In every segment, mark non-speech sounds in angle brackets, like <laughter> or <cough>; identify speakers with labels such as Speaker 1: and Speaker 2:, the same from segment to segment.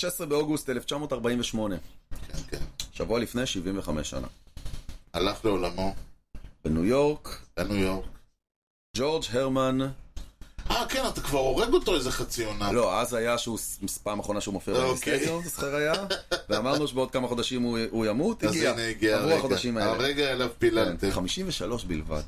Speaker 1: 16 באוגוסט 1948,
Speaker 2: כן, כן.
Speaker 1: שבוע לפני 75 שנה.
Speaker 2: הלך לעולמו,
Speaker 1: בניו יורק,
Speaker 2: בניו יורק.
Speaker 1: ג'ורג' הרמן,
Speaker 2: אה, כן, אתה כבר הורג אותו איזה חצי עונה.
Speaker 1: לא, אז היה שהוא, ס- פעם אחרונה שהוא מופיע
Speaker 2: אוקיי.
Speaker 1: במיסטריון, זה שכר
Speaker 2: <laughs>
Speaker 1: היה, ואמרנו שבעוד כמה חודשים הוא, הוא ימות,
Speaker 2: אז
Speaker 1: הגיע,
Speaker 2: הנה הגיע
Speaker 1: עברו החודשים
Speaker 2: הרגע.
Speaker 1: האלה.
Speaker 2: הרגע אליו
Speaker 1: כן,
Speaker 2: פיללתם.
Speaker 1: 53 בלבד.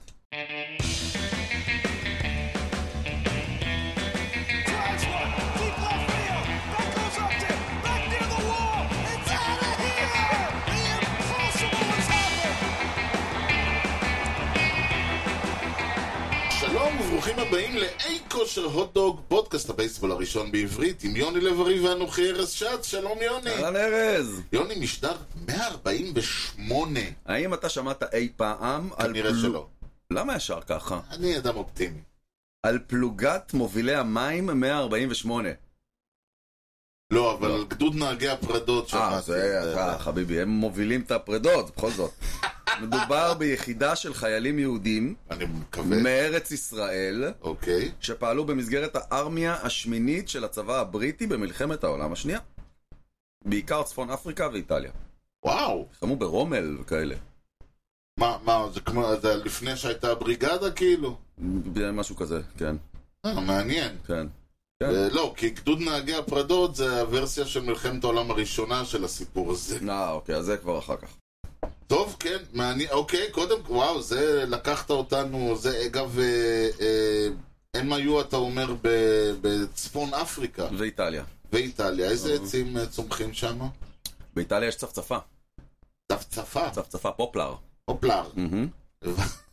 Speaker 3: Drives one, deep left field. That goes up there, back near the wall. It's out of here. The impossible has happened.
Speaker 2: שלום וברוכים הבאים לאי כושר הוטדוג, פודקאסט הבייסבול הראשון בעברית, עם יוני לב-ארי ואנוכי ארז שץ. שלום יוני.
Speaker 1: אהלן ארז,
Speaker 2: יוני משדר 148.
Speaker 1: האם אתה שמעת אי פעם על...
Speaker 2: כנראה
Speaker 1: פלו-
Speaker 2: שלא.
Speaker 1: למה ישר ככה?
Speaker 2: אני אדם אופטימי.
Speaker 1: על פלוגת מובילי המים 148.
Speaker 2: לא, אבל על גדוד נהגי הפרדות שמעתי.
Speaker 1: אה, זה אתה, חביבי, הם מובילים את הפרדות, בכל
Speaker 2: <laughs>
Speaker 1: זאת. מדובר ביחידה של חיילים יהודים
Speaker 2: אני מקווה.
Speaker 1: מארץ ישראל,
Speaker 2: אוקיי.
Speaker 1: שפעלו במסגרת הארמיה השמינית של הצבא הבריטי במלחמת העולם השנייה. בעיקר צפון אפריקה ואיטליה.
Speaker 2: וואו.
Speaker 1: חמו ברומל וכאלה.
Speaker 2: מה, מה, זה כמו, זה לפני שהייתה הבריגדה כאילו?
Speaker 1: משהו כזה, כן,
Speaker 2: אה, מעניין.
Speaker 1: כן.
Speaker 2: אה, לא, כי גדוד נהגי הפרדות זה הוורסיה של מלחמת העולם הראשונה של הסיפור הזה.
Speaker 1: אה, אוקיי, אז זה כבר אחר כך.
Speaker 2: טוב, כן, מעניין, אוקיי, קודם, וואו, זה לקחת אותנו, זה אגב, אה, אה, הם היו, אתה אומר, ב- בצפון אפריקה
Speaker 1: ואיטליה.
Speaker 2: ואיטליה, איזה
Speaker 1: אה.
Speaker 2: עצים אה, צומחים שם?
Speaker 1: באיטליה יש צפצפה.
Speaker 2: צפצפה,
Speaker 1: צפצפה פופלר.
Speaker 2: פופלר. <laughs>
Speaker 1: מהמם.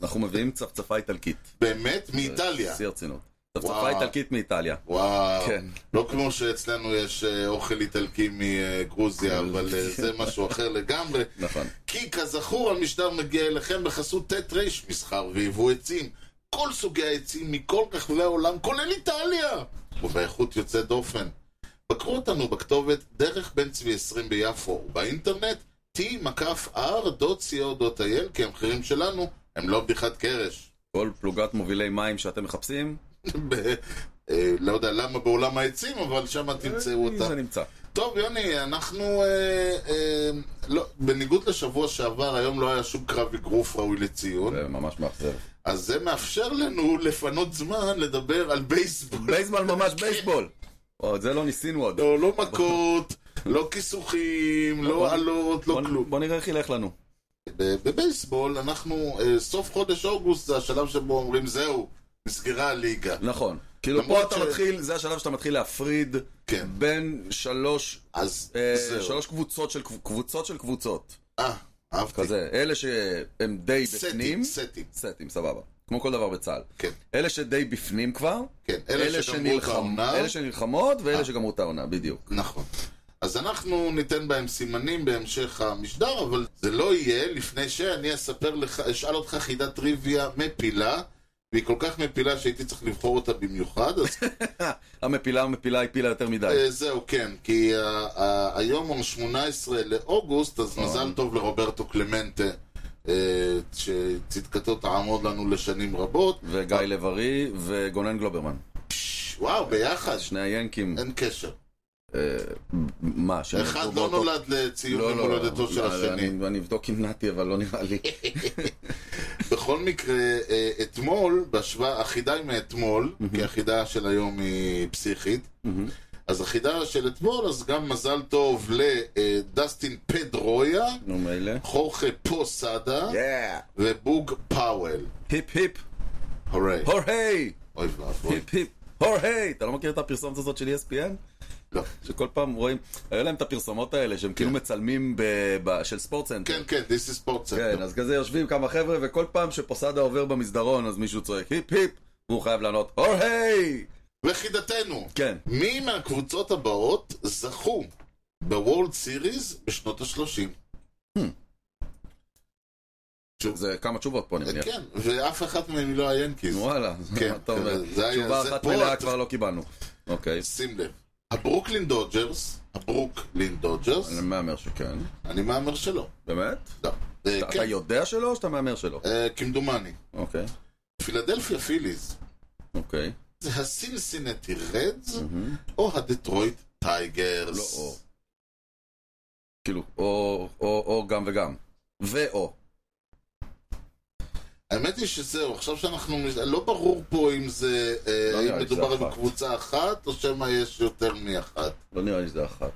Speaker 1: אנחנו מביאים צפצפה איטלקית.
Speaker 2: באמת? מאיטליה.
Speaker 1: שיא הרצינות.
Speaker 2: וואו.
Speaker 1: צפצפה איטלקית מאיטליה.
Speaker 2: וואו,
Speaker 1: כן.
Speaker 2: לא כמו שאצלנו יש אה, אוכל איטלקי מגרוזיה, אבל אה, זה משהו אחר לגמרי.
Speaker 1: נכון.
Speaker 2: כי כזכור המשדר מגיע אליכם בחסות ט' ר' מסחר ויבוא עצים. כל סוגי העצים מכל רחבי העולם, כולל איטליה! ובאיכות יוצאת דופן. בקרו אותנו בכתובת דרך בן צבי 20 ביפו, ובאינטרנט t-r.co.il כי המחירים שלנו הם לא בדיחת קרש. <laughs>
Speaker 1: כל פלוגת מובילי מים שאתם מחפשים,
Speaker 2: ב- אה, לא יודע למה בעולם העצים, אבל שם תמצאו אותם.
Speaker 1: זה נמצא.
Speaker 2: טוב, יוני, אנחנו... אה, אה, לא, בניגוד לשבוע שעבר, היום לא היה שום קרב אגרוף ראוי לציון,
Speaker 1: זה ממש מאכזב.
Speaker 2: אז זה מאפשר לנו לפנות זמן לדבר על בייסבול.
Speaker 1: בייסבול ממש בייסבול! או, את זה לא ניסינו <laughs> עוד.
Speaker 2: לא, לא מכות, לא כיסוחים,
Speaker 1: בוא-
Speaker 2: לא עלות, לא
Speaker 1: בוא-
Speaker 2: כלום.
Speaker 1: בוא נראה איך ילך לנו.
Speaker 2: ב- בבייסבול, אנחנו, אה, סוף חודש אוגוסט זה השלב שבו אומרים, זהו, נסגרה הליגה.
Speaker 1: נכון. כאילו פה
Speaker 2: למרות
Speaker 1: אתה
Speaker 2: ש-
Speaker 1: מתחיל, זה השלב שאתה מתחיל להפריד
Speaker 2: כן.
Speaker 1: בין שלוש
Speaker 2: אז
Speaker 1: אה,
Speaker 2: זהו.
Speaker 1: שלוש קבוצות של קב- קבוצות של קבוצות.
Speaker 2: אה, אהבתי.
Speaker 1: כזה, אלה שהם די בפנים.
Speaker 2: סטים, סטים.
Speaker 1: סטים, סבבה. כמו כל דבר בצה"ל.
Speaker 2: כן.
Speaker 1: אלה שדי בפנים כבר,
Speaker 2: כן, אלה שגמרו את
Speaker 1: שנלחם-
Speaker 2: העונה.
Speaker 1: אלה שנלחמות
Speaker 2: אה.
Speaker 1: ואלה שגמרו את העונה, בדיוק.
Speaker 2: נכון. אז אנחנו ניתן בהם סימנים בהמשך המשדר, אבל זה לא יהיה לפני שאני אספר לך, אשאל אותך חידת טריוויה מפילה, והיא כל כך מפילה שהייתי צריך לבחור אותה במיוחד, אז
Speaker 1: המפילה המפילה הפילה יותר מדי.
Speaker 2: אה, זהו, כן, כי אה, אה, היום הוא 18 לאוגוסט, אז מזל טוב לרוברטו קלמנטה, אה, שצדקתו תעמוד לנו לשנים רבות.
Speaker 1: וגיא לב-ארי וגונן גלוברמן.
Speaker 2: וואו, ביחד,
Speaker 1: שני היאנקים.
Speaker 2: אין קשר.
Speaker 1: אה, מה, שנולדו
Speaker 2: אחד לא
Speaker 1: באותו-
Speaker 2: נולד לציון
Speaker 1: לא,
Speaker 2: יום הולדתו של
Speaker 1: אני-
Speaker 2: השני.
Speaker 1: אני- אני אבדוק עם נתי, אבל לא נראה לי.
Speaker 2: בכל מקרה, אה, אתמול, בהשוואה, החידה היא מאתמול, כי החידה של היום היא פסיכית. אז החידה של אתמול, אז גם מזל טוב לדסטין פדרויה,
Speaker 1: נו, מילא.
Speaker 2: חורכה פוסאדה
Speaker 1: יאה!
Speaker 2: ובוג פאוול.
Speaker 1: היפ היפ!
Speaker 2: הורי.
Speaker 1: Oh. הורי!
Speaker 2: אוי
Speaker 1: <laughs>
Speaker 2: ואבוי.
Speaker 1: היפ היפ! הורי! אתה לא מכיר את הפרסומת הזאת של ESPN?
Speaker 2: לא.
Speaker 1: שכל פעם רואים, היו להם את הפרסומות האלה שהם כאילו מצלמים ב- ב- של ספורטסנטר.
Speaker 2: כן, כן, this is sports
Speaker 1: כן,
Speaker 2: center.
Speaker 1: אז כזה יושבים כמה חבר'ה, וכל פעם שפוסדה עובר במסדרון, אז מישהו צועק היפ היפ, והוא חייב לענות הורי!
Speaker 2: וחידתנו,
Speaker 1: כן.
Speaker 2: מי מהקבוצות הבאות זכו בוורלד סיריס בשנות ה-30?
Speaker 1: זה כמה תשובות פה, אני מניח.
Speaker 2: כן, ואף אחת מהן היא לא היאנקיז.
Speaker 1: וואלה,
Speaker 2: כן,
Speaker 1: <laughs> אתה אומר,
Speaker 2: כן, זה היה-
Speaker 1: תשובה
Speaker 2: זה-
Speaker 1: אחת
Speaker 2: פה
Speaker 1: מלאה
Speaker 2: את-
Speaker 1: כבר לא קיבלנו. אוקיי,
Speaker 2: שים לב, הברוקלין דודג'רס, הברוקלין דודג'רס,
Speaker 1: אני מהמר שכן.
Speaker 2: אני מהמר שלא.
Speaker 1: באמת?
Speaker 2: לא. אה,
Speaker 1: אתה-
Speaker 2: כן,
Speaker 1: אתה יודע שלא או שאתה מהמר שלא?
Speaker 2: אה, כמדומני.
Speaker 1: אוקיי,
Speaker 2: פילדלפיה פיליז,
Speaker 1: אוקיי.
Speaker 2: Mm-hmm. זה הסינסינטי רדס או הדטרויט טייגרס.
Speaker 1: אה. לא, או. כאילו, או, או, או גם וגם. ואו.
Speaker 2: האמת היא שזהו, עכשיו שאנחנו... מש- לא ברור פה אם זה... אה,
Speaker 1: לא נראה
Speaker 2: האם
Speaker 1: לי שזה
Speaker 2: מדובר
Speaker 1: אחת.
Speaker 2: בקבוצה אחת, או שמא יש יותר מאחת.
Speaker 1: לא נראה לי שזה אחת.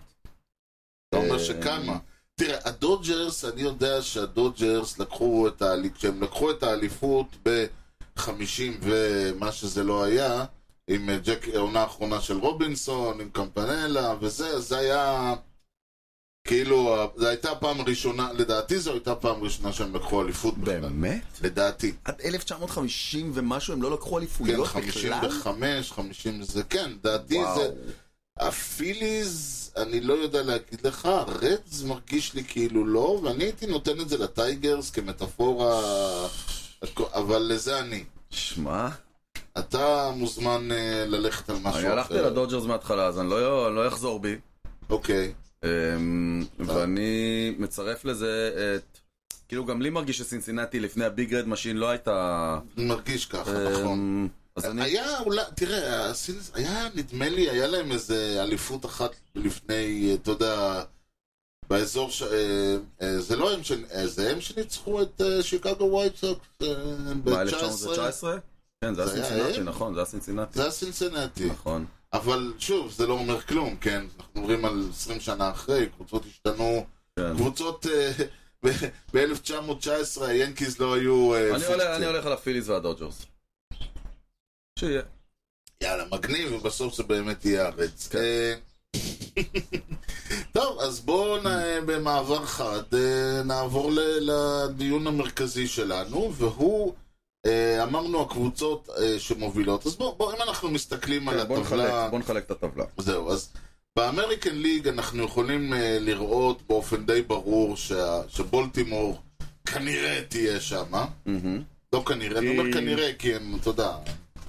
Speaker 2: אתה אומר
Speaker 1: אה,
Speaker 2: שכמה. תראה, הדודג'רס, אני יודע שהדודג'רס לקחו את האליפות, כשהם לקחו את האליפות ב-50 ומה שזה לא היה, עם אה, ג'ק, העונה האחרונה של רובינסון, עם קמפנלה וזה, אז זה היה... כאילו, ה- זו הייתה הפעם הראשונה, לדעתי זו הייתה הפעם הראשונה שהם לקחו אליפות בכלל.
Speaker 1: באמת?
Speaker 2: לדעתי.
Speaker 1: עד 1950 ומשהו הם לא לקחו
Speaker 2: כן,
Speaker 1: אליפויות בכלל?
Speaker 2: 55, 50 זה, כן, לדעתי
Speaker 1: וואו.
Speaker 2: זה... הפיליז, אני לא יודע להגיד לך, הרדס מרגיש לי כאילו לא, ואני הייתי נותן את זה לטייגרס כמטאפורה, אבל לזה אני.
Speaker 1: שמע,
Speaker 2: אתה מוזמן אה, ללכת על משהו
Speaker 1: אני
Speaker 2: אחר.
Speaker 1: הלכתי לדודג'רס מההתחלה, אז אני לא אני לא אחזור בי.
Speaker 2: אוקיי.
Speaker 1: אמ,
Speaker 2: אה.
Speaker 1: ואני מצרף לזה את... כאילו, גם לי מרגיש שסינסינטי לפני הביג רד משין לא הייתה...
Speaker 2: מרגיש ככה, נכון.
Speaker 1: אמ, אז אני...
Speaker 2: היה אולי, תראה, הסינס- היה נדמה לי, היה להם איזה אליפות אחת לפני, אה, אתה יודע, באזור ש... אה, אה, זה לא הם, ש... אה, זה הם שניצחו את אה, שיקגו אה, וייטסוקס
Speaker 1: מה,
Speaker 2: ב-19?
Speaker 1: 1919? כן, זה היה
Speaker 2: זה היה
Speaker 1: סינסינטי,
Speaker 2: הם? כן.
Speaker 1: נכון, זה היה סינסינטי.
Speaker 2: זה היה סילסנטי.
Speaker 1: נכון.
Speaker 2: אבל שוב, זה לא אומר כלום, כן? אנחנו מדברים על 20 שנה אחרי, קבוצות השתנו.
Speaker 1: כן.
Speaker 2: קבוצות... אה, <laughs> ב-1919 היאנקיז לא היו... אה,
Speaker 1: אני הולך-
Speaker 2: פיקציה.
Speaker 1: אני הולך על הפיליז והדודג'רס. שיהיה.
Speaker 2: יאללה, מגניב, ובסוף זה באמת יהיה הארץ.
Speaker 1: כן.
Speaker 2: אה, <laughs> טוב, אז בואו נ- במעבר חד אה, נעבור ל- לדיון המרכזי שלנו, והוא, אה, אמרנו הקבוצות אה, שמובילות. אז בואו, בוא, אם אנחנו מסתכלים על
Speaker 1: כן, בוא
Speaker 2: הטבלה...
Speaker 1: נחלק- בוא נחלק את הטבלה.
Speaker 2: זהו, אז באמריקן ליג אנחנו יכולים אה, לראות באופן די ברור שה- שבולטימור כנראה תהיה שמה.
Speaker 1: מהמם.
Speaker 2: לא כנראה, אני
Speaker 1: אה.
Speaker 2: אומר כנראה, כי הם, אתה יודע,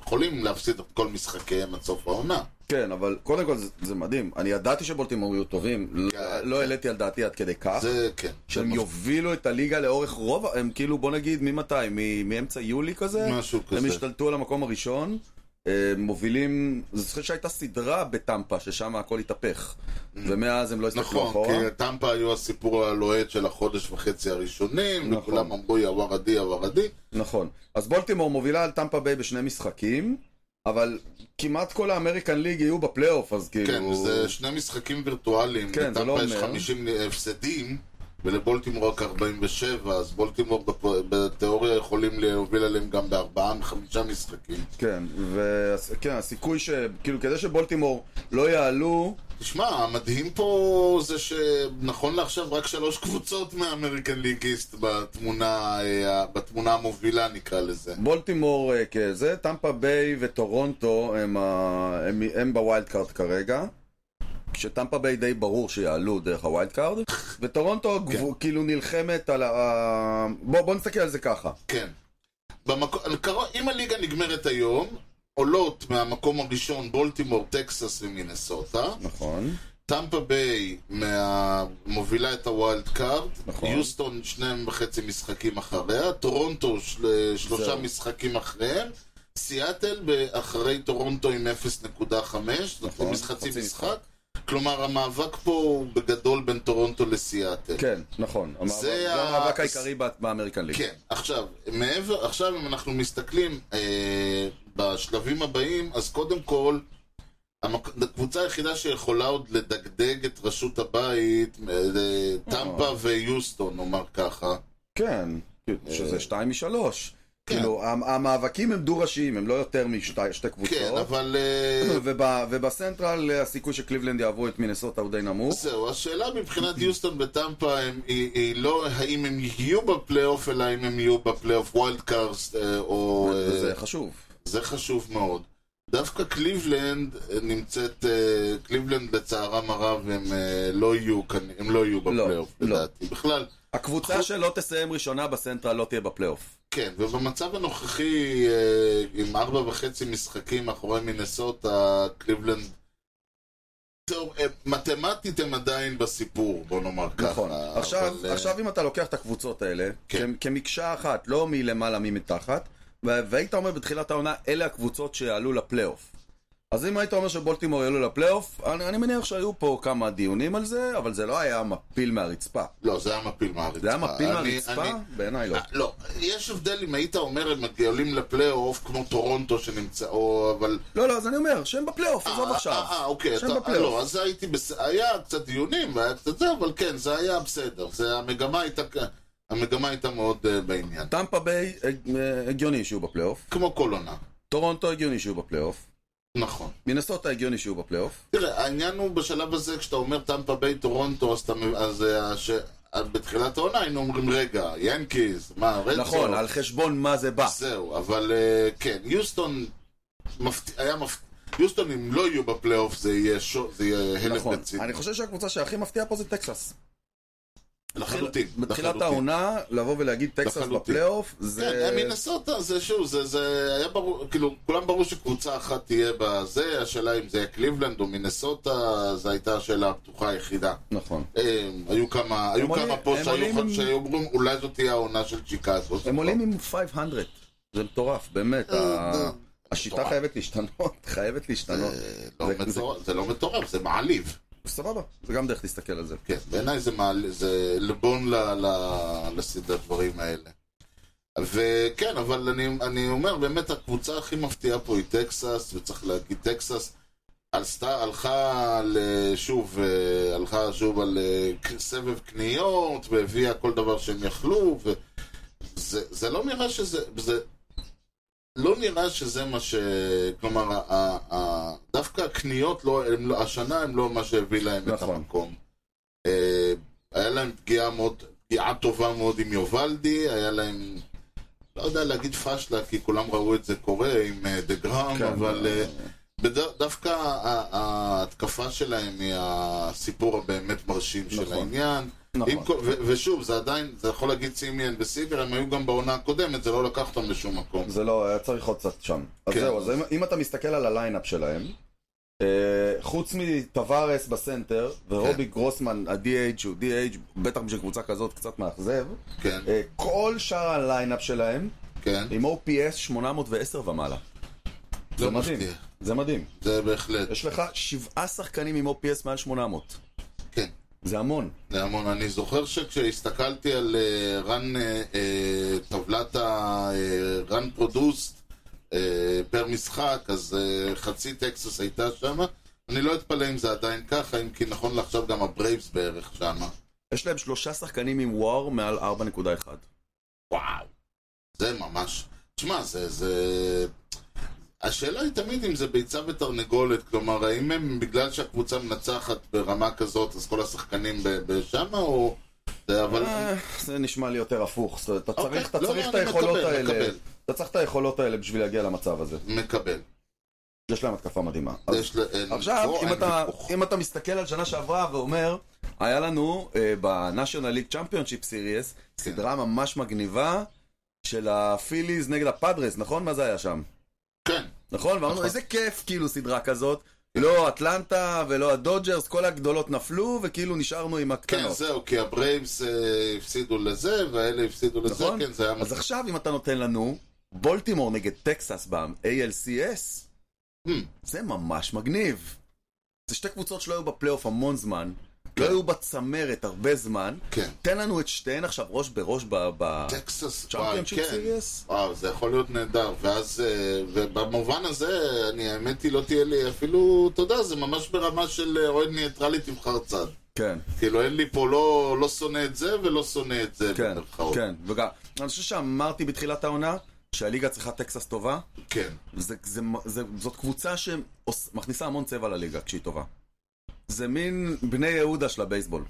Speaker 2: יכולים להפסיד את כל משחקיהם עד סוף העונה.
Speaker 1: כן, אבל קודם כל זה, זה מדהים. אני ידעתי שבולטימור יהיו טובים, לא-
Speaker 2: כן.
Speaker 1: לא העליתי על דעתי עד כדי כך.
Speaker 2: זה כן.
Speaker 1: שהם
Speaker 2: זה
Speaker 1: יובילו את הליגה לאורך רוב, הם כאילו, בוא נגיד, ממתי? מ- מאמצע יולי כזה?
Speaker 2: משהו
Speaker 1: הם
Speaker 2: כזה.
Speaker 1: השתלטו על המקום הראשון, אה, מובילים, אני זוכר שהייתה סדרה בטמפה, ששם הכל התהפך. ומאז הם לא הסתכלו
Speaker 2: Mm. נכון,
Speaker 1: אחורה.
Speaker 2: כי טמפה היו הסיפור הלוהט של החודש וחצי הראשונים,
Speaker 1: נכון.
Speaker 2: וכולם אמרו יא וורדי, יא וורדי.
Speaker 1: נכון. אז בולטימור מובילה על טמפה ביי בשני משחקים, אבל כמעט כל האמריקן ליג יהיו בפלייאוף, אז כאילו...
Speaker 2: כן, זה שני משחקים וירטואליים.
Speaker 1: כן, זה לא
Speaker 2: לטמפה יש
Speaker 1: אומר.
Speaker 2: 50 הפסדים, ולבולטימור רק 47, אז בולטימור בפ- בתיאוריה יכולים להוביל עליהם גם בארבעה מחמישה משחקים.
Speaker 1: כן, וכן, הסיכוי ש... כאילו, כדי שבולטימור לא יעלו,
Speaker 2: תשמע, המדהים פה זה שנכון לעכשיו רק שלוש קבוצות מהאמריקן ליגיסט בתמונה, אה, בתמונה המובילה נקרא לזה.
Speaker 1: בולטימור אה, כזה, טמפה ביי וטורונטו הם, ה- הם, הם בווילד קארד כרגע. כשטמפה ביי די ברור שיעלו דרך הווילד קארד. וטורונטו
Speaker 2: כן.
Speaker 1: גבו- כאילו נלחמת על ה... ה- בוא, בוא נסתכל על זה ככה.
Speaker 2: כן. במקום, אם הליגה נגמרת היום, עולות מהמקום הראשון בולטימור, טקסס ומינסוטה.
Speaker 1: נכון.
Speaker 2: טמפה ביי מה- מובילה את הווילד קארד,
Speaker 1: נכון.
Speaker 2: יוסטון שני וחצי משחקים אחריה, טורונטו של... שלושה
Speaker 1: זהו.
Speaker 2: משחקים אחריהם, סיאטל ב- אחרי טורונטו עם 0.5, זאת
Speaker 1: נכון,
Speaker 2: אומרת חצי
Speaker 1: חצי
Speaker 2: משחק, כלומר המאבק פה הוא בגדול בין טורונטו לסיאטל.
Speaker 1: כן, נכון. המאבק- זה
Speaker 2: ה-
Speaker 1: המאבק העיקרי ב- באמריקן ליג.
Speaker 2: כן, עכשיו, מעבר, עכשיו אם אנחנו מסתכלים אה, בשלבים הבאים, אז קודם כל, המק... הקבוצה היחידה שיכולה עוד לדגדג את רשות הבית, אה, זה טמפה ויוסטון, נאמר ככה.
Speaker 1: כן. שזה שתיים משלוש.
Speaker 2: אה. כן.
Speaker 1: כאילו, המ- המאבקים הם דו-ראשיים, הם לא יותר משתי שתי קבוצות.
Speaker 2: כן, אבל... אה,
Speaker 1: וב- ובסנטרל אה, הסיכוי שקליבלנד יעברו את מינסוטה הוא די נמוך.
Speaker 2: זהו, השאלה מבחינת יוסטון וטמפה הם- היא היא לא האם הם יהיו בפלייאוף, אלא אם הם יהיו בפלייאוף ווילד קארסט, אה, או... אה,
Speaker 1: זה חשוב.
Speaker 2: זה חשוב מאוד. דווקא קליבלנד אה, נמצאת, אה, קליבלנד לצערם הרב הם אה, לא יהיו, כאן- הם לא יהיו
Speaker 1: לא,
Speaker 2: בפלייאוף,
Speaker 1: לא.
Speaker 2: לדעתי. בכלל,
Speaker 1: הקבוצה שלא תסיים ראשונה בסנטרל לא תהיה בפלייאוף.
Speaker 2: כן, ובמצב הנוכחי, אה, עם ארבע וחצי משחקים מאחורי מינסוטה, קליבלנד... טוב, אה, מתמטית הם עדיין בסיפור, בוא נאמר ככה.
Speaker 1: נכון. עכשיו,
Speaker 2: אבל, אה,
Speaker 1: עכשיו אם אתה לוקח את הקבוצות האלה,
Speaker 2: כן.
Speaker 1: כ- כמקשה אחת, לא מלמעלה ממתחת, ו- והיית אומר בתחילת העונה, אלה הקבוצות שיעלו לפלייאוף. אז אם היית אומר שבולטימור יעלו לפלייאוף, אני, אני מניח שהיו פה כמה דיונים על זה, אבל זה לא היה מפיל מהרצפה.
Speaker 2: לא, זה היה מפיל מהרצפה.
Speaker 1: זה היה מפיל
Speaker 2: אה, אני-
Speaker 1: מהרצפה?
Speaker 2: אני-
Speaker 1: בעיניי לא.
Speaker 2: אה, לא, יש הבדל אם היית אומר הם עולים לפלייאוף כמו טורונטו שנמצאו, אבל...
Speaker 1: לא, לא, אז אני אומר, שהם בפלייאוף, עזוב
Speaker 2: אה,
Speaker 1: עכשיו.
Speaker 2: אה, אה, אוקיי,
Speaker 1: שהם
Speaker 2: אתה-
Speaker 1: בפלייאוף.
Speaker 2: לא, אז הייתי, בס- היה קצת דיונים, והיה קצת זה, אבל כן, זה היה בסדר. זה, המגמה הייתה, המגמה הייתה מאוד אה, בעניין.
Speaker 1: טמפה ביי אה, אה, הגיוני שיהיו בפלייאוף,
Speaker 2: כמו כל עונה.
Speaker 1: טורונטו הגיוני שיהיו בפלייאוף,
Speaker 2: נכון.
Speaker 1: מינסוטה הגיוני שיהיו בפלייאוף,
Speaker 2: תראה, העניין הוא בשלב הזה, כשאתה אומר טמפה ביי טורונטו, אז, אתה, מ- אז אה, ש... אז בתחילת העונה היינו אומרים, רגע, ינקיז, מה, רדסו?
Speaker 1: נכון, על חשבון מה זה בא.
Speaker 2: זהו, אבל אה, כן, יוסטון מפת... היה מפת... יוסטון, אם לא יהיו בפלייאוף, זה יהיה, שו... זה יהיה הלך
Speaker 1: נכון,
Speaker 2: רציני.
Speaker 1: אני חושב שהקבוצה שהכי מפתיעה פה זה טקסס.
Speaker 2: לחלוטין.
Speaker 1: בתחילת
Speaker 2: לחלוטין.
Speaker 1: העונה, לבוא ולהגיד טקסס
Speaker 2: לחלוטין.
Speaker 1: בפלייאוף, זה...
Speaker 2: כן, הם מנסוטה, זה שוב, זה, זה היה ברור, כאילו, כולם ברור שקבוצה אחת תהיה בזה, השאלה אם זה היה קליבלנד או מנסוטה, זו הייתה השאלה הפתוחה היחידה.
Speaker 1: נכון.
Speaker 2: אה, היו כמה, היו
Speaker 1: עולים-
Speaker 2: כמה פה
Speaker 1: הם
Speaker 2: שהיו
Speaker 1: עולים
Speaker 2: חו-
Speaker 1: עם-
Speaker 2: שהיו אומרים, אולי זאת תהיה העונה של צ'יקאגו.
Speaker 1: הם עולים עם 500, זה מטורף, באמת.
Speaker 2: נכון. אה,
Speaker 1: ה-
Speaker 2: זה-
Speaker 1: השיטה
Speaker 2: מטורף.
Speaker 1: חייבת להשתנות, <laughs> חייבת להשתנות.
Speaker 2: אה, לא
Speaker 1: זה-
Speaker 2: מטורף, זה לא מטורף, זה מעליב.
Speaker 1: סבבה, זה גם דרך להסתכל על זה.
Speaker 2: כן, בעיניי זה, מעל... זה לבון ל... ל... לסדר הדברים האלה. וכן, אבל אני, אני אומר, באמת הקבוצה הכי מפתיעה פה היא טקסס, וצריך להגיד טקסס. עשתה, הלכה על, אה, שוב, אה, הלכה שוב על אה, ק- סבב קניות, והביאה כל דבר שהם יכלו, וזה זה לא נראה שזה, זה לא נראה שזה מה ש... כלומר, ה, ה, ה, דווקא הקניות, לא, הם, לא- השנה הם לא מה שהביא להם
Speaker 1: נכון.
Speaker 2: את המקום. אה, היה להם פגיעה מאוד, פגיעה טובה מאוד עם יובלדי, היה להם, לא יודע להגיד פשלה, כי כולם ראו את זה קורה עם אה, דה גראם,
Speaker 1: כן,
Speaker 2: אבל...
Speaker 1: אה,
Speaker 2: אה, בד- דווקא ה- ההתקפה שלהם היא הסיפור הבאמת מרשים של
Speaker 1: נכון.
Speaker 2: העניין. עם
Speaker 1: נכון.
Speaker 2: כל- ו- ושוב, זה עדיין, זה יכול להגיד סימיאן וסיגר, הם היו גם בעונה הקודמת, זה לא לקח אותם לשום מקום.
Speaker 1: זה לא, היה צריך עוד קצת שם. אז
Speaker 2: כן.
Speaker 1: זהו, אז אם- אם אתה מסתכל על הליינאפ שלהם, אה, חוץ מטווארס בסנטר, ורובי
Speaker 2: כן.
Speaker 1: גרוסמן, ה-DH, שהוא DH, בטח בשביל קבוצה כזאת קצת מאכזב,
Speaker 2: כן,
Speaker 1: אה, כל שאר הליינאפ שלהם,
Speaker 2: כן,
Speaker 1: עם OPS 810 ומעלה. זה
Speaker 2: לא
Speaker 1: מדהים.
Speaker 2: מפתיע.
Speaker 1: זה מדהים.
Speaker 2: זה בהחלט,
Speaker 1: יש לך שבעה שחקנים עם OPS מעל 800.
Speaker 2: כן.
Speaker 1: זה המון.
Speaker 2: זה המון. אני זוכר שכשהסתכלתי על אה, רן, אה, אה, טבלת ה-run produced אה, פר משחק, אז אה, חצי טקסס הייתה שם. אני לא אתפלא אם זה עדיין ככה, אם כי נכון לעכשיו גם הברייבס בערך שמה.
Speaker 1: יש להם שלושה שחקנים עם וואר מעל 4.1.
Speaker 2: וואו. זה ממש... תשמע, זה... זה... השאלה היא תמיד אם זה ביצה ותרנגולת, כלומר, האם הם, בגלל שהקבוצה מנצחת ברמה כזאת, אז כל השחקנים ב- בשמה, או... זה, אבל...
Speaker 1: אה, זה נשמע לי יותר הפוך. זאת אומרת, אתה
Speaker 2: אוקיי.
Speaker 1: צריך- אתה
Speaker 2: לא,
Speaker 1: צריך
Speaker 2: לא,
Speaker 1: את
Speaker 2: אני
Speaker 1: היכולות
Speaker 2: מקבל,
Speaker 1: האלה.
Speaker 2: מקבל.
Speaker 1: אתה צריך את היכולות האלה בשביל להגיע למצב הזה.
Speaker 2: מקבל.
Speaker 1: יש להם התקפה מדהימה. אז
Speaker 2: יש ל- אה, אין
Speaker 1: עכשיו,
Speaker 2: ויכוח,
Speaker 1: אם
Speaker 2: אין
Speaker 1: אתה-
Speaker 2: ויכוח.
Speaker 1: אם אתה מסתכל על שנה שעברה ואומר, היה לנו אה, בנאשונל ליג צ'מפיונשיפ סיריאס,
Speaker 2: כן.
Speaker 1: סדרה ממש מגניבה של הפיליז נגד הפאדרס, נכון? מה זה היה שם?
Speaker 2: כן,
Speaker 1: נכון? ואמרנו,
Speaker 2: נכון.
Speaker 1: איזה כיף, כאילו, סדרה כזאת. לא אטלנטה ולא הדודג'רס, כל הגדולות נפלו, וכאילו נשארנו עם
Speaker 2: כן,
Speaker 1: הקטנות.
Speaker 2: זהו, כי הברייבס אה, הפסידו לזה, והאלה הפסידו לזה,
Speaker 1: נכון?
Speaker 2: כן, זה היה...
Speaker 1: אז עכשיו, אם אתה נותן לנו, בולטימור נגד טקסס ב-ALCS,
Speaker 2: Hmm.
Speaker 1: זה ממש מגניב. זה שתי קבוצות שלא היו בפלייאוף המון זמן, לא היו בצמרת הרבה זמן.
Speaker 2: כן.
Speaker 1: תן לנו את שתיהן עכשיו ראש בראש ב- ב...
Speaker 2: טקסס, וואי,
Speaker 1: צ'מפיונשיפ
Speaker 2: כן.
Speaker 1: סיריוס?
Speaker 2: וואו, זה יכול להיות נהדר, ואז, אה, ובמובן הזה, אני, האמת היא, לא תהיה לי אפילו, אתה יודע, זה ממש ברמה של אה, אוהד ניטרלי תבחר צד.
Speaker 1: כן,
Speaker 2: כאילו, אין לי פה לא, לא שונא את זה ולא שונא את זה,
Speaker 1: כן,
Speaker 2: במרכאות.
Speaker 1: כן. וגם, אני חושב שאמרתי בתחילת העונה, שהליגה צריכה טקסס טובה,
Speaker 2: כן.
Speaker 1: זה, זה, זה, זאת קבוצה שמכניסה המון צבע לליגה כשהיא טובה. זה מין בני יהודה של הבייסבול.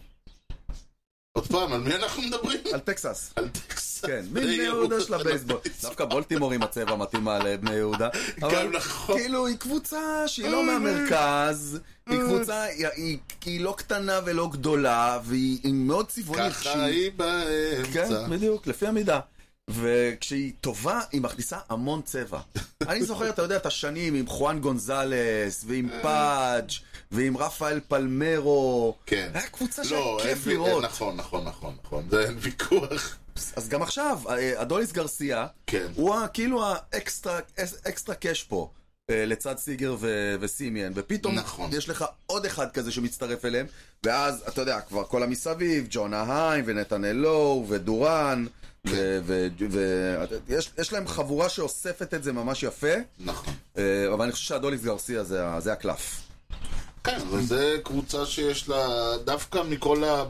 Speaker 2: עוד פעם, על מי אנחנו מדברים? <laughs>
Speaker 1: על טקסס.
Speaker 2: על טקסס.
Speaker 1: כן, <laughs> מין בני יהודה
Speaker 2: <laughs>
Speaker 1: של הבייסבול. <laughs> נכון, דווקא בולטימור עם הצבע מתאימה לבני יהודה. אבל
Speaker 2: נכון.
Speaker 1: כאילו, היא קבוצה שהיא לא מהמרכז, היא קבוצה, היא- היא- היא לא קטנה ולא גדולה, והיא היא מאוד צבעונית.
Speaker 2: ככה
Speaker 1: כשהיא-
Speaker 2: היא באמצע.
Speaker 1: כן, בדיוק, לפי המידה. וכשהיא טובה, היא מכניסה המון
Speaker 2: <laughs>
Speaker 1: צבע. אני זוכר, אתה יודע, את השנים עם חואן גונזלס, ועם פאג', ועם רפאל פלמרו.
Speaker 2: כן.
Speaker 1: היה קבוצה שהיה
Speaker 2: לא, אין
Speaker 1: כיף
Speaker 2: וי-
Speaker 1: לראות.
Speaker 2: נכון, נכון, נכון, נכון, זה אין ויכוח.
Speaker 1: אז גם עכשיו, אה, אדוליס גרסיה,
Speaker 2: כן.
Speaker 1: הוא ה- כאילו האקסטרה אקסטרה קאש פה. אה, לצד סיגר ו- וסימיאן, ופתאום
Speaker 2: נכון.
Speaker 1: יש לך עוד אחד כזה שמצטרף אליהם, ואז, אתה יודע, כבר כל המסביב, ג'ונה היים, ונתנאל לואו, ודורן,
Speaker 2: כן.
Speaker 1: ויש ו- ו- יש- יש להם חבורה שאוספת את זה ממש יפה,
Speaker 2: נכון.
Speaker 1: אה, אבל אני חושב שאדוליס גרסיה זה ה- זה הקלף.
Speaker 2: כן, וזו קבוצה שיש לה, דווקא מכל ה...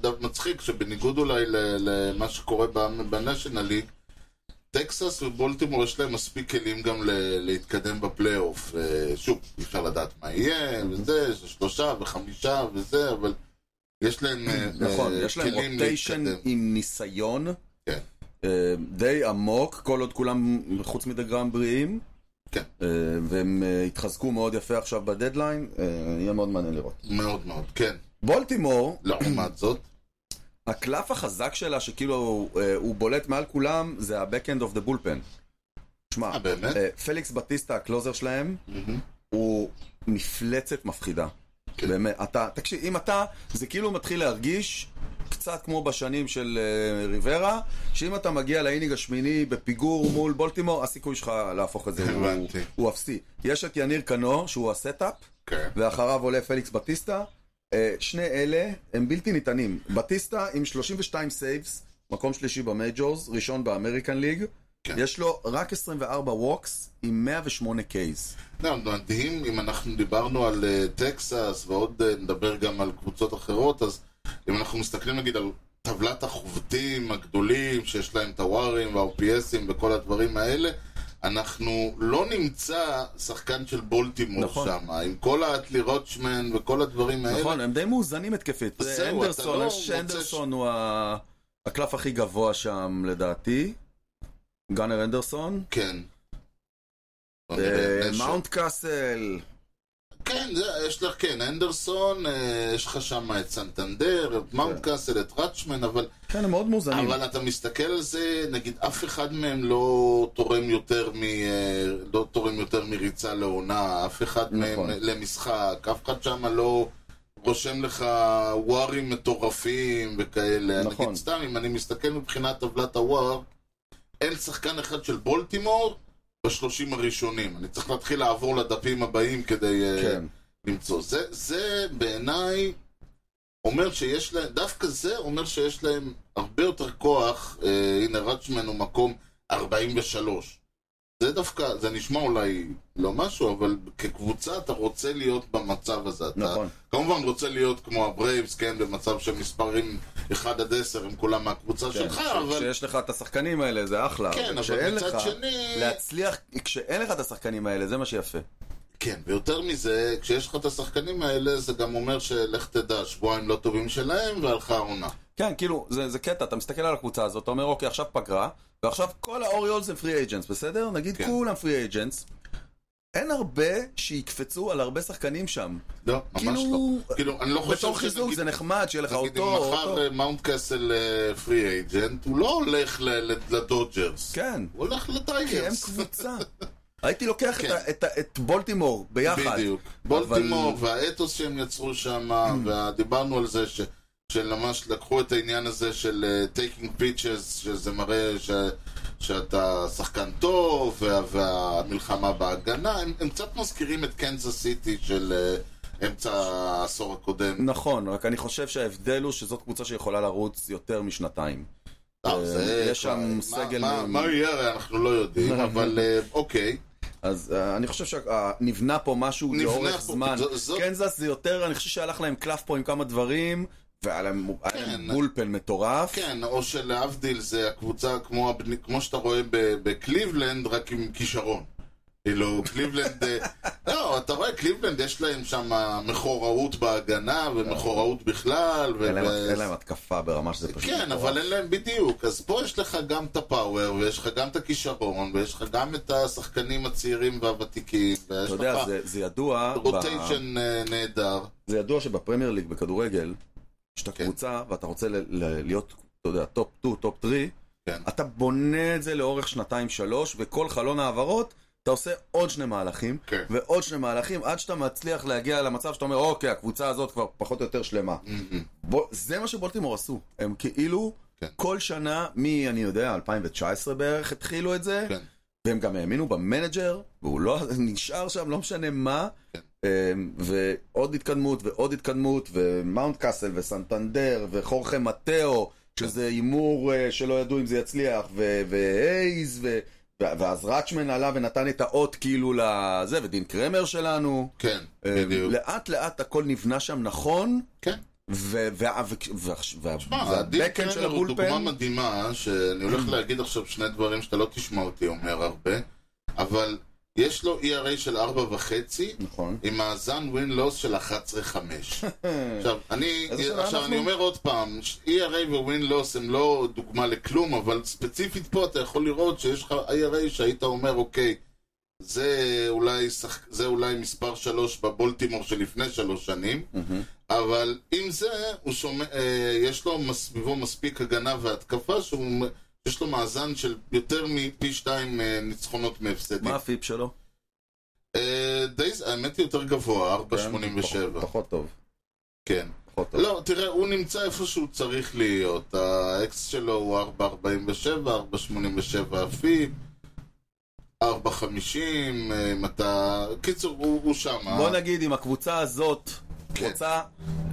Speaker 2: דווקא מצחיק, שבניגוד אולי ל- למה שקורה בניישנל ליג, טקסס ובולטימור יש להם מספיק כלים גם ל- להתקדם בפלייאוף. אה, שוב, אי אפשר לדעת מה יהיה, וזה, שלושה וחמישה וזה, אבל יש להם אה,
Speaker 1: נכון,
Speaker 2: אה,
Speaker 1: יש להם
Speaker 2: כלים
Speaker 1: רוטיישן
Speaker 2: להתקדם.
Speaker 1: עם ניסיון.
Speaker 2: כן.
Speaker 1: אה, די עמוק, כל עוד כולם חוץ מדגרם בריאים.
Speaker 2: כן.
Speaker 1: אה, והם אה, התחזקו מאוד יפה עכשיו בדדליין, אה, יהיה מאוד מעניין לראות.
Speaker 2: מאוד מאוד, כן.
Speaker 1: בולטימור,
Speaker 2: לעומת זאת,
Speaker 1: הקלף החזק שלה שכאילו אה, הוא בולט מעל כולם, זה ה-Backend of the bullpen. שמע,
Speaker 2: אה, באמת?
Speaker 1: אה, פליקס בטיסטה, הקלוזר שלהם, הוא מפלצת מפחידה.
Speaker 2: כן.
Speaker 1: באמת, אתה, תקשיב, אם אתה, זה כאילו מתחיל להרגיש קצת כמו בשנים של אה, ריברה, שאם אתה מגיע לאינינג השמיני בפיגור מול בולטימור, הסיכוי שלך להפוך את זה הוא,
Speaker 2: הבנתי.
Speaker 1: הוא אפסי. יש את יניר קנו, שהוא הסטאפ,
Speaker 2: כן.
Speaker 1: ואחריו עולה פליקס בטיסטה. אה, שני אלה הם בלתי ניתנים. בטיסטה עם 32 סייבס, מקום שלישי במייג'ורס, ראשון באמריקן ליג.
Speaker 2: כן.
Speaker 1: יש לו רק 24 ווקס עם 108 קייס.
Speaker 2: לא, מדהים, אם אנחנו דיברנו על אה, טקסס ועוד אה, נדבר גם על קבוצות אחרות, אז אם אנחנו מסתכלים נגיד על טבלת החובטים הגדולים, שיש להם את הווארים וה-OPSים וכל הדברים האלה, אנחנו לא נמצא שחקן של בולטימור
Speaker 1: נכון.
Speaker 2: שם, עם כל האטלי רוטשמן וכל הדברים האלה.
Speaker 1: נכון, הם די מאוזנים התקפית.
Speaker 2: זהו, אתה
Speaker 1: אנדרסון,
Speaker 2: לא
Speaker 1: אני חושב
Speaker 2: מוצא
Speaker 1: שאנדרסון הוא ה- הקלף הכי גבוה שם לדעתי. גאנר אנדרסון.
Speaker 2: כן. בוא
Speaker 1: אה,
Speaker 2: נראה, אוקיי, נשק.
Speaker 1: מאונט קאסל.
Speaker 2: כן, זה, יש לך, כן, הנדרסון, אה, יש לך שם את סנטנדר, את מאונט קאסל, את רצ'מן, אבל
Speaker 1: כן, הם מאוד מאוזנים.
Speaker 2: אבל אתה מסתכל על זה, נגיד אף אחד מהם לא תורם יותר, מ, אה, לא תורם יותר מריצה לעונה, אף אחד
Speaker 1: נכון.
Speaker 2: מהם למשחק, אף אחד שם לא רושם לך ווארים מטורפים וכאלה.
Speaker 1: נכון.
Speaker 2: נגיד סתם, אם אני מסתכל מבחינת טבלת הוואר, אין שחקן אחד של בולטימור בשלושים הראשונים. אני צריך להתחיל לעבור לדפים הבאים כדי... אה,
Speaker 1: כן.
Speaker 2: למצוא. זה, זה בעיניי אומר שיש להם, דווקא זה אומר שיש להם הרבה יותר כוח, אה, הנה רצ'מן הוא מקום 43. זה דווקא, זה נשמע אולי לא משהו, אבל כקבוצה אתה רוצה להיות במצב הזה. אתה
Speaker 1: נכון.
Speaker 2: כמובן רוצה להיות כמו הברייבס, כן, במצב שמספרים 1 עד 10 הם כולם מהקבוצה
Speaker 1: כן,
Speaker 2: שלך,
Speaker 1: כש-
Speaker 2: אבל...
Speaker 1: כשיש לך את השחקנים האלה זה אחלה.
Speaker 2: כן, אבל
Speaker 1: כשאין
Speaker 2: מצד
Speaker 1: לך-
Speaker 2: שני...
Speaker 1: להצליח, כשאין לך את השחקנים האלה, זה מה שיפה.
Speaker 2: כן, ויותר מזה, כשיש לך את השחקנים האלה, זה גם אומר שלך תדע, שבועיים לא טובים שלהם, והלכה העונה.
Speaker 1: כן, כאילו, זה, זה קטע, אתה מסתכל על הקבוצה הזאת, אתה אומר, אוקיי, עכשיו פגרה, ועכשיו כל האוריולס הם פרי אייג'נס, בסדר? נגיד
Speaker 2: כן.
Speaker 1: כולם פרי אייג'נס. אין הרבה שיקפצו על הרבה שחקנים שם.
Speaker 2: לא, ממש לא.
Speaker 1: כאילו,
Speaker 2: כאילו, אני לא חושב
Speaker 1: בתור חיזוק
Speaker 2: שנגיד-
Speaker 1: זה נחמד שיהיה לך
Speaker 2: נגיד, אם
Speaker 1: אותו, אותו.
Speaker 2: מחר אה, מאונט קאסל אה, פרי אייג'נט, הוא לא הולך ל- ל- לדודג'רס.
Speaker 1: כן,
Speaker 2: הוא הולך
Speaker 1: כי הם
Speaker 2: לטייגרס.
Speaker 1: קבוצה. הייתי לוקח את
Speaker 2: כן.
Speaker 1: ה- את ה- את בולטימור ביחד.
Speaker 2: בדיוק. בולטימור והאתוס שהם יצרו
Speaker 1: Mm.
Speaker 2: שם, ודיברנו על זה ש... שממש לקחו את העניין הזה של טייקינג פיצ'ס, שזה מראה ש... שאתה שחקן טוב, וה... והמלחמה בהגנה, הם, הם קצת מזכירים את קנזס סיטי של אה, אמצע העשור הקודם.
Speaker 1: נכון, רק אני חושב שההבדל הוא שזאת קבוצה שיכולה לרוץ יותר משנתיים.
Speaker 2: אה, זה
Speaker 1: יש
Speaker 2: כבר-
Speaker 1: שם
Speaker 2: מה-
Speaker 1: סגל
Speaker 2: מה,
Speaker 1: מ-
Speaker 2: מה יהיה הרי אנחנו לא
Speaker 1: <laughs>
Speaker 2: יודעים, אבל אה, אוקיי.
Speaker 1: אז אה, אני חושב שנבנה פה משהו
Speaker 2: נבנה
Speaker 1: לאורך
Speaker 2: פה,
Speaker 1: זמן.
Speaker 2: זו- זו-
Speaker 1: קנזס זה יותר, אני חושב שהלך להם קלף פה עם כמה דברים, והיה להם היה להם
Speaker 2: כן.
Speaker 1: בולפן מטורף.
Speaker 2: כן, או שלהבדיל זה הקבוצה כמו, הבני- כמו שאתה רואה ב- בקליבלנד, רק עם כישרון. כאילו,
Speaker 1: <laughs>
Speaker 2: קליבלנד... אה, לא, אתה רואה, קליבלנד יש להם שם מכוראות בהגנה, ומכוראות בכלל, ו...
Speaker 1: אין להם-
Speaker 2: ו- אה,
Speaker 1: אין להם התקפה ברמה שזה פשוט
Speaker 2: כן,
Speaker 1: מטורף.
Speaker 2: אבל אין להם בדיוק. אז פה יש לך גם את הפאוור, ויש לך גם את הכישרון, ויש לך גם את השחקנים הצעירים והוותיקים, ויש
Speaker 1: אתה יודע,
Speaker 2: לך
Speaker 1: זה- זה ידוע... ב-
Speaker 2: רוטיישן אה, נהדר.
Speaker 1: זה ידוע שבפרמייר ליג בכדורגל, כשאתה
Speaker 2: כן.
Speaker 1: קבוצה ואתה רוצה ל- ל- להיות, אתה יודע, טופ 2, טופ 3,
Speaker 2: כן.
Speaker 1: אתה בונה את זה לאורך שנתיים-שלוש, וכל חלון העברות, אתה עושה עוד שני מהלכים,
Speaker 2: כן.
Speaker 1: ועוד שני מהלכים, עד שאתה מצליח להגיע למצב שאתה אומר, אוקיי, הקבוצה הזאת כבר פחות או יותר שלמה. בוא, זה מה שבולטימור עשו. הם כאילו,
Speaker 2: כן.
Speaker 1: כל שנה, מ, אני יודע, 2019 בערך, התחילו את זה,
Speaker 2: כן.
Speaker 1: והם גם האמינו במנג'ר, והוא לא <laughs> נשאר שם, לא משנה מה.
Speaker 2: כן.
Speaker 1: אמ, ועוד התקדמות ועוד התקדמות, ומאונט קאסל וסנטנדר וחורכה
Speaker 2: כן.
Speaker 1: מתאו, שזה הימור אה, שלא ידעו אם זה יצליח, ו- והייז, ו- ו- ואז ראצ'מן עלה ונתן את האות כאילו לזה, ודין קרמר שלנו.
Speaker 2: כן,
Speaker 1: אמ,
Speaker 2: בדיוק.
Speaker 1: לאט לאט הכל נבנה שם נכון,
Speaker 2: כן. שמע, הדין
Speaker 1: והבקאנד של
Speaker 2: קלר הוא דוגמה
Speaker 1: הבולפן, Mm.
Speaker 2: מדהימה, שאני הולך להגיד עכשיו שני דברים שאתה לא תשמע אותי אומר הרבה, אבל יש לו ERA של 4.5
Speaker 1: נכון.
Speaker 2: עם מאזן win-loss של 11-5. עכשיו, אני,
Speaker 1: איזה שנה
Speaker 2: עכשיו
Speaker 1: אנחנו?
Speaker 2: אני אומר עוד פעם, ש- E ERA ו-win-loss הם לא דוגמה לכלום, אבל ספציפית פה אתה יכול לראות שיש לך ERA שהיית אומר, אוקיי, זה אולי, שח... זה אולי מספר 3 בבולטימור שלפני שלוש שנים,
Speaker 1: מהמם.
Speaker 2: אבל עם זה, הוא שומע, אה, יש לו מסביבו מספיק הגנה והתקפה, שהוא, מ- יש לו מאזן של יותר מפי שתיים אה, ניצחונות מהפסדים.
Speaker 1: מה הפיפ שלו?
Speaker 2: אה, די, זה- האמת היא יותר גבוה, 4.87.
Speaker 1: כן, פחות טוב.
Speaker 2: כן.
Speaker 1: פחות טוב.
Speaker 2: לא, תראה, הוא נמצא איפה שהוא צריך להיות. האקס שלו הוא 4.47, 4.87 אפים, 4.50, אה, אם אתה... קיצור, הוא, הוא שם. אה?
Speaker 1: בוא נגיד, אם הקבוצה הזאת
Speaker 2: כן.
Speaker 1: רוצה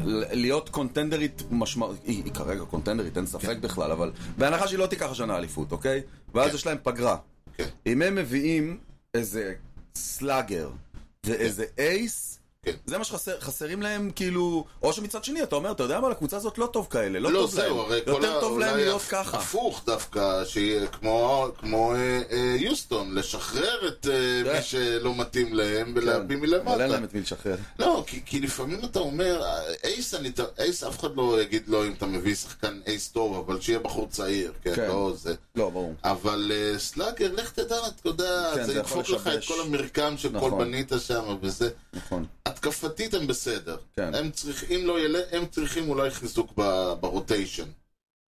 Speaker 1: ל- להיות קונטנדרית משמעותית, היא היא כרגע קונטנדרית, אין ספק בכלל, אבל בהנחה שהיא לא תיקח השנה אליפות, אוקיי? ואז
Speaker 2: כן.
Speaker 1: יש להם פגרה.
Speaker 2: כן.
Speaker 1: אם הם מביאים איזה סלאגר ואיזה אייס,
Speaker 2: כן.
Speaker 1: זה מה שחסרים להם, כאילו, או שמצד שני, אתה אומר, אתה יודע מה, לקבוצה הזאת לא טוב כאלה, לא
Speaker 2: לא,
Speaker 1: טוב להם,
Speaker 2: זהו, הרי כל
Speaker 1: יותר
Speaker 2: ה-
Speaker 1: טוב להם
Speaker 2: אולי
Speaker 1: להיות
Speaker 2: הפ-
Speaker 1: ככה.
Speaker 2: הפוך דווקא, שיהיה כמו, כמו אה, אה, יוסטון, לשחרר את אה,
Speaker 1: כן.
Speaker 2: מי שלא מתאים להם
Speaker 1: כן.
Speaker 2: ולהביא
Speaker 1: אבל אין
Speaker 2: מלמטה.
Speaker 1: להם את מי לשחרר.
Speaker 2: לא, כי, כי לפעמים אתה אומר, אה, אייס, אני, ת- אייס אף אחד לא יגיד לא אם אתה מביא שחקן אייס טוב, אבל שיהיה בחור צעיר, כן,
Speaker 1: כן.
Speaker 2: לא זה.
Speaker 1: לא, ברור.
Speaker 2: אבל אה, סלאגר, לך תדע, אתה יודע,
Speaker 1: כן,
Speaker 2: זה
Speaker 1: זה יכול
Speaker 2: ידפוק לך את
Speaker 1: לשבש.
Speaker 2: כל המרקם שכל
Speaker 1: נכון.
Speaker 2: בנית שם, וזה...
Speaker 1: נכון.
Speaker 2: התקפתית הם בסדר.
Speaker 1: כן.
Speaker 2: הם צריכים, אם לא יעלה, הם צריכים אולי חיזוק ב- ברוטיישן.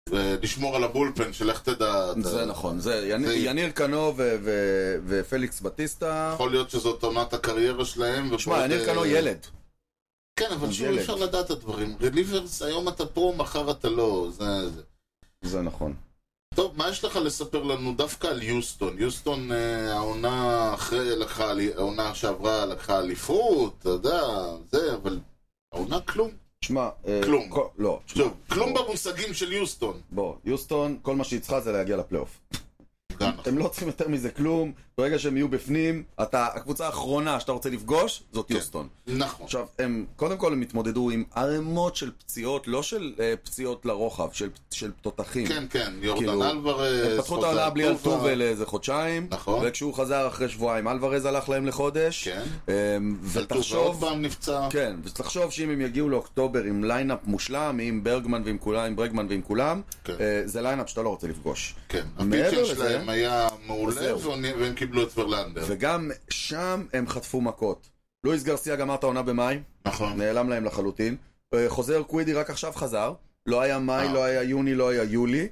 Speaker 2: ולשמור על הבולפן, שלך תדע. אתה-
Speaker 1: זה נכון, זה יניר-
Speaker 2: זה-
Speaker 1: יניר קנו ו- ו- ופליקס בטיסטה.
Speaker 2: יכול להיות שזאת עונת הקריירה שלהם. ופה
Speaker 1: שמע, יניר
Speaker 2: זה-
Speaker 1: קנו לא ילד.
Speaker 2: כן, אבל שוב,
Speaker 1: ילד.
Speaker 2: אי אפשר לדעת את הדברים. רליברס, היום אתה פה, מחר אתה לא. זה... זה.
Speaker 1: זה נכון.
Speaker 2: טוב, מה יש לך לספר לנו דווקא על יוסטון? יוסטון, אה, העונה אחרי, לקחה, אלי- העונה שעברה לקחה אליפות, אתה יודע, זה, אבל העונה כלום.
Speaker 1: שמע, אה,
Speaker 2: כלום.
Speaker 1: כל- לא. שמע,
Speaker 2: שוב, כלום במושגים של יוסטון.
Speaker 1: בוא, יוסטון, כל מה שהיא צריכה זה להגיע לפלייאוף.
Speaker 2: גם
Speaker 1: הם לא צריכים יותר מזה כלום, ברגע שהם יהיו בפנים, אתה, הקבוצה האחרונה שאתה רוצה לפגוש, זאת
Speaker 2: כן.
Speaker 1: יוסטון.
Speaker 2: נכון.
Speaker 1: עכשיו, הם, קודם כל הם התמודדו עם ערימות של פציעות, לא של אה, פציעות לרוחב, של- של תותחים.
Speaker 2: כן, אה, כן, יורדן
Speaker 1: כאילו,
Speaker 2: אלוורז.
Speaker 1: הם פתחו את
Speaker 2: חוזה
Speaker 1: העונה בלי
Speaker 2: אלטובה.
Speaker 1: אלטובל לאיזה חודשיים,
Speaker 2: נכון.
Speaker 1: וכשהוא חזר אחרי שבועיים, אלוורז הלך להם לחודש,
Speaker 2: כן.
Speaker 1: אמ,
Speaker 2: אלטובה עוד
Speaker 1: ותחשוב,
Speaker 2: פעם נפצע.
Speaker 1: כן, ותחשוב שאם הם יגיעו לאוקטובר עם ליינאפ מושלם, עם ברגמן ועם כולם, עם ברגמן ועם כולם,
Speaker 2: כן.
Speaker 1: אה, זה ליינאפ שאתה לא רוצה לפגוש.
Speaker 2: כן.
Speaker 1: מעבר
Speaker 2: הפיצ'ר
Speaker 1: לזה-
Speaker 2: שלהם היה מעולה,
Speaker 1: זהו.
Speaker 2: והוא- והם קיבלו את ורלנדר.
Speaker 1: וגם שם הם חטפו מכות. לואיס גרסיה גמר את העונה במאי,
Speaker 2: נכון.
Speaker 1: נעלם להם לחלוטין. אה, חוזר קווידי רק עכשיו חזר, לא היה מאי,
Speaker 2: אה.
Speaker 1: לא היה יוני, לא היה יולי.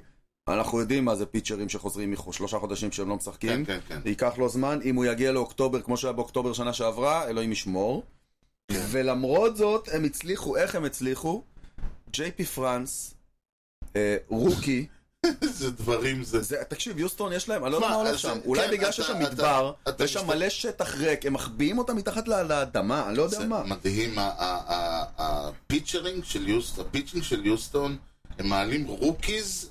Speaker 1: אנחנו יודעים מה זה פיצ'רים שחוזרים משלושה חודשים שהם לא
Speaker 2: כן,
Speaker 1: משחקים.
Speaker 2: כן, כן.
Speaker 1: ייקח לו זמן, אם הוא יגיע לאוקטובר כמו שהיה באוקטובר שנה שעברה, אלוהים ישמור.
Speaker 2: כן.
Speaker 1: ולמרות זאת, הם הצליחו, איך הם הצליחו? ג'יי פי פרנס, אה, רוקי,
Speaker 2: איזה דברים זה.
Speaker 1: זה, תקשיב, יוסטון יש להם, אני לא יודע
Speaker 2: מה,
Speaker 1: מה הולך
Speaker 2: אז
Speaker 1: שם,
Speaker 2: זה-
Speaker 1: אולי
Speaker 2: כן,
Speaker 1: בגלל
Speaker 2: אתה-
Speaker 1: שיש שם
Speaker 2: אתה-
Speaker 1: מדבר,
Speaker 2: אתה
Speaker 1: ויש שם
Speaker 2: מסתכל-
Speaker 1: מלא שטח ריק, הם מחביאים אותם מתחת ל- לאדמה, אני לא יודע
Speaker 2: זה
Speaker 1: מה.
Speaker 2: מדהים, ה- ה- ה- הפיצ'רינג של יוסטון, הפיצ'ינג של יוסטון, הם מעלים רוקיז,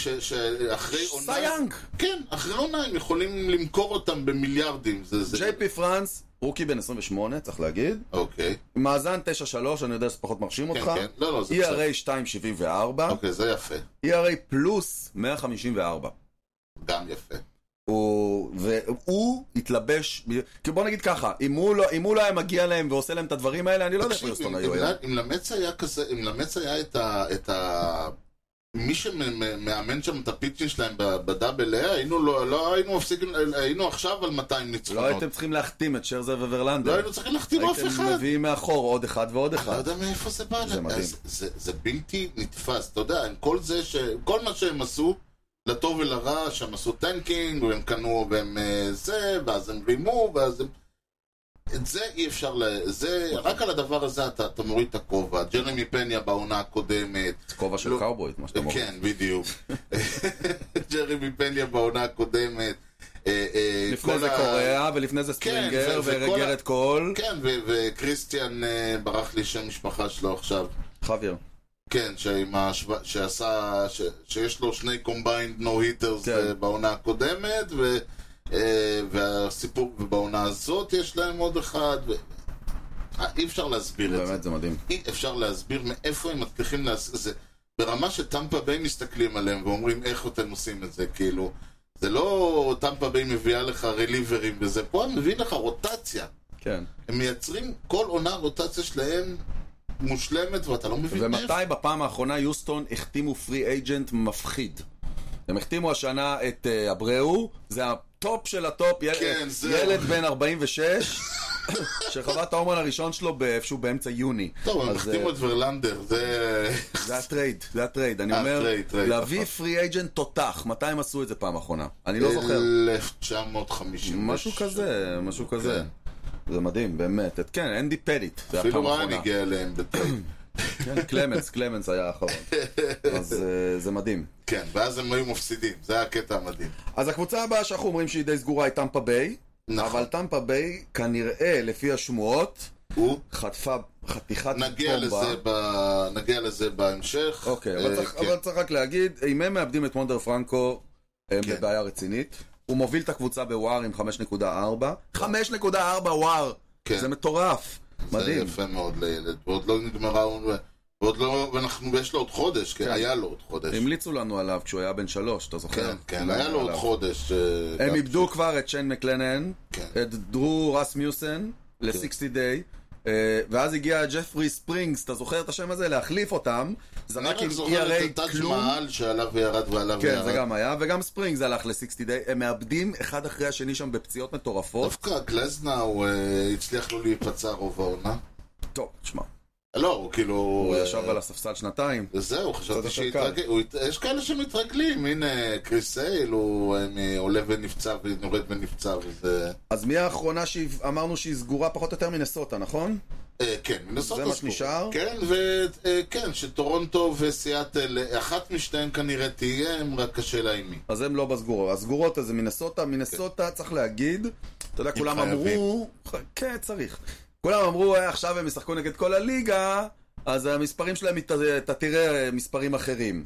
Speaker 2: ש- שאחרי עונה...
Speaker 1: סייאנג!
Speaker 2: כן, אחרי עונה הם יכולים למכור אותם במיליארדים. זה זה.
Speaker 1: ג'יי פי פרנס, רוקי בן 28, צריך להגיד,
Speaker 2: אוקיי.
Speaker 1: מאזן 9-3, אני יודע שזה פחות מרשים
Speaker 2: כן,
Speaker 1: אותך, E
Speaker 2: כן. לא, לא, זה בסדר.
Speaker 1: ERA 2.74,
Speaker 2: אוקיי, זה יפה.
Speaker 1: ERA E פלוס 154.
Speaker 2: גם יפה.
Speaker 1: לא הוא, והוא התלבש, ב- כי בוא נגיד ככה, אם הוא, לא, אם הוא לא היה מגיע להם ועושה להם את הדברים האלה, אני לא יודע איפה
Speaker 2: תקשיב,
Speaker 1: יוסטון
Speaker 2: אם-
Speaker 1: היו
Speaker 2: אם
Speaker 1: היום.
Speaker 2: ל- אם למץ היה כזה, אם למץ היה את ה... את ה... מי שמאמן שם את הפיצ'ים שלהם ב- בדאבל איי, היינו לא, לא היינו מפסיקים, היינו עכשיו על 200
Speaker 1: לא
Speaker 2: ניצחונות.
Speaker 1: הייתם צריכים להחתים את שרזר
Speaker 2: לא
Speaker 1: וורלנדר.
Speaker 2: היינו צריכים להחתים אף
Speaker 1: הייתם
Speaker 2: אחד.
Speaker 1: מביאים מאחור עוד אחד ועוד
Speaker 2: אתה
Speaker 1: אחד.
Speaker 2: יודע מאיפה זה בא?
Speaker 1: זה מדהים.
Speaker 2: אז זה- זה בלתי נתפס, אתה יודע, עם כל זה ש... כל מה שהם עשו, לטוב ולרע, שהם עשו טנקינג, והם קנו, והם אה, זה, ואז הם רימו, ואז הם... את זה אי אפשר ל... זה...
Speaker 1: נכון.
Speaker 2: רק על הדבר הזה אתה, אתה מוריד את הכובע. ג'רמי פניה בעונה הקודמת,
Speaker 1: כובע של
Speaker 2: לא. <laughs>
Speaker 1: קאובוי, מה שאתה אומר.
Speaker 2: כן, בדיוק. ג'רמי פניה בעונה הקודמת. אה, אה,
Speaker 1: לפני
Speaker 2: כל
Speaker 1: זה
Speaker 2: ה-
Speaker 1: קוריאה, ולפני זה
Speaker 2: כן,
Speaker 1: ספרינגר,
Speaker 2: ו- וכל ה-
Speaker 1: ורגרת קול.
Speaker 2: כן, ו- וכריסטיאן אה, ברח לי שם משפחה שלו עכשיו.
Speaker 1: חוויר.
Speaker 2: כן, שעם השו... שעשה, ש... שיש לו שני קומביינד נו היטרס
Speaker 1: כן.
Speaker 2: אה, בעונה הקודמת, ו... אה, והסיפור, ובעונה הזאת יש להם עוד אחד, ו... אה, אי אפשר להסביר את זה.
Speaker 1: באמת, זה מדהים.
Speaker 2: אי אפשר להסביר מאיפה הם מצליחים לעשות זה. ברמה שטמפה ביי מסתכלים עליהם ואומרים איך אתם עושים את זה, כאילו. זה לא טמפה ביי מביאה לך רליברים וזה, פה הם מביאים לך רוטציה.
Speaker 1: כן.
Speaker 2: הם מייצרים כל עונה רוטציה שלהם מושלמת ואתה לא מבין
Speaker 1: ומתי בפעם האחרונה יוסטון החתימו פרי אייג'נט מפחיד? הם החתימו השנה את אה, אברהו, זה הטופ של הטופ, יל...
Speaker 2: כן, זהו.
Speaker 1: ילד בן 46, שחווה את ההומון הראשון שלו באיפשהו באמצע יוני.
Speaker 2: טוב, הם
Speaker 1: אז,
Speaker 2: החתימו
Speaker 1: אה,
Speaker 2: את ורלנדר, זה...
Speaker 1: זה הטרייד, זה הטרייד, אני
Speaker 2: אה,
Speaker 1: אומר,
Speaker 2: טרייד, טרייד,
Speaker 1: להביא
Speaker 2: נכון. אה,
Speaker 1: פרי אייג'נט תותח, מתי הם עשו את זה פעם אחרונה? אני לא זוכר.
Speaker 2: 1950.
Speaker 1: משהו כזה, משהו כזה.
Speaker 2: כן.
Speaker 1: זה מדהים, באמת. את- כן, אנדי פדיט, זה הפעם
Speaker 2: אפילו
Speaker 1: האחרונה.
Speaker 2: ריין הגיע אליהם
Speaker 1: <clears throat>
Speaker 2: בטרייד.
Speaker 1: כן, קלמנס, קלמנס היה
Speaker 2: <laughs>
Speaker 1: האחרון. אז אה, זה מדהים.
Speaker 2: כן, ואז הם היו מפסידים, זה היה הקטע המדהים.
Speaker 1: אז הקבוצה הבאה שאנחנו אומרים שהיא די סגורה היא טמפה ביי, אבל
Speaker 2: נכון,
Speaker 1: טמפה ביי כנראה, לפי השמועות,
Speaker 2: הוא...
Speaker 1: חטפה חתיכת
Speaker 2: נגיע
Speaker 1: בומבה.
Speaker 2: לזה, ב... נגיע לזה בהמשך.
Speaker 1: אוקיי, אבל
Speaker 2: אה,
Speaker 1: צריך-
Speaker 2: כן.
Speaker 1: אבל צריך רק להגיד, אם הם מאבדים את מונדר פרנקו, הם
Speaker 2: כן.
Speaker 1: בבעיה רצינית. הוא מוביל את הקבוצה בוואר עם 5.4. 5.4 וואר!
Speaker 2: נכון. כן.
Speaker 1: זה מטורף. מדהים.
Speaker 2: זה יפה מאוד לילד, ועוד לא נגמרה, העונה, ועוד לא, ואנחנו, ויש לו עוד חודש, כן,
Speaker 1: כן.
Speaker 2: היה לו עוד חודש.
Speaker 1: המליצו לנו עליו כשהוא היה בן שלוש, אתה זוכר?
Speaker 2: כן, כן, היה לו עוד
Speaker 1: לא עליו.
Speaker 2: חודש. אה,
Speaker 1: הם
Speaker 2: גם-
Speaker 1: איבדו כבר את שיין מקלנן,
Speaker 2: כן.
Speaker 1: את דרו רסמיוסן ל-60 דיי, אה, ואז הגיע ג'פרי ספרינגס, אתה זוכר את השם הזה? להחליף אותם,
Speaker 2: אני
Speaker 1: זרק
Speaker 2: רק
Speaker 1: עם
Speaker 2: זוכר את
Speaker 1: ERA
Speaker 2: הטאג'
Speaker 1: כלום.
Speaker 2: מעל שעליו וירד ועליו
Speaker 1: כן,
Speaker 2: וירד.
Speaker 1: זה גם היה, וגם ספרינגס הלך ל-60 דיי, הם מאבדים אחד אחרי השני שם בפציעות מטורפות.
Speaker 2: דווקא גלזנאו אה, הצליח לא להיפצע רוב העונה.
Speaker 1: טוב, תשמע,
Speaker 2: לא, הוא כאילו...
Speaker 1: הוא
Speaker 2: אה,
Speaker 1: ישב על הספסל שנתיים.
Speaker 2: וזהו,
Speaker 1: יותר
Speaker 2: חשבתי
Speaker 1: קל.
Speaker 2: שהתרגל... הוא הת- יש כאלה שמתרגלים, הנה קריס אייל, הוא אה, מ- עולה ונפצע ונורד ונפצע וזה...
Speaker 1: אז מי האחרונה שאמרנו שהיא סגורה פחות או יותר מנסוטה, נכון?
Speaker 2: אה, כן, מנסות
Speaker 1: זה מה שנשאר?
Speaker 2: כן, וכן, שטורונטו וסיאטל, אה, אחת משתיהן כנראה תהיה, הם רק השאלה היא מי.
Speaker 1: אז הם לא בסגורות. הסגורות אז זה מינסוטה. מינסוטה, צריך להגיד, אתה יודע, כולם
Speaker 2: חייבים.
Speaker 1: אמרו... כן, צריך. כולם אמרו, "אה, עכשיו הם ישחקו נגד כל הליגה, אז המספרים שלהם, ית- אתה תראה אה, מספרים אחרים.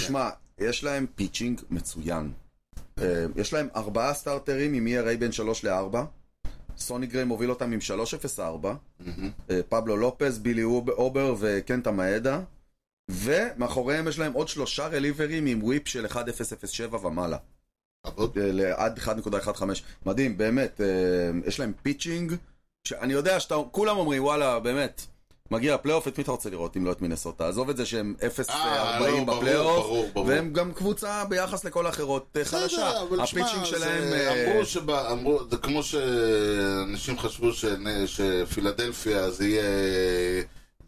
Speaker 1: שמע, יש להם פיצ'ינג מצוין. אה, יש להם ארבעה סטארטרים עם ERA בין 3 ל-4. סוני גריי מוביל אותם עם 3.04. אה, פבלו לופז, בילי אוב- אובר וקנטה מאדה. ומאחוריהם יש להם עוד שלושה רליברים עם וויפ של 1.007 ומעלה.
Speaker 2: לעבוד.
Speaker 1: אה, לעד 1.15. מדהים, באמת. אה, יש להם פיצ'ינג, שאני יודע שאתה, כולם אומרים, וואלה, באמת. מגיע הפלייאוף, את מי אתה רוצה לראות אם לא את מינסוטה? עזוב את זה שהם 0.40
Speaker 2: אה, לא, ברור, ברור,
Speaker 1: בפלייאוף,
Speaker 2: ברור.
Speaker 1: והם גם קבוצה ביחס לכל האחרות אה, חלשה.
Speaker 2: בסדר, אבל תשמע,
Speaker 1: הפיצ'ינג
Speaker 2: זה-
Speaker 1: שלהם... אה,
Speaker 2: אמרו שבא, אמרו, זה כמו שאנשים חשבו שנ- שפילדלפיה זה יהיה...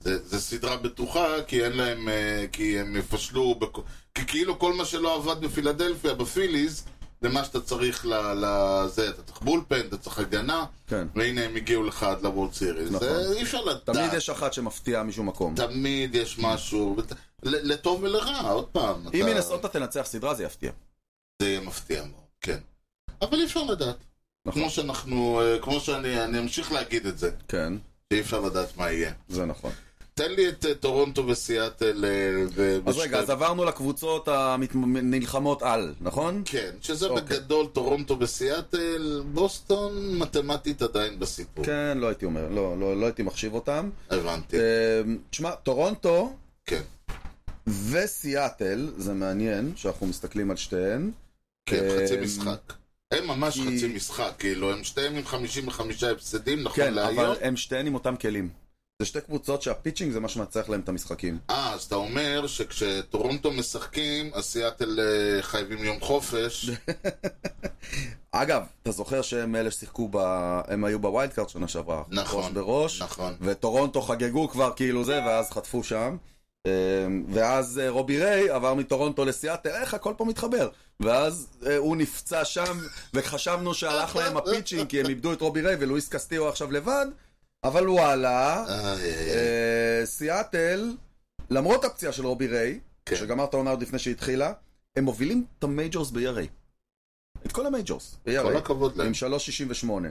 Speaker 2: זה, זה סדרה בטוחה, כי אין להם... אה, כי הם יפשלו... בכ... כי כאילו כל מה שלא עבד בפילדלפיה, בפיליז, זה מה שאתה צריך ל- לזה, אתה צריך בולפן, אתה צריך הגנה,
Speaker 1: כן.
Speaker 2: והנה הם הגיעו לך עד לוורד סיריס.
Speaker 1: נכון.
Speaker 2: זה אי אפשר לדעת.
Speaker 1: תמיד יש אחת שמפתיעה משום מקום.
Speaker 2: תמיד יש משהו, ות- ל- לטוב ולרע, עוד פעם.
Speaker 1: אם
Speaker 2: אתה-
Speaker 1: מינסוטה תנצח סדרה, זה יפתיע.
Speaker 2: זה יהיה מפתיע מאוד, כן. אבל אי אפשר לדעת.
Speaker 1: נכון.
Speaker 2: כמו שאנחנו, אה, כמו שאני אני אמשיך להגיד את זה,
Speaker 1: כן,
Speaker 2: שאי אפשר לדעת מה יהיה.
Speaker 1: זה נכון.
Speaker 2: תן לי את אה, טורונטו וסיאטל אה, ו...
Speaker 1: אז רגע, אז
Speaker 2: בשתי-
Speaker 1: עברנו לקבוצות הנלחמות על, נכון?
Speaker 2: כן, שזה
Speaker 1: אוקיי.
Speaker 2: בגדול טורונטו וסיאטל, בוסטון מתמטית עדיין בסיפור.
Speaker 1: כן, לא הייתי אומר, לא, לא, לא הייתי מחשיב אותם.
Speaker 2: הבנתי,
Speaker 1: אה, תשמע, טורונטו
Speaker 2: כן.
Speaker 1: וסיאטל, זה מעניין שאנחנו מסתכלים על שתיהן.
Speaker 2: כן,
Speaker 1: אה,
Speaker 2: חצי משחק. הם ממש
Speaker 1: כי-
Speaker 2: חצי משחק, כאילו, הם שתיהם עם 55 הפסדים, נכון
Speaker 1: כן,
Speaker 2: להיום.
Speaker 1: אבל הם שתיהן עם אותם כלים. זה שתי קבוצות שהפיצ'ינג זה מה שמנצח להם את המשחקים.
Speaker 2: אה, אז אתה אומר שכשטורונטו משחקים, אז סיאטל אה, חייבים יום חופש.
Speaker 1: אגב, אתה זוכר שהם אלה ששיחקו ב... הם היו בווילד קארט שנה שעברה.
Speaker 2: נכון,
Speaker 1: ראש בראש.
Speaker 2: נכון.
Speaker 1: וטורונטו חגגו כבר כאילו זה, ואז חטפו שם. אה, ואז אה, רובי ריי עבר מטורונטו לסיאטל, איך הכל פה מתחבר. ואז אה, הוא נפצע שם, וחשבנו שהלך להם הפיצ'ינג, כי הם איבדו את רובי ריי ולואיס קסטיו עכשיו לבד, אבל וואלה,
Speaker 2: איי, איי, איי.
Speaker 1: אה, סיאטל, למרות הפציעה של רובי ריי,
Speaker 2: כן.
Speaker 1: שגמר את העונה עוד לפני שהתחילה, הם מובילים את המייג'ורס ב-ERA. את כל המייג'ורס.
Speaker 2: כל הכבוד להם.
Speaker 1: עם 3.68.
Speaker 2: כן.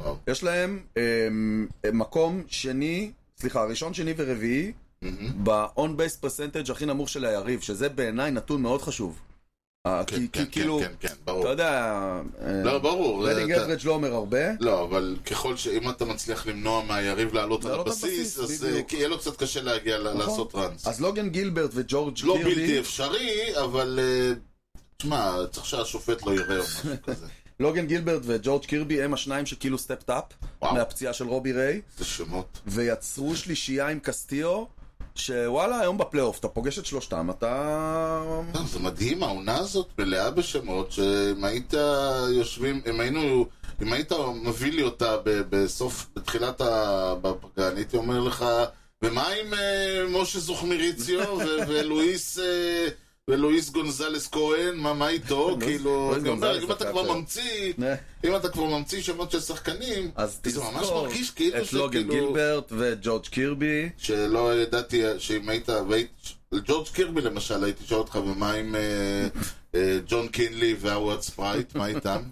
Speaker 2: וואו.
Speaker 1: יש להם אמ, מקום שני, סליחה, ראשון, שני ורביעי,
Speaker 2: כן,
Speaker 1: ב-on base percentage הכי נמוך של היריב, שזה בעיניי נתון מאוד חשוב. אה,
Speaker 2: כן,
Speaker 1: כי
Speaker 2: כן,
Speaker 1: כי כאילו,
Speaker 2: כן, כן, כן, ברור.
Speaker 1: אתה יודע,
Speaker 2: לא, ברור.
Speaker 1: רדינג
Speaker 2: אתה-
Speaker 1: אברג' לא אומר הרבה.
Speaker 2: לא, אבל ככל ש... אם אתה מצליח למנוע מהיריב לעלות על
Speaker 1: לעלות על בסיס,
Speaker 2: הבסיס, אז
Speaker 1: בדיוק. נכון.
Speaker 2: אה, כי יהיה לו קצת קשה להגיע ל- לעשות ראנס.
Speaker 1: אז לוגן גילברט וג'ורג'
Speaker 2: לא
Speaker 1: גירדי,
Speaker 2: בלתי אפשרי, אבל... אה, תשמע, צריך שהשופט לא יראה או משהו כזה.
Speaker 1: לוגן גילברט וג'ורג' קירבי הם השניים שכאילו סטפט אפ
Speaker 2: וואו.
Speaker 1: מהפציעה של רובי ריי,
Speaker 2: זה שמות.
Speaker 1: ויצרו שלישייה עם קסטיו, שוואלה, היום בפלייאוף אתה פוגש את שלושתם, אתה...
Speaker 2: לא, זה מדהים, העונה הזאת מלאה בשמות, שאם היית יושבים, אם היינו, אם היית מביא לי אותה ב- בסוף, בתחילת הפגרה, אני הייתי אומר לך, ומה עם אה, משה
Speaker 1: <laughs>
Speaker 2: זוכמיריציו ו- ולואיס... אה, ולואיס גונזלס כהן, מה, מה איתו? כאילו,
Speaker 1: <laughs> לואיס
Speaker 2: אני אומר,
Speaker 1: גונזלס
Speaker 2: אם אתה
Speaker 1: שחקן
Speaker 2: כבר
Speaker 1: טוב. <laughs>
Speaker 2: ממציא,
Speaker 1: נה.
Speaker 2: אם אתה כבר ממציא שמות של שחקנים,
Speaker 1: אז
Speaker 2: כי זה ממש
Speaker 1: תזכור
Speaker 2: מרגיש כאילו
Speaker 1: את לוגן
Speaker 2: שכאילו...
Speaker 1: גילברט וג'ורג' קירבי.
Speaker 2: שלא ידעתי שאם היית, והיית, ג'ורג' קירבי למשל, הייתי שואל אותך, ומה עם אה, אה, ג'ון קינלי והוואט ספרייט, מה איתם?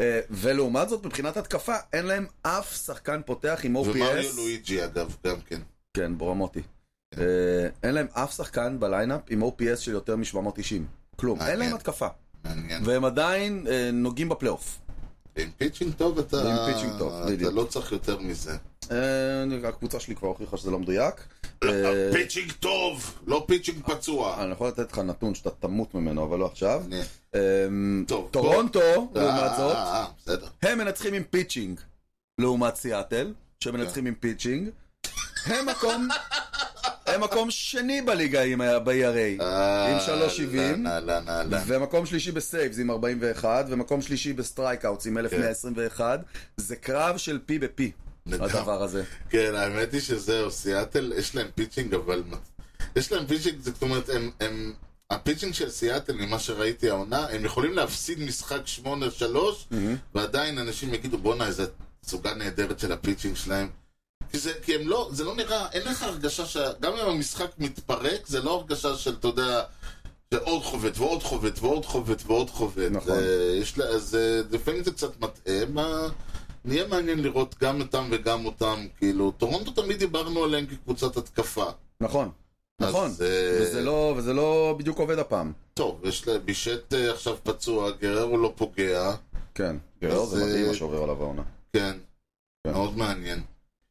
Speaker 1: אה, ולעומת זאת, מבחינת התקפה, אין להם אף שחקן פותח עם
Speaker 2: ומריו
Speaker 1: OPS.
Speaker 2: לואיג'י אגב, גם כן.
Speaker 1: כן, ברמוטי. אה, אין להם אף שחקן בליינאפ עם OPS של יותר מ-790. כלום. אין
Speaker 2: מעניין.
Speaker 1: להם התקפה.
Speaker 2: מעניין.
Speaker 1: והם עדיין אה, נוגעים בפלייאוף.
Speaker 2: עם פיצ'ינג טוב אתה
Speaker 1: עם פיצ'ינג טוב,
Speaker 2: אתה
Speaker 1: בדיוק.
Speaker 2: לא צריך יותר מזה.
Speaker 1: אה, הקבוצה שלי כבר הוכיחה שזה לא מדויק. אה, <coughs>
Speaker 2: פיצ'ינג טוב, לא פיצ'ינג פצוע.
Speaker 1: אני יכול לתת לך נתון שאתה תמות ממנו, אבל לא עכשיו.
Speaker 2: אני-
Speaker 1: אה,
Speaker 2: טוב,
Speaker 1: טורונטו, לעומת
Speaker 2: אה,
Speaker 1: זאת,
Speaker 2: אה, אה, בסדר.
Speaker 1: הם מנצחים עם פיצ'ינג, לעומת סיאטל, שמנצחים עם פיצ'ינג. הם מקום... הם מקום שני בליגה עם ה- ב-ERA,
Speaker 2: אה.
Speaker 1: עם 3.70,
Speaker 2: לא, לא, לא, לא.
Speaker 1: ומקום שלישי בסייבס עם 41, ומקום שלישי בסטרייקאוטס עם 1121. זה קרב של פי בפי,
Speaker 2: נדם.
Speaker 1: הדבר הזה.
Speaker 2: כן, האמת היא שזהו, סיאטל, יש להם פיצ'ינג, אבל... יש להם פיצ'ינג, זאת אומרת, הם... הם... הפיצ'ינג של סיאטל, ממה שראיתי העונה, הם יכולים להפסיד משחק 8-3, ועדיין אנשים יגידו, בואנה, איזה סוגה נהדרת של הפיצ'ינג שלהם. כי זה, כי הם לא, זה לא נראה, אין לך הרגשה ש... גם אם המשחק מתפרק, זה לא הרגשה של, אתה יודע, זה עוד חובט ועוד חובט ועוד חובט ועוד חובט.
Speaker 1: נכון.
Speaker 2: אה, יש לה, אז אה, לפעמים זה קצת מטעה, מה... נהיה מעניין לראות גם אותם וגם אותם, כאילו, טורונטו תמיד דיברנו עליהם כקבוצת התקפה.
Speaker 1: נכון, נכון.
Speaker 2: אז, אה,
Speaker 1: וזה לא- וזה לא בדיוק עובד הפעם.
Speaker 2: טוב, יש לה בישט אה, עכשיו פצוע, גררו לא פוגע,
Speaker 1: כן, גרר זה
Speaker 2: אה,
Speaker 1: מדהים מה שעובר עליו העונה.
Speaker 2: כן.
Speaker 1: כן.
Speaker 2: מאוד מעניין.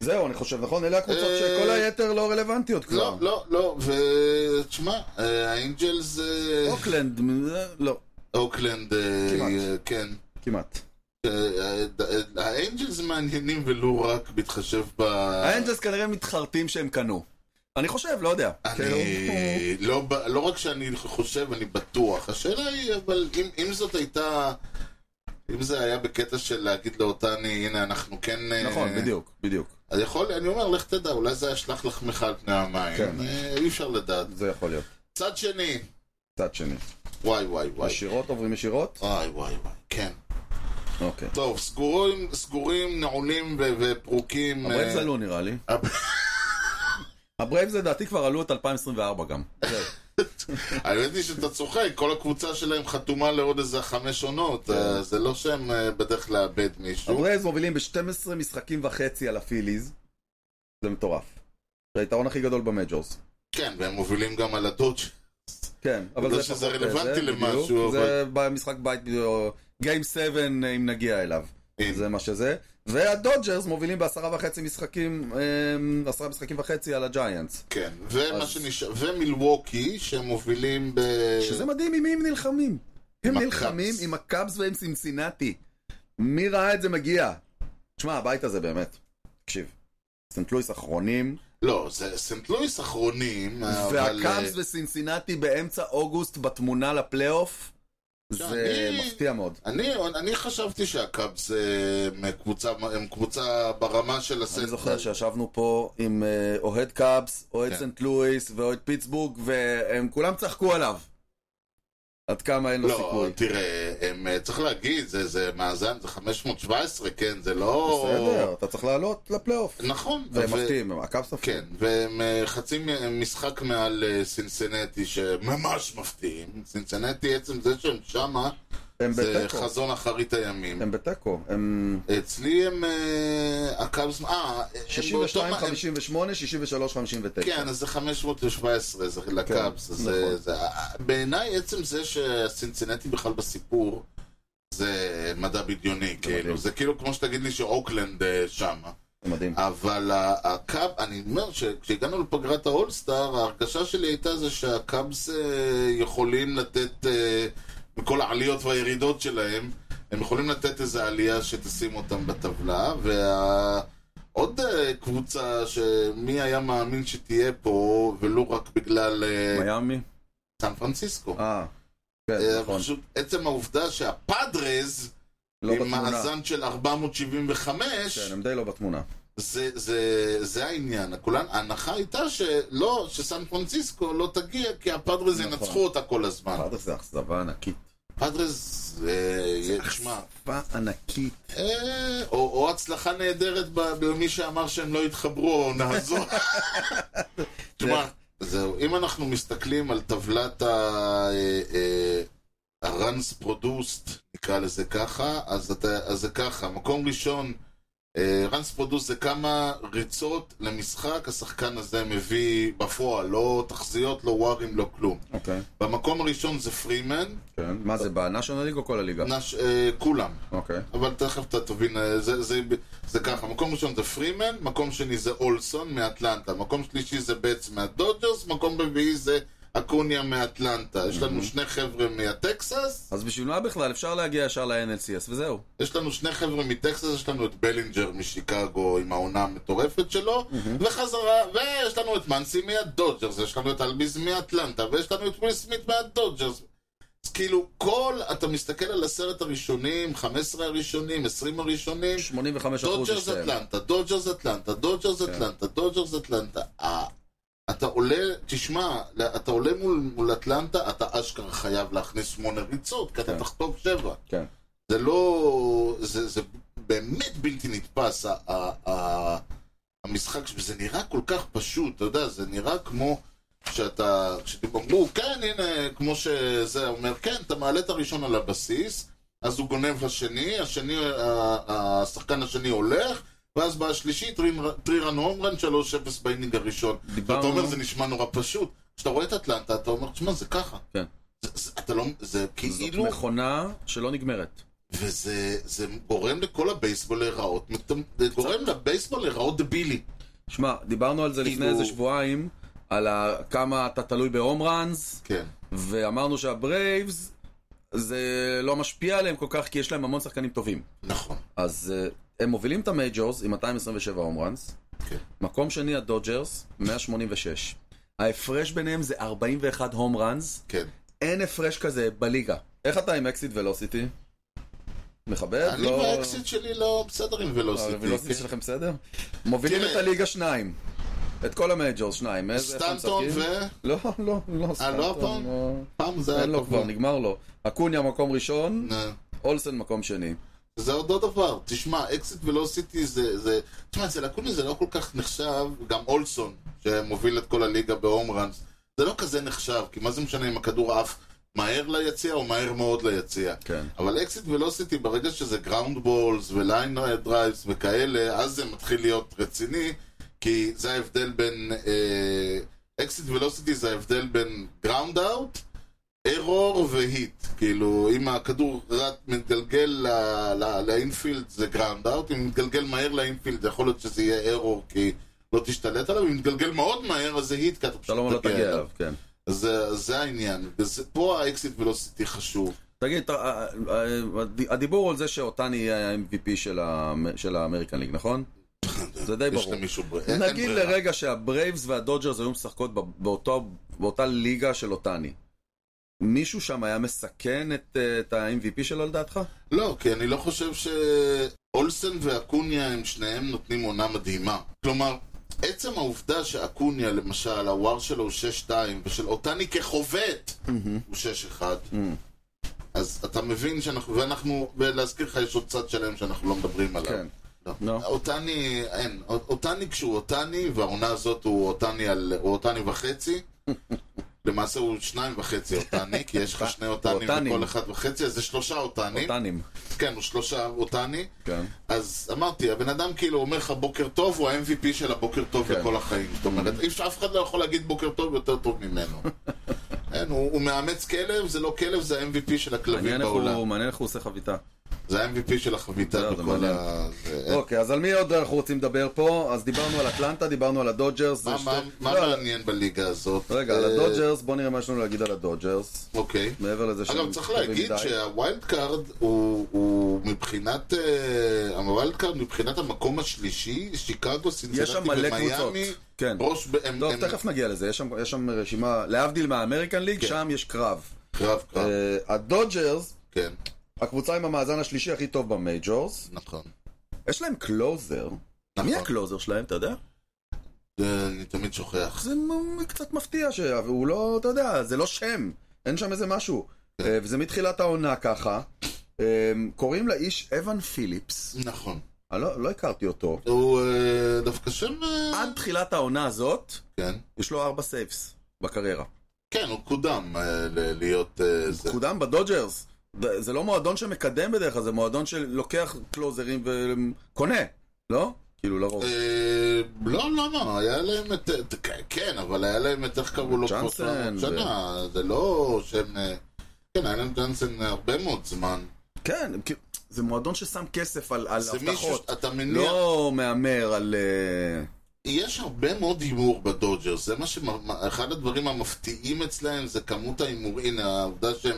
Speaker 1: זהו, אני חושב, נכון? אלה הקבוצות
Speaker 2: אה,
Speaker 1: שכל היתר לא רלוונטיות כבר.
Speaker 2: לא, לא, לא, ותשמע, אה, האינג'לס, אה,
Speaker 1: אוקלנד, אה, לא,
Speaker 2: אוקלנד, אה,
Speaker 1: כמעט.
Speaker 2: אה, כן.
Speaker 1: כמעט.
Speaker 2: אה, אה, האנג'לס מעניינים ולו רק בהתחשב ב...
Speaker 1: האנג'לס כנראה מתחרטים שהם קנו. אני חושב, לא יודע. כאילו,
Speaker 2: אני לא, ב- לא רק שאני חושב, אני בטוח. השאלה היא, אבל אם, אם זאת הייתה... אם זה היה בקטע של להגיד לאותני, הנה, אנחנו כן... אה,
Speaker 1: נכון, בדיוק, בדיוק.
Speaker 2: אז יכול, אני אומר, לך תדע, אולי זה ישלח לחמך על פני המים.
Speaker 1: כן.
Speaker 2: אה, אי אפשר לדעת.
Speaker 1: זה יכול להיות.
Speaker 2: צד שני,
Speaker 1: צד שני.
Speaker 2: וואי וואי וואי.
Speaker 1: ישירות עוברים ישירות?
Speaker 2: וואי וואי וואי, כן.
Speaker 1: אוקיי.
Speaker 2: טוב, סגורים, סגורים, נעולים ו- ופרוקים.
Speaker 1: הברייבס
Speaker 2: אה,
Speaker 1: עלו נראה לי.
Speaker 2: הב-
Speaker 1: <laughs> הברייבס לדעתי כבר עלו את 2024
Speaker 2: <laughs>
Speaker 1: גם. זהו.
Speaker 2: האמת היא שאתה צוחק, כל הקבוצה שלהם חתומה לעוד איזה חמש
Speaker 1: כן.
Speaker 2: עונות, אה, זה לא שהם אה, בדרך לאבד מישהו.
Speaker 1: הברייבס מובילים ב-12 משחקים וחצי על הפיליז. זה מטורף. זה היתרון הכי גדול במג'ורס.
Speaker 2: כן, והם מובילים גם על הדודג'.
Speaker 1: כן, אבל
Speaker 2: לא
Speaker 1: זה
Speaker 2: שזה
Speaker 1: פחות,
Speaker 2: רלוונטי
Speaker 1: זה,
Speaker 2: למשהו,
Speaker 1: בדיוק. זה במשחק בית, גיים 7 אה, אם נגיע אליו.
Speaker 2: הנה.
Speaker 1: זה מה שזה. והדודג'רס מובילים בעשרה וחצי משחקים, אמ, עשרה משחקים וחצי על הג'יינטס.
Speaker 2: כן, ומה
Speaker 1: אז-
Speaker 2: שנשאר, ומילווקי, שמובילים ב...
Speaker 1: שזה מדהים עם מי הם נלחמים.
Speaker 2: עם
Speaker 1: הם
Speaker 2: הקאבס.
Speaker 1: נלחמים עם הקאבס ועם סינסינטי. מי ראה את זה מגיע? תשמע, הבית הזה באמת. תקשיב. סנט לואיס אחרונים,
Speaker 2: לא, זה סנט לואיס אחרונים, אבל...
Speaker 1: והקאבס
Speaker 2: אה,
Speaker 1: וסינסינטי באמצע אוגוסט בתמונה לפלייאוף, זה
Speaker 2: אני-
Speaker 1: מפתיע מאוד.
Speaker 2: אני, אני חשבתי שהקאבס אה, הם קבוצה, הם קבוצה ברמה של הסנט.
Speaker 1: אני זוכר שישבנו פה עם אה, אוהד קאבס, אוהד
Speaker 2: כן.
Speaker 1: סנט לואיס ואוהד פיטסבורג, והם כולם צחקו עליו. עד כמה אין לו
Speaker 2: לא,
Speaker 1: סיכוי.
Speaker 2: תראה, הם, אה, צריך להגיד, זה, זה מאזן, זה 517, כן, זה לא...
Speaker 1: בסדר, אתה צריך לעלות לפלייאוף.
Speaker 2: נכון.
Speaker 1: והם
Speaker 2: ו-
Speaker 1: מפתיעים, הם- הקאבס מפתיעים.
Speaker 2: כן, והם אה, חצי מ- הם משחק מעל אה, סינסנטי, שממש מפתיעים. סינסנטי, עצם זה שהם שמה,
Speaker 1: הם
Speaker 2: זה
Speaker 1: בתיקו.
Speaker 2: חזון אחרית הימים.
Speaker 1: הם בתיקו. הם
Speaker 2: אצלי הם... אה, הקאבס... אה, הם באותו
Speaker 1: 62,
Speaker 2: מ- הם-
Speaker 1: 58, 63, 59.
Speaker 2: כן, אז זה 517, זה לקאבס.
Speaker 1: כן,
Speaker 2: זה-
Speaker 1: נכון.
Speaker 2: זה- אה, בעיניי עצם זה שסינצינטי בכלל בסיפור, זה מדע בדיוני,
Speaker 1: מדהים.
Speaker 2: כאילו. זה כאילו כמו שתגיד לי שאוקלנד אה, שמה.
Speaker 1: מדהים.
Speaker 2: אה, אבל ה- הקאב, אני אומר שכשהגענו לפגרת האולסטאר, ההרגשה שלי הייתה זה שהקאבס אה, יכולים לתת, אה, מכל העליות והירידות שלהם, הם יכולים לתת איזו עלייה שתשים אותם בטבלה, ועוד קבוצה שמי היה מאמין שתהיה פה, ולו רק בגלל אה,
Speaker 1: מיאמי?
Speaker 2: סן פרנסיסקו.
Speaker 1: אה, כן,
Speaker 2: אה,
Speaker 1: נכון.
Speaker 2: פשוט עצם העובדה שהפאדרז,
Speaker 1: לא
Speaker 2: עם
Speaker 1: בתמונה.
Speaker 2: מאזן של 475,
Speaker 1: כן, הם די לא בתמונה.
Speaker 2: אה. זה, זה, זה העניין. כולן, ההנחה הייתה שלא, שסן פרנסיסקו לא תגיע, כי הפאדרז
Speaker 1: נכון.
Speaker 2: ינצחו אותה כל הזמן.
Speaker 1: אחר כך זה אכזבה ענקית.
Speaker 2: פאדרז, אה, תשמע,
Speaker 1: אכזבה ענקית.
Speaker 2: אה, או, או הצלחה נהדרת ב- במי שאמר שהם לא יתחברו, או נעזור. תשמע, זהו, אם אנחנו מסתכלים על טבלת אה, ה-runs produced, נקרא לזה ככה, אז, אתה, אז זה ככה, מקום ראשון, אה, runs produced זה כמה ריצות למשחק השחקן הזה מביא בפועל, לא תחזיות, לא ווארים, לא כלום.
Speaker 1: אוקיי,
Speaker 2: במקום הראשון זה פרימן,
Speaker 1: כן. מה זה, בנאשונל ליג או כל הליגה?
Speaker 2: נש, אה, כולם.
Speaker 1: אוקיי.
Speaker 2: אבל תכף אתה תבין, אה, זה, זה, זה ככה, מקום ראשון זה פרימן, מקום שני זה אולסון מאטלנטה, מקום שלישי זה בץ מהדודג'רס, מקום רביעי זה אקוניה מאטלנטה. יש לנו שני חבר'ה מטקסס,
Speaker 1: אז בשביל מה בכלל? אפשר להגיע ישר ל-NLCS וזהו.
Speaker 2: יש לנו שני חבר'ה מטקסס, יש לנו את בלינג'ר משיקגו עם העונה המטורפת שלו, וחזרה, ויש לנו את מנסי מהדודג'רס, יש לנו את אלביז מאטלנטה, ויש לנו את וויל סמית מהדודג'רס. אז כאילו, כל, אתה מסתכל על עשרת הראשונים, 15 הראשונים, 20 הראשונים,
Speaker 1: 85 אחוז
Speaker 2: דודג'רס אטלנטה, דודג'רס אטלנטה, דודג'רס אטלנטה, דודג'רס אטלנטה. אה, אתה עולה, תשמע, אתה עולה מול, מול אטלנטה, אתה אשכרה חייב להכניס שמונה ריצות, כי
Speaker 1: כן.
Speaker 2: אתה תחטוף שבע.
Speaker 1: כן.
Speaker 2: זה לא... זה, זה באמת בלתי נתפס, ה, ה, ה, המשחק, זה נראה כל כך פשוט, אתה יודע, זה נראה כמו שאתה... כשאמרו, כן, הנה, כמו שזה אומר, כן, אתה מעלה את הראשון על הבסיס, אז הוא גונב השני, השני, ה- השחקן השני הולך, ואז בא השלישי, טרירן הומרן, 3-0 באינינג הראשון.
Speaker 1: דיברנו-
Speaker 2: אתה אומר, זה נשמע נורא פשוט. כשאתה רואה את אטלנטה, אתה אומר, תשמע, זה ככה.
Speaker 1: כן.
Speaker 2: זה, זה, אתה לא, זה
Speaker 1: זאת
Speaker 2: כאילו...
Speaker 1: מכונה שלא נגמרת.
Speaker 2: וזה זה גורם לכל הבייסבול להיראות, מטומ- זה גורם לבייסבול להיראות דבילי.
Speaker 1: שמע, דיברנו על זה לפני
Speaker 2: כאילו-
Speaker 1: איזה שבועיים, על ה- כמה אתה תלוי בהום ראנס,
Speaker 2: כן.
Speaker 1: ואמרנו שהברייבס, זה לא משפיע עליהם כל כך, כי יש להם המון שחקנים טובים.
Speaker 2: נכון.
Speaker 1: אז אה, הם מובילים את המייג'ורס עם 227 הום ראנס.
Speaker 2: כן.
Speaker 1: מקום שני הדודג'רס, 186. ההפרש ביניהם זה 41 הום ראנס.
Speaker 2: כן.
Speaker 1: אין הפרש כזה בליגה. איך אתה עם אקסיט ולוסיטי? מכבד?
Speaker 2: אני והאקסיט שלי לא בסדר עם
Speaker 1: הוולוסיטי
Speaker 2: ולוסיטי. כן.
Speaker 1: לא- שלכם בסדר? מובילים
Speaker 2: תראה.
Speaker 1: את הליגה שניים. את כל המייג'ורס שניים. איזה- איך הם
Speaker 2: סטנטון ו... אה,
Speaker 1: משחקים? לא, לא, לא
Speaker 2: הפעם?
Speaker 1: סטנטון. לא.
Speaker 2: פעם זה היה אה.
Speaker 1: אין לו
Speaker 2: פגוע.
Speaker 1: כבר, נגמר לו. אקוניה מקום ראשון,
Speaker 2: נה.
Speaker 1: אולסן מקום שני.
Speaker 2: זה אותו דבר. תשמע, אקסיט ולוסיטי זה... זה- תשמע, אצל אקוני זה לא כל כך נחשב, גם אולסון, שמוביל את כל הליגה בהום ראנס, זה לא כזה נחשב, כי מה זה משנה אם הכדור עף מהר ליציע או מהר מאוד ליציע.
Speaker 1: כן.
Speaker 2: אבל אקסיט ולוסיטי, ברגע שזה גראונד בולס וליין דרייבס וכאלה, אז זה מתחיל להיות רציני, כי זה ההבדל בין... אקסיט ולוסיטי זה ההבדל בין גראונד אאוט, ארור והיט. כאילו, אם הכדור רט מתגלגל ל- ל- לאינפילד זה גראונד אאוט, אם הוא מתגלגל מהר לאינפילד יכול להיות שזה יהיה ארור כי לא תשתלט עליו, אם מתגלגל מאוד מהר אז זה היט, כי אתה פשוט
Speaker 1: שלום לא תגיע אליו, כן.
Speaker 2: אז זה, זה העניין, וזה, פה האקסיט ולוסיטי חשוב.
Speaker 1: תגיד, אתה- אה, אה, הדיבור על זה שאותני יהיה ה-MVP של האמ- של האמריקן ליג, נכון? זה די
Speaker 2: יש
Speaker 1: ברור.
Speaker 2: למישהו בר- אין- כן, אין
Speaker 1: נגיד
Speaker 2: ברירה.
Speaker 1: לרגע שהברייבס והדודג'רס היו משחקות ב- באותו- באותה ליגה של אותני. מישהו שם היה מסכן את אה, את ה-MVP שלו לדעתך?
Speaker 2: לא, כי אני לא חושב שאולסן ואקוניה הם שניהם נותנים עונה מדהימה. כלומר, עצם העובדה שאקוניה, למשל, הוואר שלו הוא 6-2, ושל אותני כחובט הוא 6-1, אז אתה מבין שאנחנו, ואנחנו, ולהזכיר לך, יש עוד צד שלם שאנחנו לא מדברים עליו.
Speaker 1: כן.
Speaker 2: לא.
Speaker 1: לא.
Speaker 2: אותני,
Speaker 1: <laughs>
Speaker 2: אין. אות- אותני כשהוא אותני, והעונה הזאת הוא אותני, על, הוא אותני וחצי. למעשה הוא שניים וחצי אותני, כי
Speaker 1: <laughs>
Speaker 2: יש לך שני אותנים
Speaker 1: אותנים.
Speaker 2: וכל אחד וחצי, אז זה שלושה אותנים.
Speaker 1: טנים.
Speaker 2: כן, הוא שלושה אותני.
Speaker 1: כן.
Speaker 2: אז אמרתי, הבן אדם כאילו אומר לך בוקר טוב, הוא ה-MVP של הבוקר טוב
Speaker 1: כן.
Speaker 2: לכל החיים. זאת אומרת, אי אפשר- אף אחד לא יכול להגיד בוקר טוב יותר טוב
Speaker 1: <laughs>
Speaker 2: ממנו. אין, הוא הוא מאמץ כלב, זה לא כלב, זה ה-MVP של הכלבים
Speaker 1: מעניין איך
Speaker 2: בעולם.
Speaker 1: הוא- מעניין איך הוא עושה חביתה.
Speaker 2: זה ה-MVP של
Speaker 1: לא,
Speaker 2: החביתה
Speaker 1: זה
Speaker 2: בכל
Speaker 1: מעניין.
Speaker 2: ה... זה-
Speaker 1: אוקיי, אז על מי עוד אנחנו רוצים לדבר פה? אז דיברנו על אטלנטה, דיברנו על הדודג'רס.
Speaker 2: מה-
Speaker 1: זה
Speaker 2: מה-
Speaker 1: שתי-
Speaker 2: מה
Speaker 1: לא,
Speaker 2: מעניין בליגה הזאת?
Speaker 1: רגע, על
Speaker 2: אה,
Speaker 1: הדודג'רס, בוא נראה מה יש לנו להגיד על הדודג'רס.
Speaker 2: אוקיי.
Speaker 1: מעבר לזה שהם
Speaker 2: אגב, צריך
Speaker 1: טובים
Speaker 2: להגיד
Speaker 1: מדי.
Speaker 2: שהווילד קארד הוא, הוא מבחינת, אה, הווילד קארד מבחינת המקום השלישי, שיקגו,
Speaker 1: יש
Speaker 2: סינצנטי
Speaker 1: שם מלא קבוצות.
Speaker 2: ומיאמי,
Speaker 1: כן.
Speaker 2: ראש, ב- הם,
Speaker 1: טוב,
Speaker 2: הם
Speaker 1: תכף נגיע לזה, יש שם- יש שם רשימה, להבדיל מהאמריקן ליג,
Speaker 2: כן.
Speaker 1: שם יש קרב.
Speaker 2: קרב קרב,
Speaker 1: אה, הדודג'רס,
Speaker 2: כן,
Speaker 1: הקבוצה עם המאזן השלישי הכי טוב במייג'ורס,
Speaker 2: נכון.
Speaker 1: יש להם קלוזר.
Speaker 2: נכון.
Speaker 1: מי הקלוזר שלהם, אתה יודע?
Speaker 2: אה, אני תמיד שוכח.
Speaker 1: זה מ- קצת מפתיע שהוא לא, אתה יודע, זה לא שם, אין שם איזה משהו. אה, וזה מתחילת העונה ככה. אה, קוראים לאיש אבן פיליפס,
Speaker 2: נכון.
Speaker 1: אני לא לא הכרתי אותו.
Speaker 2: הוא אה, דווקא שם... אה,
Speaker 1: עד תחילת העונה הזאת,
Speaker 2: כן.
Speaker 1: יש לו ארבע סייפס בקריירה.
Speaker 2: כן, הוא קודם אה, ל- להיות אה, זה.
Speaker 1: קודם בדודג'רס. ד- זה לא מועדון שמקדם בדרך כלל, זה מועדון שלוקח קלוזרים וקונה, לא? כאילו לרוב.
Speaker 2: אה, לא, למה? היה להם את... את- כן, אבל היה להם את איך קראו לו?
Speaker 1: ג'אנסן,
Speaker 2: קוסטרה,
Speaker 1: ו-
Speaker 2: שנה, זה לא שהם... אה, כן, היה להם ג'אנסן הרבה מאוד זמן.
Speaker 1: כן, הם כאילו- זה מועדון ששם כסף על על
Speaker 2: זה מישהו,
Speaker 1: הבטחות.
Speaker 2: אתה מניח,
Speaker 1: לא מהמר על... אה,
Speaker 2: יש הרבה מאוד הימור בדודג'רס, זה מה ש... אחד הדברים המפתיעים אצלהם זה כמות ההימור, הנה העובדה שהם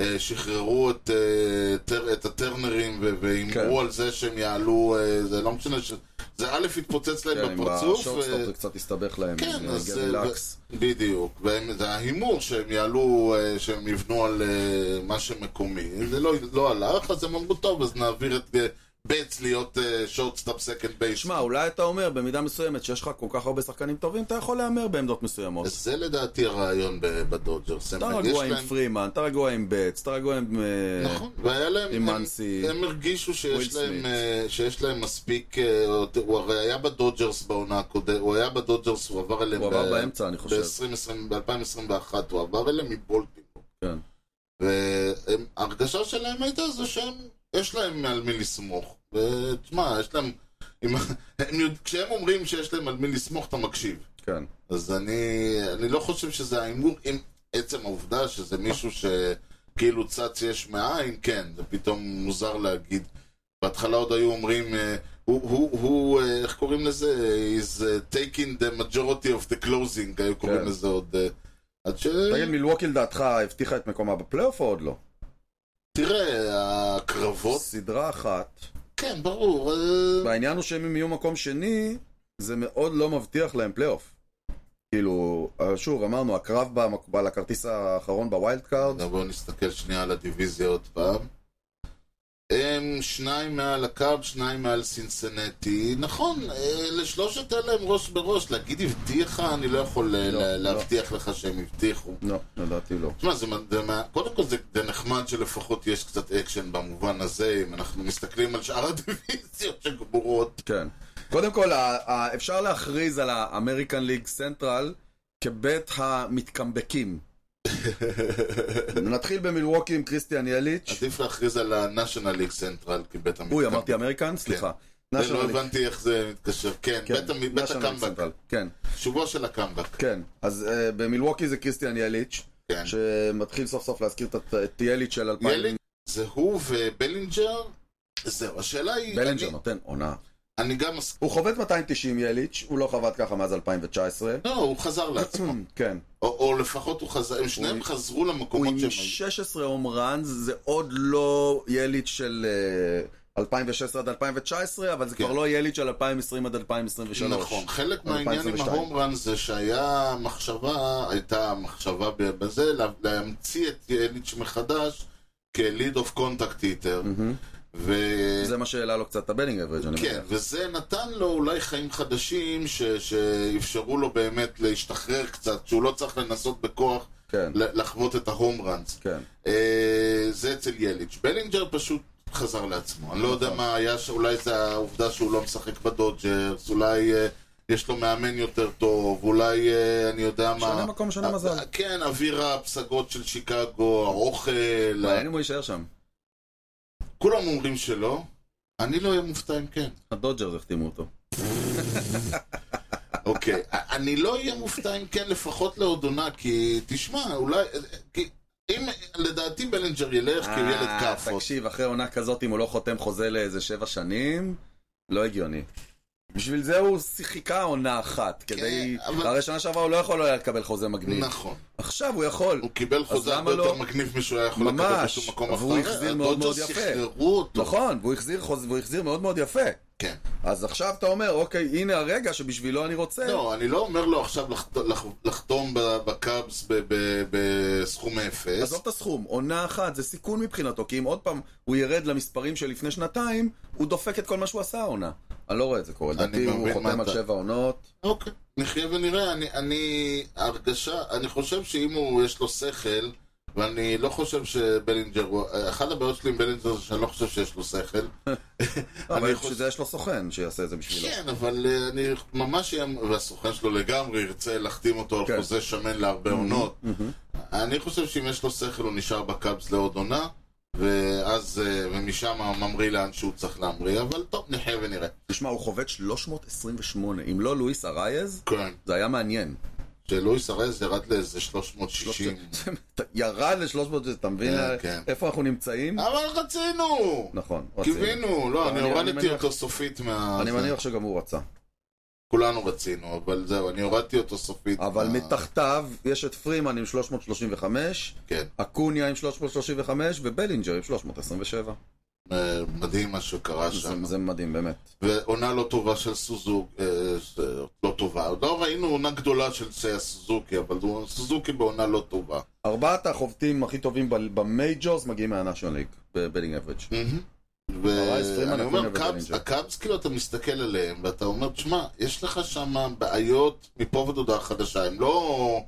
Speaker 2: אה, שחררו את, אה, טר, את הטרנרים ו- והימרו
Speaker 1: כן.
Speaker 2: על זה שהם יעלו, אה, זה לא משנה, ש... זה א' התפוצץ להם
Speaker 1: כן, עם
Speaker 2: בפרצוף,
Speaker 1: השורטסטופ
Speaker 2: אה,
Speaker 1: זה קצת הסתבך להם.
Speaker 2: כן,
Speaker 1: עם,
Speaker 2: אז
Speaker 1: אה, גרי
Speaker 2: אה,
Speaker 1: לקס.
Speaker 2: ו- בדיוק, והם- זה ההימור שהם יעלו, אה, שהם יבנו על אה, מה שמקומי, זה לא, לא הלך, אז הם אמרו טוב, אז נעביר את אה, בייטס להיות אה, שורטסטאפ סקנד בייס.
Speaker 1: שמע, אולי אתה אומר, במידה מסוימת, שיש לך כל כך הרבה שחקנים טובים, אתה יכול להמר בעמדות מסוימות.
Speaker 2: אז זה לדעתי הרעיון ב- בדודג'רס. הם-
Speaker 1: אתה
Speaker 2: יש
Speaker 1: לא רגוע
Speaker 2: להם-
Speaker 1: עם פרימן, אתה רגוע עם בץ, אתה רגוע עם... אה,
Speaker 2: נכון, והיה להם,
Speaker 1: עם
Speaker 2: הם-
Speaker 1: מנסי,
Speaker 2: הם הרגישו
Speaker 1: וויל
Speaker 2: שיש
Speaker 1: סמית.
Speaker 2: להם, אה, שיש להם מספיק, אה, הוא הרי היה בדודג'רס בעונה הקודמת, הוא היה בדודג'רס, הוא עבר אליהם
Speaker 1: הוא
Speaker 2: ב-
Speaker 1: עבר באמצע, אני חושב.
Speaker 2: ב-2020, ב-2021 הוא עבר אליהם מבולטימור.
Speaker 1: כן.
Speaker 2: וההרגשה שלהם הייתה זה שהם, יש להם על מי לסמוך. ותשמע, יש להם, אם- הם יודע- כשהם אומרים שיש להם על מי לסמוך, אתה מקשיב.
Speaker 1: כן.
Speaker 2: אז אני, אני לא חושב שזה ההימור, עם עצם העובדה שזה מישהו שכאילו צץ יש מאין, כן, זה פתאום מוזר להגיד. בהתחלה עוד היו אומרים, אה, הוא, הוא, הוא אה, איך קוראים לזה? He's uh, taking the majority of the closing, היו קוראים
Speaker 1: כן.
Speaker 2: לזה עוד. אה, עד ש...
Speaker 1: תגיד, מילווקי לדעתך הבטיחה את מקומה בפלייאוף או עוד לא?
Speaker 2: תראה, הקרבות,
Speaker 1: סדרה אחת.
Speaker 2: כן, ברור. אה,
Speaker 1: והעניין הוא שאם הם יהיו מקום שני, זה מאוד לא מבטיח להם פלייאוף. כאילו, אה, שוב, אמרנו, הקרב במק- על הכרטיס האחרון בווילד קארד,
Speaker 2: רגע, בואו נסתכל שנייה על הדיוויזיה עוד פעם. הם שניים מעל הקארד, שניים מעל סינסנטי. נכון, אה, לשלושת אלה הם ראש בראש. להגיד הבטיחה, אני לא יכול אה,
Speaker 1: לא,
Speaker 2: לה-
Speaker 1: לא.
Speaker 2: להבטיח לך שהם הבטיחו.
Speaker 1: לא, לדעתי לא.
Speaker 2: תשמע, זה, מה- זה, מה- קודם כל זה, זה נחמד שלפחות יש קצת אקשן במובן הזה, אם אנחנו מסתכלים על שאר <laughs>
Speaker 1: <laughs>
Speaker 2: הדיוויזיות שגמורות.
Speaker 1: כן. קודם כל, ה- ה- אפשר להכריז על האמריקן ליג סנטרל כבית המתקמבקים. נתחיל במילווקי עם כריסטיאן יליץ'.
Speaker 2: עדיף להכריז על ה-National League Central כבית המתקן.
Speaker 1: אוי, אמרתי אמריקן? סליחה.
Speaker 2: כן. זה לא
Speaker 1: National League.
Speaker 2: הבנתי איך זה מתקשר. כן,
Speaker 1: כן,
Speaker 2: בית המ- בית
Speaker 1: National League
Speaker 2: הקמבק.
Speaker 1: Central. כן,
Speaker 2: שובו של הקמבק.
Speaker 1: כן. אז אה, במילווקי זה כריסטיאן יליץ',
Speaker 2: כן.
Speaker 1: שמתחיל סוף סוף להזכיר את הת- את יליץ' של 2000.
Speaker 2: ילד, זה הוא ובלינג'ר, זהו, השאלה היא...
Speaker 1: בלנג'ר
Speaker 2: אני-
Speaker 1: נותן עונה.
Speaker 2: אני גם... מס-
Speaker 1: הוא חובט 290 יליץ', הוא לא חבט ככה מאז
Speaker 2: <coughs>
Speaker 1: 2019.
Speaker 2: לא,
Speaker 1: <clears throat>
Speaker 2: הוא חזר לעצמו.
Speaker 1: כן.
Speaker 2: או- או לפחות הוא חזר, הם שניהם
Speaker 1: הוא-
Speaker 2: חזרו
Speaker 1: הוא
Speaker 2: למקומות
Speaker 1: עם
Speaker 2: שהם...
Speaker 1: 16 הום ראנס, זה עוד לא יליץ' של אה, 2016 עד 2019, אבל זה
Speaker 2: כן.
Speaker 1: כבר לא יליץ' של 2020 עד 2023.
Speaker 2: נכון, חלק מהעניין עם
Speaker 1: 2022.
Speaker 2: ההום רן זה שהיה מחשבה, הייתה מחשבה ב- בזה, לה- להמציא את יליץ' מחדש כליד אוף קונטקט איטר.
Speaker 1: מהמם.
Speaker 2: ו...
Speaker 1: זה מה שהעלה לו קצת את הבדינג אברג' אני
Speaker 2: כן,
Speaker 1: מניח.
Speaker 2: וזה נתן לו אולי חיים חדשים ש... שאפשרו לו באמת להשתחרר קצת, שהוא לא צריך לנסות בכוח
Speaker 1: כן,
Speaker 2: ל- לחוות את ההום ראנס.
Speaker 1: כן.
Speaker 2: אה, זה אצל יליץ'. בלינג'ר פשוט
Speaker 1: נכון.
Speaker 2: חזר לעצמו. אני לא יודע מה היה, ש- אולי זה העובדה שהוא לא משחק בדודג'רס, אולי אה, יש לו מאמן יותר טוב, אולי אה, אני יודע מה...
Speaker 1: שונה מקום, שונה
Speaker 2: אה,
Speaker 1: מזל.
Speaker 2: אה, כן, אוויר הפסגות של שיקגו, האוכל, ה-
Speaker 1: מעניין אם הוא יישאר שם.
Speaker 2: כולם אומרים שלא, אני לא אהיה מופתע אם כן.
Speaker 1: הדודג'רס החתימו אותו.
Speaker 2: אוקיי, <laughs> אני לא אהיה מופתע אם כן לפחות לעוד עונה, כי תשמע, אולי... אה, כי אם לדעתי בלנג'ר ילך כילד
Speaker 1: אה,
Speaker 2: כאילו כאפות.
Speaker 1: תקשיב, אחרי עונה כזאת, אם הוא לא חותם חוזה לאיזה שבע שנים, לא הגיוני. בשביל זה הוא חיכה עונה אחת, כדי...
Speaker 2: כן, אבל-
Speaker 1: הרי שנה שעברה הוא לא יכול היה לקבל חוזה מגניב.
Speaker 2: נכון.
Speaker 1: עכשיו הוא יכול.
Speaker 2: הוא קיבל חוזה
Speaker 1: למה
Speaker 2: הרבה יותר
Speaker 1: לא?
Speaker 2: מגניב משהוא היה יכול לקבל
Speaker 1: ממש.
Speaker 2: בשום מקום אחר.
Speaker 1: והוא החזיר מאוד מאוד
Speaker 2: הדודג'רס
Speaker 1: יפה.
Speaker 2: שחררו אותו.
Speaker 1: נכון, והוא החזיר חוז- והוא החזיר מאוד מאוד יפה.
Speaker 2: כן.
Speaker 1: אז עכשיו אתה אומר, אוקיי, הנה הרגע שבשבילו אני רוצה.
Speaker 2: לא, אני לא אומר לו עכשיו לחת- לח- לחתום ב- בקאבס ב- ב- בסכום אפס.
Speaker 1: עזוב את הסכום, עונה אחת זה סיכון מבחינתו, כי אם עוד פעם הוא ירד למספרים של לפני שנתיים, הוא דופק את כל מה שהוא עשה העונה. אני לא רואה את זה קורה,
Speaker 2: אני
Speaker 1: לדעתי הוא
Speaker 2: מבין מה
Speaker 1: חותם על
Speaker 2: אתה-
Speaker 1: שבע עונות.
Speaker 2: אוקיי, נחיה ונראה. אני, אני, הרגשה, אני חושב שאם הוא, יש לו שכל, ואני לא חושב שבלינג'ר, הוא- אחת הבעיות שלי עם בלינג'ר זה שאני לא חושב שיש לו שכל.
Speaker 1: אבל
Speaker 2: אני
Speaker 1: בשביל זה יש לו סוכן שיעשה את זה בשבילו.
Speaker 2: כן, אבל אה, אני ממש אהיה, והסוכן שלו לגמרי ירצה להחתים אותו על
Speaker 1: כן. mm-hmm.
Speaker 2: חוזה שמן להרבה עונות. אני חושב שאם יש לו שכל הוא נשאר בקאבס לעוד עונה, ואז, אה, ומשם ממריא לאן שהוא צריך להמריא, אבל טוב, נחיה ונראה.
Speaker 1: תשמע, הוא חובט 328, אם לא לואיס ארייז,
Speaker 2: כן,
Speaker 1: זה היה מעניין.
Speaker 2: שלואיס ארז ירד לאיזה 360.
Speaker 1: ירד ל-300, אתה מבין
Speaker 2: כן, כן.
Speaker 1: איפה אנחנו נמצאים?
Speaker 2: אבל רצינו!
Speaker 1: נכון, רצינו.
Speaker 2: קיווינו, לא,
Speaker 1: אני-
Speaker 2: אני
Speaker 1: אני
Speaker 2: הורדתי
Speaker 1: מניח-
Speaker 2: אותו סופית מה...
Speaker 1: אני
Speaker 2: זה.
Speaker 1: מניח שגם הוא רצה.
Speaker 2: כולנו רצינו, אבל זהו, אני הורדתי אותו סופית.
Speaker 1: אבל
Speaker 2: מה-
Speaker 1: מתחתיו יש את פרימן עם 335,
Speaker 2: כן,
Speaker 1: אקוניה עם 335 ובלינג'ר עם 327.
Speaker 2: אה, מדהים מה שקרה
Speaker 1: זה,
Speaker 2: שם.
Speaker 1: זה מדהים, באמת.
Speaker 2: ועונה לא טובה של סוזוק, אה, זה- לא טובה. עוד לא ראינו עונה גדולה של סי- סוזוקי, אבל הוא- סוזוקי בעונה לא טובה.
Speaker 1: ארבעת החובטים הכי טובים ב- במייג'ורס מגיעים מהנאשון ליג, בבלינג אברג'. הרייס, פרימן,
Speaker 2: ואני אומר,
Speaker 1: אקוניה
Speaker 2: קאבס,
Speaker 1: ובלינג'ר.
Speaker 2: הקאבס, כאילו, אתה מסתכל עליהם, ואתה אומר, תשמע, יש לך שם בעיות מפה ועד הודעה חדשה, הם לא...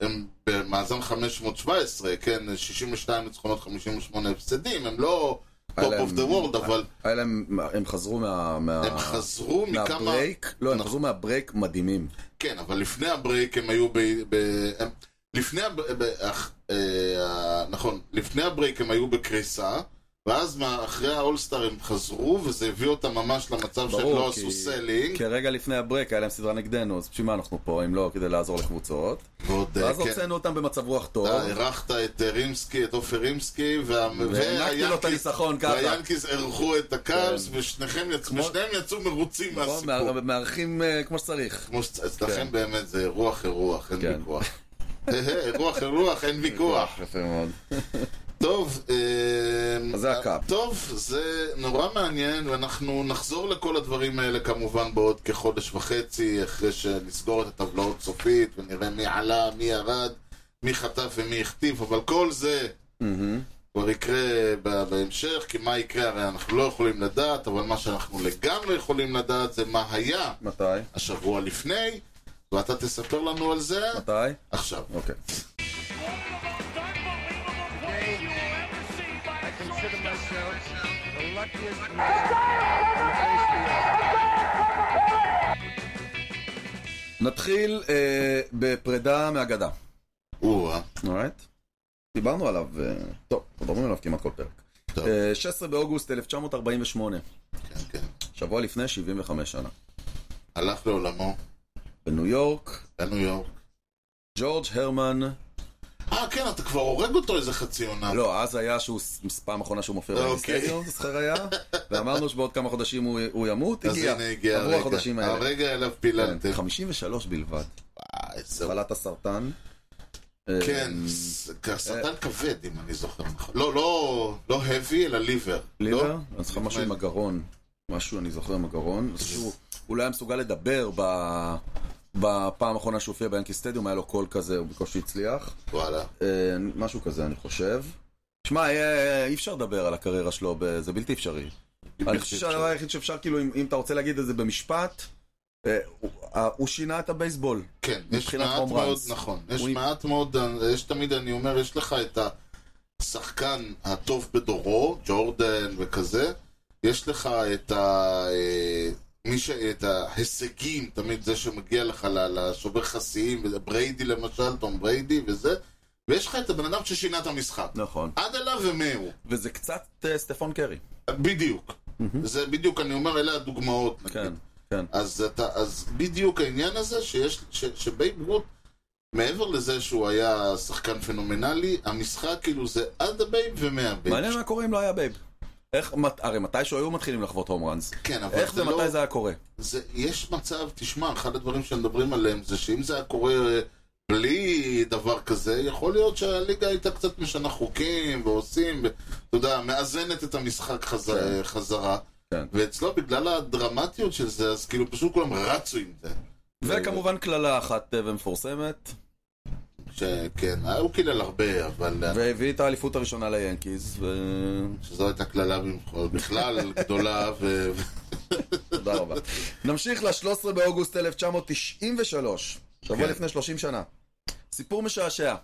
Speaker 2: הם במאזן 517, כן, 62 ניצחונות, 58 הפסדים, הם לא
Speaker 1: היה
Speaker 2: טופ אוף
Speaker 1: להם-
Speaker 2: דה וורד, אבל
Speaker 1: היה להם, הם חזרו מה... מה...
Speaker 2: הם חזרו מכמה...
Speaker 1: מהברייק, לא, הם
Speaker 2: נכון.
Speaker 1: חזרו מהברייק מדהימים.
Speaker 2: כן, אבל לפני הברייק הם היו ב... ב הם, לפני הב... ב, אח, אה, ה- נכון, לפני הברייק הם היו בקריסה, ואז מה, אחרי האולסטאר הם חזרו, וזה הביא אותם ממש למצב שהם
Speaker 1: ברור,
Speaker 2: לא
Speaker 1: כי- כן.
Speaker 2: עשו סלינג.
Speaker 1: כי רגע לפני הברייק היה להם סדרה נגדנו, אז בשביל מה אנחנו פה, אם לא, כדי לעזור לקבוצות.
Speaker 2: ועוד, אה,
Speaker 1: ואז
Speaker 2: כן,
Speaker 1: הוצאנו אותם במצב רוח טוב.
Speaker 2: אתה אירחת את אה, רימסקי, את עופר רימסקי, וה-
Speaker 1: והענקתי לו את הניצחון ככה. כן.
Speaker 2: והיאנקיז אירחו את הקאבס, ושניכם יצ- ושניהם יצאו מרוצים
Speaker 1: נכון?
Speaker 2: מהסיפור.
Speaker 1: מאר- מארחים אה, כמו שצריך.
Speaker 2: כמו שאצלכם
Speaker 1: כן.
Speaker 2: באמת זה אירוח אירוח, אין
Speaker 1: כן.
Speaker 2: ויכוח. <laughs> אה, אירוח אירוח, אין ויכוח.
Speaker 1: יפה מאוד.
Speaker 2: טוב, אה,
Speaker 1: אז זה הקאפ.
Speaker 2: טוב, זה נורא מעניין, ואנחנו נחזור לכל הדברים האלה כמובן בעוד כחודש וחצי, אחרי שנסגור את הטבלאות סופית, ונראה מי עלה, מי ירד, מי חטף ומי הכתיב, אבל כל זה
Speaker 1: מהמם.
Speaker 2: כבר יקרה ב- בהמשך, כי מה יקרה הרי אנחנו לא יכולים לדעת, אבל מה שאנחנו לגמרי יכולים לדעת זה מה היה
Speaker 1: מתי?
Speaker 2: השבוע לפני, ואתה תספר לנו על זה
Speaker 1: מתי?
Speaker 2: עכשיו.
Speaker 1: אוקיי.
Speaker 4: I consider myself the luckiest man.
Speaker 1: נתחיל אה, בפרידה מהגדה.
Speaker 2: או-אה,
Speaker 1: אורייט? דיברנו עליו, אה, טוב, אנחנו מדברים עליו כמעט כל פרק.
Speaker 2: טוב.
Speaker 1: אה, 16 באוגוסט 1948,
Speaker 2: כן, כן.
Speaker 1: שבוע לפני 75 שנה.
Speaker 2: הלך לעולמו,
Speaker 1: בניו יורק,
Speaker 2: בניו יורק.
Speaker 1: ג'ורג' הרמן,
Speaker 2: אה, כן, אתה כבר הורג אותו איזה חצי עונה.
Speaker 1: לא, אז היה שהוא, ס- פעם אחרונה שהוא מופיע
Speaker 2: אוקיי.
Speaker 1: באינסטדיון, זוכר היה, ואמרנו שבעוד כמה חודשים הוא הוא ימות,
Speaker 2: אז
Speaker 1: הגיע.
Speaker 2: הנה הגיע
Speaker 1: עברו
Speaker 2: הרגע.
Speaker 1: החודשים האלה.
Speaker 2: הרגע אליו
Speaker 1: כן,
Speaker 2: פיללתם.
Speaker 1: 53 בלבד,
Speaker 2: וואי, איזה...
Speaker 1: חלת הסרטן.
Speaker 2: כן,
Speaker 1: אה,
Speaker 2: זה סרטן כבד, אם אני זוכר נכון. לא, לא, לא heavy, אלא לא? ליבר.
Speaker 1: ליבר? אז לא? לך משהו עם הגרון. משהו, אני זוכר עם הגרון. אז שהוא הוא לא היה מסוגל לדבר ב- בפעם האחרונה שהוא הופיע ביאנקי סטדיום, היה לו קול כזה, הוא בקושי הצליח.
Speaker 2: וואלה.
Speaker 1: אה, משהו כזה, אני חושב. שמע, אה, אי אפשר לדבר על הקריירה שלו, ב- זה בלתי אפשרי. אני חושב שהדבר היחיד שאפשר, כאילו, אם אם אתה רוצה להגיד את זה במשפט, אה, הוא- אה, הוא שינה את הבייסבול.
Speaker 2: כן, יש
Speaker 1: מבחינת
Speaker 2: מעט
Speaker 1: home
Speaker 2: מאוד,
Speaker 1: runs.
Speaker 2: נכון. יש
Speaker 1: הוא-
Speaker 2: מעט מאוד, יש תמיד, אני אומר, יש לך את השחקן הטוב בדורו, ג'ורדן וכזה. יש לך את ה... אה, מי ש... את ההישגים, תמיד זה שמגיע לך ל- לשובר חסיים, וזה בריידי למשל, תום בריידי וזה, ויש לך את הבן אדם ששינה את המשחק.
Speaker 1: נכון.
Speaker 2: עד אליו ומאו.
Speaker 1: וזה קצת אה, סטפון קרי.
Speaker 2: בדיוק. זה בדיוק, אני אומר, אלה הדוגמאות. נגיד.
Speaker 1: כן, כן.
Speaker 2: אז, אתה, אז בדיוק העניין הזה שיש, ש, שבייב רות, מעבר לזה שהוא היה שחקן פנומנלי, המשחק כאילו זה עד הבייב ומהבייב.
Speaker 1: מעניין מה קורה אם לא היה בייב. איך, מת- הרי מתישהו היו מתחילים לחוות הום ראנס.
Speaker 2: כן, אבל
Speaker 1: איך
Speaker 2: זה
Speaker 1: ומתי
Speaker 2: לא-
Speaker 1: זה היה קורה?
Speaker 2: זה, יש מצב, תשמע, אחד הדברים שמדברים עליהם זה שאם זה היה קורה אה, בלי דבר כזה, יכול להיות שהליגה הייתה קצת משנה חוקים ועושים, ו- אתה יודע, מאזנת את המשחק חז... אה,
Speaker 1: כן.
Speaker 2: חזרה.
Speaker 1: כן.
Speaker 2: ואצלו, בגלל הדרמטיות של זה, אז כאילו פשוט כולם רצו עם זה.
Speaker 1: וכמובן קללה אחת אה, ומפורסמת,
Speaker 2: שכן, כן, אה, הוא קילל הרבה, אבל... אה,
Speaker 1: והביא את האליפות הראשונה ליאנקיז,
Speaker 2: שזו הייתה קללה במחול- בכלל גדולה, ו...
Speaker 1: ותודה רבה. נמשיך ל-13 באוגוסט 1993, שבוע
Speaker 2: כן.
Speaker 1: לפני 30 שנה. סיפור משעשע.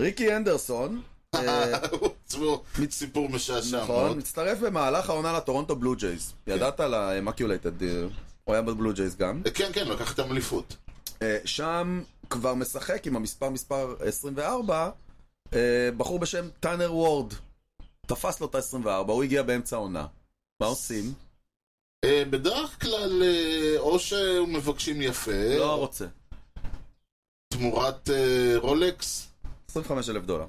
Speaker 1: ריקי הנדרסון,
Speaker 2: <laughs>
Speaker 1: אה,
Speaker 2: הוא עצמו סיפור משעשע
Speaker 1: נכון,
Speaker 2: מאוד.
Speaker 1: מצטרף במהלך העונה לטורונטו בלו ג'ייז. ידעת על ה-Emaculated, אה, הוא היה בבלו ג'ייז גם.
Speaker 2: כן, כן, לקח את האליפות.
Speaker 1: אה, שם כבר משחק עם המספר מספר 24, אה, בחור בשם טאנר וורד. תפס לו את ה-24, הוא הגיע באמצע העונה. מה עושים?
Speaker 2: אה, בדרך כלל, אה, או שמבקשים יפה,
Speaker 1: לא רוצה.
Speaker 2: תמורת אה, רולקס,
Speaker 1: 25 אלף דולר.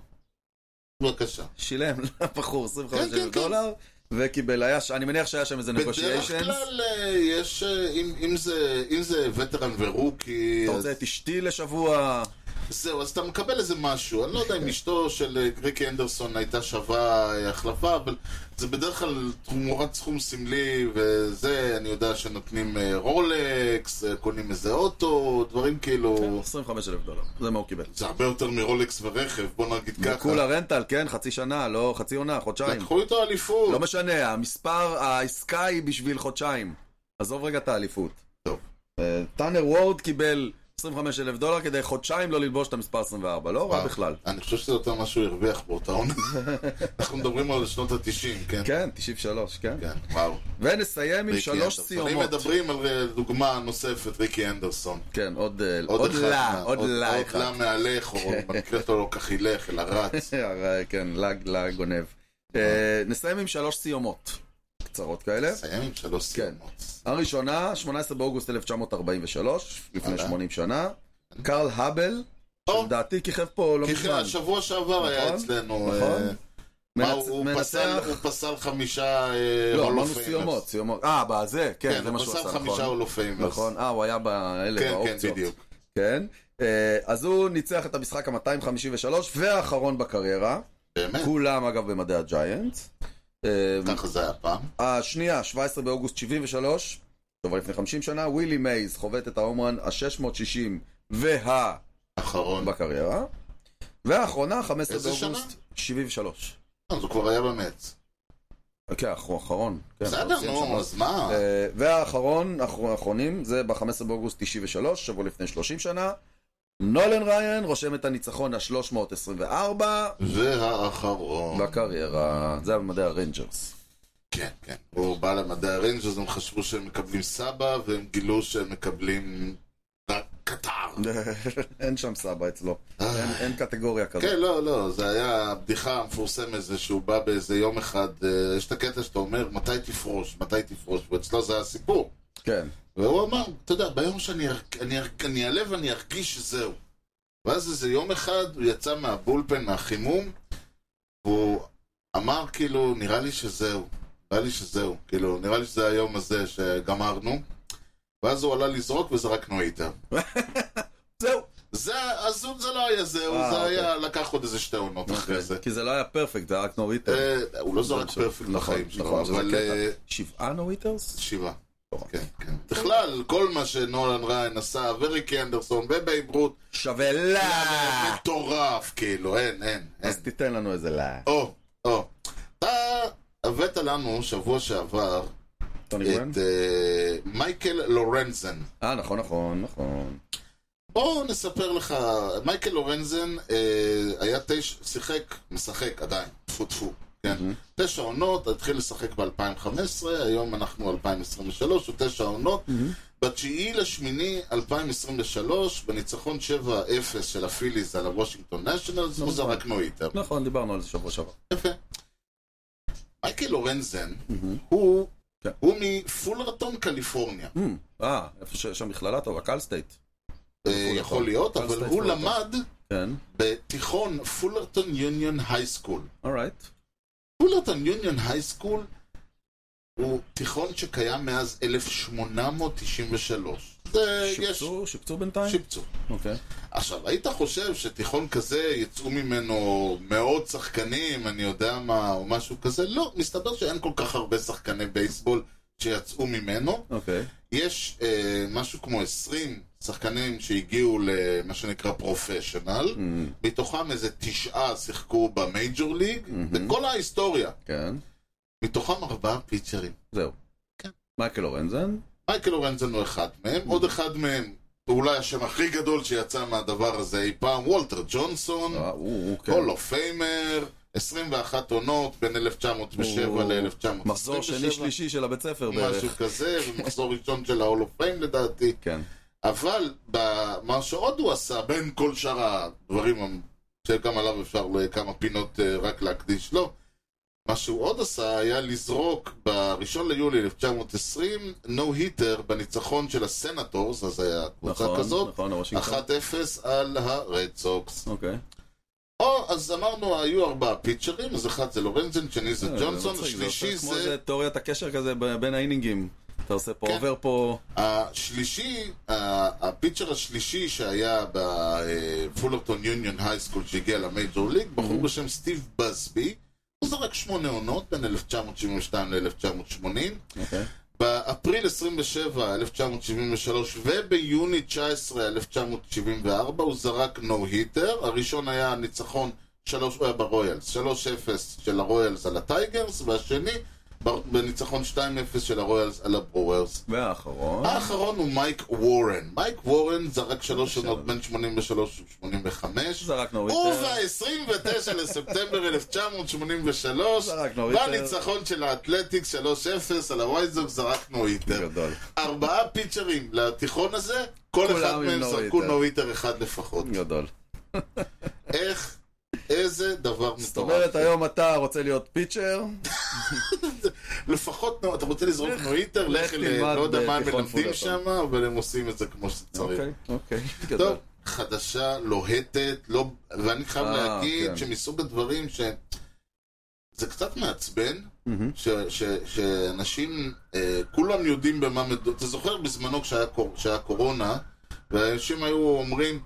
Speaker 2: בבקשה.
Speaker 1: שילם לבחור 25
Speaker 2: כן, כן,
Speaker 1: אלף
Speaker 2: כן.
Speaker 1: דולר, וקיבל, היה, ש- אני מניח שהיה שם איזה
Speaker 2: בדרך
Speaker 1: negotiations.
Speaker 2: כלל אה, יש, אה, אם- אם זה- אם זה וטרן ורוקי,
Speaker 1: אתה
Speaker 2: אז-
Speaker 1: רוצה את אשתי לשבוע?
Speaker 2: זהו, אז אתה מקבל איזה משהו. אני
Speaker 1: <laughs>
Speaker 2: לא יודע אם אשתו של אה, ריקי אנדרסון הייתה שווה אה, החלפה, אבל זה בדרך כלל תמורת סכום סמלי, וזה, אני יודע שנותנים אה, רולקס, אה, קונים איזה אוטו, דברים כאילו...
Speaker 1: 25 אלף דולר, זה מה הוא קיבל.
Speaker 2: זה הרבה יותר מרולקס ורכב, בוא נגיד ככה.
Speaker 1: כולה רנטל, כן, חצי שנה, לא חצי עונה, חודשיים.
Speaker 2: לקחו איתו אליפות.
Speaker 1: לא משנה, המספר, העסקה היא בשביל חודשיים. עזוב רגע את האליפות.
Speaker 2: טוב.
Speaker 1: אה, טאנר וורד קיבל 25 אלף דולר כדי חודשיים לא ללבוש את המספר 24, לא רע
Speaker 2: אה,
Speaker 1: בכלל.
Speaker 2: אני חושב שזה יותר מה שהוא הרוויח באותה
Speaker 1: <laughs>
Speaker 2: עונה. אנחנו מדברים על שנות התשעים, כן?
Speaker 1: כן, 93, כן.
Speaker 2: כן, וואו.
Speaker 1: ונסיים עם
Speaker 2: ריקי
Speaker 1: שלוש
Speaker 2: אנדרסון. אם
Speaker 1: סיומות.
Speaker 2: מדברים על אה, דוגמה נוספת, ריקי אנדרסון.
Speaker 1: כן, עוד אה,
Speaker 2: עוד
Speaker 1: עוד לה,
Speaker 2: אחד,
Speaker 1: עוד לה
Speaker 2: עוד
Speaker 1: אחד. כן.
Speaker 2: לה מהלך, או במקרה שלו לא כך הילך, אלא
Speaker 1: <laughs>
Speaker 2: רץ.
Speaker 1: אה, כן, לה- לה גונב. אה, נסיים עם שלוש סיומות קצרות כאלה.
Speaker 2: סיים עם שלוש
Speaker 1: כן.
Speaker 2: סיומות.
Speaker 1: הראשונה, 18 באוגוסט 1943, לפני
Speaker 2: אהלן.
Speaker 1: 80 שנה. קרל האבל,
Speaker 2: אה. או,
Speaker 1: לדעתי כיכב פה לא
Speaker 2: כי
Speaker 1: מזמן.
Speaker 2: השבוע שעבר היה
Speaker 1: נכון,
Speaker 2: אצלנו.
Speaker 1: נכון.
Speaker 2: אה, מה,
Speaker 1: מנצ-
Speaker 2: הוא
Speaker 1: מנצח-
Speaker 2: פסל- הוא פסל חמישה אה,
Speaker 1: לא,
Speaker 2: Hall of
Speaker 1: אמרנו
Speaker 2: Famers.
Speaker 1: סיומות, סיומות. אה, בזה, כן,
Speaker 2: כן,
Speaker 1: זה מה
Speaker 2: הוא
Speaker 1: שהוא
Speaker 2: פסל
Speaker 1: עשה,
Speaker 2: חמישה
Speaker 1: נכון.
Speaker 2: הולופאים.
Speaker 1: נכון, אה, הוא היה באלה,
Speaker 2: כן, כן,
Speaker 1: באופציות.
Speaker 2: בדיוק.
Speaker 1: כן. אה, אז הוא ניצח את המשחק ה-253 והאחרון בקריירה.
Speaker 2: באמת,
Speaker 1: כולם, אגב, במדעי הג'יינטס. אה,
Speaker 2: ככה זה היה פעם.
Speaker 1: השנייה, 17 באוגוסט 73, טוב, לפני 50 שנה, ווילי מייז חובט את ההומרן ה-660 וה...
Speaker 2: אחרון.
Speaker 1: בקריירה. והאחרונה, 15
Speaker 2: איזה
Speaker 1: באוגוסט 73.
Speaker 2: אז הוא כבר היה במץ.
Speaker 1: כן, האחר- האחרון. כן,
Speaker 2: בסדר,
Speaker 1: עושים שם-
Speaker 2: נו, אז מה?
Speaker 1: אה, והאחרון, האחר- האחרונים, זה ב-15 באוגוסט 93, שבוע לפני 30 שנה. נולן ריין רושם את הניצחון ה-324
Speaker 2: והאחרון.
Speaker 1: בקריירה. זה היה במדעי הרנג'רס.
Speaker 2: <laughs> כן, כן. הוא בא למדעי הריינג' אז הם חשבו שהם מקבלים סבא, והם גילו שהם מקבלים רק קטר.
Speaker 1: אין שם סבא אצלו.
Speaker 2: אה.
Speaker 1: אין- אין קטגוריה כזאת.
Speaker 2: כן, לא, לא, זה היה הבדיחה המפורסמת, זה שהוא בא באיזה יום אחד, אה, יש את הקטע שאתה אומר, מתי תפרוש, מתי תפרוש, ואצלו זה היה סיפור.
Speaker 1: כן.
Speaker 2: והוא אמר, אתה יודע, ביום שאני אר- אני אר- אני אעלה ואני ארגיש שזהו. ואז איזה יום אחד, הוא יצא מהבולפן, מהחימום, והוא אמר, כאילו, נראה לי שזהו. נראה לי שזהו. כאילו, נראה לי שזה היום הזה שגמרנו. ואז הוא עלה לזרוק וזרקנו איתה.
Speaker 1: זהו.
Speaker 2: זה, אז הוא- זה לא היה זהו,
Speaker 1: אה,
Speaker 2: זה
Speaker 1: אוקיי.
Speaker 2: היה, לקח עוד איזה שתי עונות אחרי זה.
Speaker 1: כי זה לא היה פרפקט, זה היה רק נוריטר.
Speaker 2: אה, הוא לא זורק
Speaker 1: נכון,
Speaker 2: פרפקט בחיים שלו,
Speaker 1: נכון, שזה
Speaker 2: אבל
Speaker 1: קטע.
Speaker 2: אה,
Speaker 1: שבעה נוריטרס?
Speaker 2: שבעה.
Speaker 1: נורא.
Speaker 2: כן, כן. בכלל, כל מה שנולן ריין עשה, וריקי אנדרסון ובייב רות,
Speaker 1: שווה
Speaker 2: זה
Speaker 1: לה!
Speaker 2: מטורף, כאילו, אין, אין, אין.
Speaker 1: אה. אז תיתן לנו איזה לה.
Speaker 2: או, או. אתה הבאת לנו שבוע שעבר
Speaker 1: טוני גוון?
Speaker 2: את אה, מייקל לורנזן.
Speaker 1: אה, נכון, נכון, נכון.
Speaker 2: בואו נספר לך, מייקל לורנזן אה, היה תשע, שיחק, משחק עדיין, טפו טפו, כן. תשע עונות, התחיל לשחק ב-2015, היום אנחנו 2023, הוא תשע עונות. בתשיעי לשמיני 2023, בניצחון 7-0 של הפיליז על הוושינגטון נשיונלס, הוא זרק נויטר.
Speaker 1: נכון, דיברנו על זה שבוע שעבר.
Speaker 2: יפה. מייקל לורנזן, הוא
Speaker 1: כן.
Speaker 2: הוא מפולרטון, קליפורניה.
Speaker 1: אמ, אה, איפה שיש שם מכללה טובה, קל סטייט.
Speaker 2: אה, יכול להיות,
Speaker 1: קל
Speaker 2: אבל
Speaker 1: סטייט
Speaker 2: הוא
Speaker 1: פולרטון.
Speaker 2: למד
Speaker 1: כן,
Speaker 2: בתיכון פולרטון יוניון הייסקול.
Speaker 1: אורייט.
Speaker 2: פולרטון יוניון הייסקול הוא תיכון שקיים מאז 1893. זה אה, יש...
Speaker 1: שיפצו, שיפצו בינתיים?
Speaker 2: שיפצו.
Speaker 1: אוקיי.
Speaker 2: עכשיו, היית חושב שתיכון כזה יצאו ממנו מאות שחקנים, אני יודע מה, או משהו כזה? לא, מסתבר שאין כל כך הרבה שחקני בייסבול שיצאו ממנו.
Speaker 1: אוקיי.
Speaker 2: יש אה, משהו כמו 20 שחקנים שהגיעו למה שנקרא פרופשיונל,
Speaker 1: אמ,
Speaker 2: מתוכם איזה תשעה שיחקו במייג'ור ליג, בכל ההיסטוריה.
Speaker 1: כן,
Speaker 2: מתוכם ארבעה פיצ'רים.
Speaker 1: זהו.
Speaker 2: כן.
Speaker 1: מייקל אורנזן,
Speaker 2: מייקל אורנזן הוא אחד מהם, עוד אחד מהם, אולי השם הכי גדול שיצא מהדבר הזה אי פעם, וולטר ג'ונסון,
Speaker 1: אה, הוא, הוא, כן.
Speaker 2: הולו פיימר, 21 עונות בין 1907
Speaker 1: הוא-
Speaker 2: ל-1927.
Speaker 1: מחזור שני שלישי של הבית ספר בערך.
Speaker 2: משהו כזה, ומחזור ראשון של ההולו פיימר לדעתי.
Speaker 1: כן.
Speaker 2: אבל ב- מה שעוד הוא עשה, בין כל שאר הדברים שגם עליו אפשר לכמה פינות אה, רק להקדיש לו, מה שהוא עוד עשה היה לזרוק בראשון ליולי 1920 נו היטר בניצחון של הסנטורס, אז היה קבוצה
Speaker 1: נכון,
Speaker 2: כזאת,
Speaker 1: נכון, הוושינגטון.
Speaker 2: 1-0 על הרד סוקס.
Speaker 1: אוקיי.
Speaker 2: או, אז אמרנו, היו ארבעה פיצ'רים, אז אחד זה לורנזן, שני זה
Speaker 1: אה,
Speaker 2: ג'ונסון,
Speaker 1: מצחיק, זה
Speaker 2: השלישי
Speaker 1: עושה כמו
Speaker 2: זה...
Speaker 1: איזה תיאוריית הקשר כזה ב- בין האינינגים. אתה עושה פה,
Speaker 2: כן.
Speaker 1: עובר פה...
Speaker 2: השלישי, ה- הפיצ'ר השלישי שהיה בפולרטון יוניון הייסקול שהגיע למייג'ור ליג, בחור בשם סטיב בסבי, הוא זרק שמונה עונות בין 1972 ל-1980.
Speaker 1: אוקיי.
Speaker 2: באפריל 27, 1973, וביוני 19, 1974, הוא זרק נו היטר. הראשון היה ניצחון, שלוש, אה, הוא היה ברויאלס, 3-0 של הרויאלס על הטייגרס, והשני, ב- בניצחון 2-0 של הרויאלס על הברוורס.
Speaker 1: והאחרון.
Speaker 2: האחרון הוא מייק וורן. מייק וורן זרק שלוש שנות בין 83 ו-85.
Speaker 1: זרקנו ריטר.
Speaker 2: וב-29 <laughs> לספטמבר 1983,
Speaker 1: זרקנו היטר.
Speaker 2: בניצחון של האתלטיקס 3-0 על הווייזוק זרקנו היטר.
Speaker 1: גדול.
Speaker 2: ארבעה פיצ'רים לתיכון הזה, כל
Speaker 1: כולם
Speaker 2: אחד
Speaker 1: עם אה.
Speaker 2: מהם
Speaker 1: נו
Speaker 2: זרקו
Speaker 1: היטר.
Speaker 2: נו היטר אחד לפחות.
Speaker 1: גדול.
Speaker 2: איך, איזה דבר
Speaker 1: זאת
Speaker 2: מטורף.
Speaker 1: אומרת, אה, היום אתה רוצה להיות פיצ'ר,
Speaker 2: לפחות, נו, אתה רוצה לזרוק נו היטר, לך,
Speaker 1: לך
Speaker 2: ל-
Speaker 1: תלמד
Speaker 2: לא יודע מה הם
Speaker 1: בתיכון
Speaker 2: מלמדים
Speaker 1: פולרטון.
Speaker 2: שם, אבל הם עושים את זה כמו שצריך.
Speaker 1: אוקיי, אוקיי,
Speaker 2: טוב,
Speaker 1: גדול.
Speaker 2: חדשה, לוהטת, לא... ואני חייב
Speaker 1: אה,
Speaker 2: להגיד
Speaker 1: כן.
Speaker 2: שמסוג הדברים ש... זה קצת מעצבן,
Speaker 1: מהמם.
Speaker 2: ש, ש, שאנשים, אה, כולם יודעים במה מדובר. אתה זוכר בזמנו כשהיה, קור, כשהיה קורונה, ואנשים היו אומרים,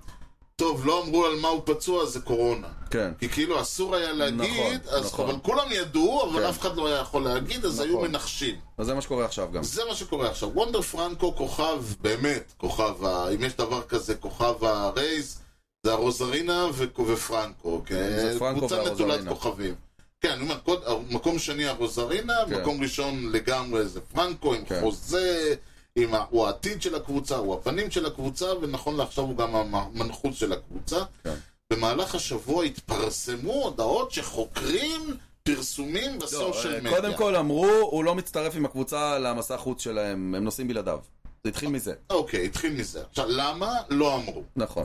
Speaker 2: טוב, לא אמרו על מה הוא פצוע, אז זה קורונה.
Speaker 1: כן.
Speaker 2: כי כאילו אסור היה להגיד,
Speaker 1: נכון,
Speaker 2: אז,
Speaker 1: נכון.
Speaker 2: אבל כולם ידעו, אבל
Speaker 1: כן.
Speaker 2: אף אחד לא היה יכול להגיד, אז היו
Speaker 1: נכון.
Speaker 2: מנחשים.
Speaker 1: אז זה מה שקורה עכשיו גם.
Speaker 2: זה מה שקורה עכשיו. וונדר פרנקו כוכב, באמת, כוכב, ה... אם יש דבר כזה, כוכב הרייז, זה הרוזרינה ו... ופרנקו, כן?
Speaker 1: זה פרנקו
Speaker 2: קבוצה נטולת
Speaker 1: והרוזרינה.
Speaker 2: כוכבים. כן, אני אומר, קוד... מקום שני הרוזרינה,
Speaker 1: כן.
Speaker 2: מקום ראשון לגמרי זה פרנקו, עם
Speaker 1: כן.
Speaker 2: חוזה, עם ה... הוא העתיד של הקבוצה, הוא הפנים של הקבוצה, ונכון לעכשיו הוא גם המנחוס של הקבוצה.
Speaker 1: כן.
Speaker 2: במהלך השבוע התפרסמו הודעות שחוקרים פרסומים בסושיאל מדיה.
Speaker 1: לא, אה, קודם כל אמרו, הוא לא מצטרף עם הקבוצה למסע חוץ שלהם, הם נוסעים בלעדיו. זה התחיל מזה.
Speaker 2: אוקיי, התחיל מזה. עכשיו, למה? לא אמרו.
Speaker 1: נכון.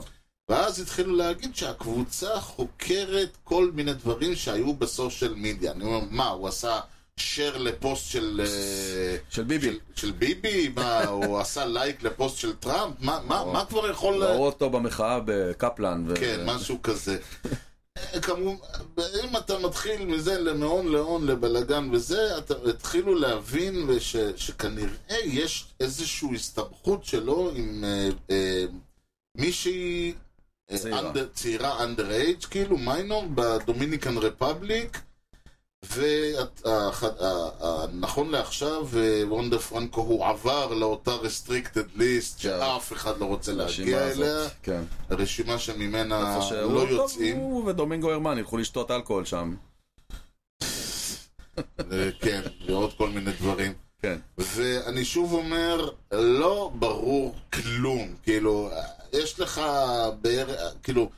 Speaker 2: ואז התחילו להגיד שהקבוצה חוקרת כל מיני דברים שהיו בסושיאל מדיה. אני אומר, מה, הוא עשה share לפוסט של... אה,
Speaker 1: של ביבי.
Speaker 2: של, של ביבי? מה, הוא עשה לייק לפוסט של טראמפ? מה, מה, מה כבר יכול... ל-
Speaker 1: ראו אותו במחאה בקפלן. ו-
Speaker 2: כן, משהו כזה. <laughs> כמובן, אם אתה מתחיל מזה למעון להון לבלגן וזה, אתה התחילו להבין וש, שכנראה יש איזושהי הסתבכות שלו עם אה, אה, מישהי אה,
Speaker 1: צעירה.
Speaker 2: under, צעירה אנדר אייג', כאילו מיינור בדומיניקן רפבליק, ונכון לעכשיו אה, וונדר פרנקו הוא עבר לאותה רסטריקטד ליסט שאף אחד לא רוצה
Speaker 1: כן. הרשימה
Speaker 2: להגיע
Speaker 1: הזאת,
Speaker 2: אליה.
Speaker 1: כן.
Speaker 2: הרשימה שממנה
Speaker 1: איפה שהוא-
Speaker 2: לא
Speaker 1: טוב,
Speaker 2: יוצאים.
Speaker 1: הוא ודומינגו הרמן ילכו לשתות אלכוהול שם.
Speaker 2: אה, כן, ועוד כל מיני דברים.
Speaker 1: כן.
Speaker 2: ואני שוב אומר, לא ברור כלום. כאילו, אה, יש לך בערך, אה, כאילו,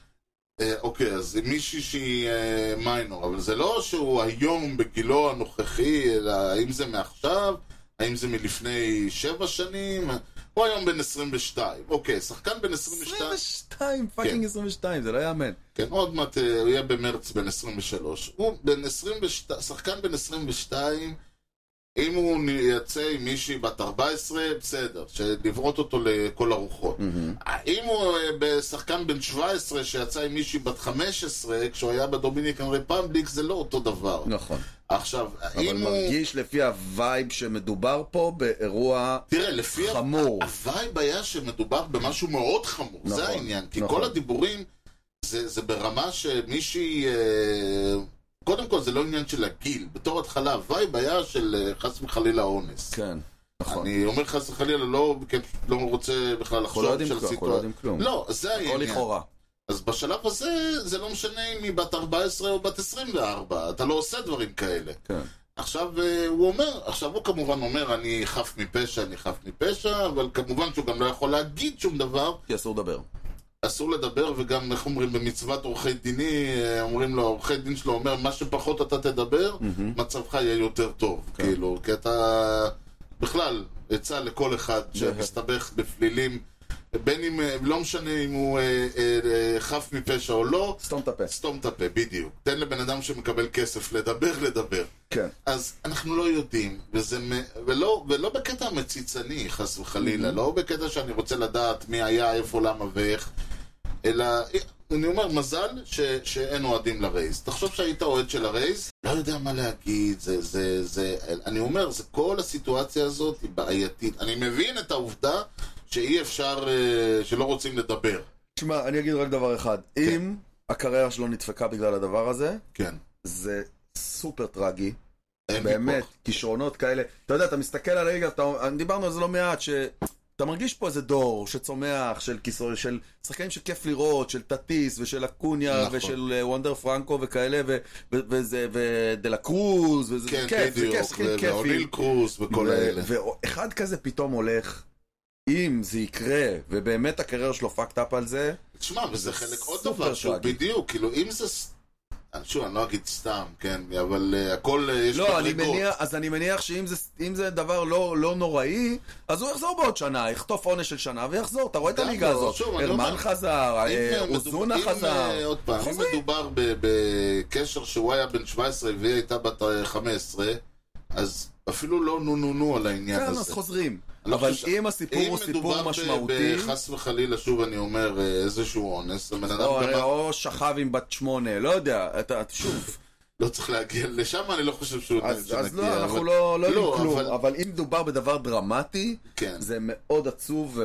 Speaker 2: אה, אוקיי, אז היא מישהי שהיא אה, מיינור, אבל זה לא שהוא היום בגילו הנוכחי, אלא האם זה מעכשיו, האם זה מלפני שבע שנים, הוא היום בן 22. אוקיי, שחקן בן 22.
Speaker 1: 22, פאקינג 22, זה לא יאמן.
Speaker 2: כן, עוד מעט אה, הוא יהיה במרץ בן 23. הוא בן 22, שחקן בן 22, אם הוא נ- יצא עם מישהי בת 14, בסדר, שלברות אותו לכל הרוחות. אם הוא אה, בשחקן בן 17 שיצא עם מישהי בת 15, כשהוא היה בדומיניקן רפבליק, זה לא אותו דבר.
Speaker 1: נכון.
Speaker 2: עכשיו,
Speaker 1: אבל
Speaker 2: אם הוא...
Speaker 1: מרגיש לפי הווייב שמדובר פה באירוע
Speaker 2: תראה, לפי... ה-
Speaker 1: חמור.
Speaker 2: הווייב היה שמדובר במשהו מאוד חמור,
Speaker 1: נכון,
Speaker 2: זה העניין. כי
Speaker 1: נכון.
Speaker 2: כל הדיבורים, זה, זה ברמה שמישהי... אה, קודם כל, זה לא עניין של הגיל. בתור התחלה, הווייב היה של אה, חס וחלילה אונס.
Speaker 1: כן, נכון.
Speaker 2: אני אומר חס וחלילה, לא, כי אני פשוט לא רוצה בכלל
Speaker 1: אנחנו לא
Speaker 2: לחשוב
Speaker 1: יודעים
Speaker 2: של
Speaker 1: כלום, אנחנו לא
Speaker 2: סיטואציה.
Speaker 1: יודעים כלום.
Speaker 2: לא, זה
Speaker 1: הכל
Speaker 2: העניין.
Speaker 1: לכאורה.
Speaker 2: אז בשלב הזה, זה לא משנה אם היא בת 14 או בת 24, אתה לא עושה דברים כאלה.
Speaker 1: כן.
Speaker 2: עכשיו אה, הוא אומר, עכשיו הוא כמובן אומר, אני חף מפשע, אני חף מפשע, אבל כמובן שהוא גם לא יכול להגיד שום דבר,
Speaker 1: כי אסור לדבר.
Speaker 2: אסור לדבר, וגם, איך אומרים, במצוות עורכי דיני, אה, אומרים לו, עורכי דין שלו אומר, מה שפחות אתה תדבר, מצבך יהיה יותר טוב,
Speaker 1: כן.
Speaker 2: כאילו, כי אתה, בכלל, עצה לכל אחד שמסתבך בפלילים, בין אם, אה, לא משנה אם הוא אה, אה, אה, חף מפשע או לא,
Speaker 1: סתום את הפה.
Speaker 2: סתום את הפה, בדיוק. תן לבן אדם שמקבל כסף לדבר, לדבר.
Speaker 1: כן.
Speaker 2: אז אנחנו לא יודעים, וזה, מ- ולא, ולא בקטע מציצני, חס וחלילה,
Speaker 1: Mm-hmm.
Speaker 2: לא בקטע שאני רוצה לדעת מי היה, איפה, למה ואיך, אלא, אני אומר, מזל ש, שאין אוהדים לרייז. תחשוב שהיית אוהד של הרייז, לא יודע מה להגיד, זה, זה, זה, אני אומר, זה כל הסיטואציה הזאת היא בעייתית. אני מבין את העובדה שאי אפשר, אה, שלא רוצים לדבר.
Speaker 1: תשמע, אני אגיד רק דבר אחד. אם הקריירה שלו נדפקה בגלל הדבר הזה,
Speaker 2: כן.
Speaker 1: זה סופר טרגי.
Speaker 2: אין
Speaker 1: באמת,
Speaker 2: ויכוח.
Speaker 1: כישרונות כאלה. אתה יודע, אתה מסתכל על הליגה, אתה- דיברנו על זה לא מעט, שאתה מרגיש פה איזה דור שצומח, של כיסוי, של שחקנים שכיף לראות, של טטיס, ושל אקוניה,
Speaker 2: נכון.
Speaker 1: ושל אה, וונדר פרנקו וכאלה, ו- ו- וזה, ודלה קרוז, וזה
Speaker 2: כן,
Speaker 1: זה כיף, זה
Speaker 2: בדיוק,
Speaker 1: כיף, שחקנים
Speaker 2: ו- ואוניל
Speaker 1: כיפים.
Speaker 2: קרוז וכל
Speaker 1: ו-
Speaker 2: האלה.
Speaker 1: ואחד כזה פתאום הולך, אם זה יקרה, ובאמת הקריירה שלו fucked up על זה,
Speaker 2: תשמע, וזה חלק עוד
Speaker 1: סופר
Speaker 2: דבר, שהוא
Speaker 1: טרגי.
Speaker 2: בדיוק, כאילו, אם זה... ס- שוב, אני לא אגיד סתם, כן, אבל אה, הכל אה, יש
Speaker 1: לא, אני
Speaker 2: מדרגות.
Speaker 1: מניח, אז אני מניח שאם זה, אם זה דבר לא, לא נוראי, אז הוא יחזור בעוד שנה, יחטוף עונש של שנה ויחזור. אתה רואה את
Speaker 2: גם
Speaker 1: הליגה
Speaker 2: לא,
Speaker 1: הזאת.
Speaker 2: שוב, אני
Speaker 1: הרמן
Speaker 2: אומר,
Speaker 1: חזר,
Speaker 2: אם,
Speaker 1: אה,
Speaker 2: אה, מדוב-
Speaker 1: אוזונה
Speaker 2: אם, אה,
Speaker 1: חזר.
Speaker 2: עוד פעם, אם
Speaker 1: חוזרים.
Speaker 2: מדובר ב- בקשר שהוא היה בן 17 והיא הייתה בת אה, 15, אז אפילו לא נו נו נו על העניין
Speaker 1: כן, אז
Speaker 2: הזה.
Speaker 1: חוזרים.
Speaker 2: לא
Speaker 1: אבל
Speaker 2: חושב-
Speaker 1: אם הסיפור הוא סיפור משמעותי, לא,
Speaker 2: אם מדובר ב- בחס וחלילה, שוב אני אומר, אה, איזשהו אונס, הבן אדם
Speaker 1: או-
Speaker 2: גמר-
Speaker 1: או שכב עם בת שמונה, לא יודע, אתה- שוב.
Speaker 2: לא צריך להגיע לשם, אני לא חושב שהוא...
Speaker 1: אז אז
Speaker 2: שנגיע,
Speaker 1: לא, אנחנו
Speaker 2: אבל-
Speaker 1: לא לא
Speaker 2: לא,
Speaker 1: יודעים כלום.
Speaker 2: אבל-
Speaker 1: אבל אם מדובר בדבר דרמטי,
Speaker 2: כן.
Speaker 1: זה מאוד עצוב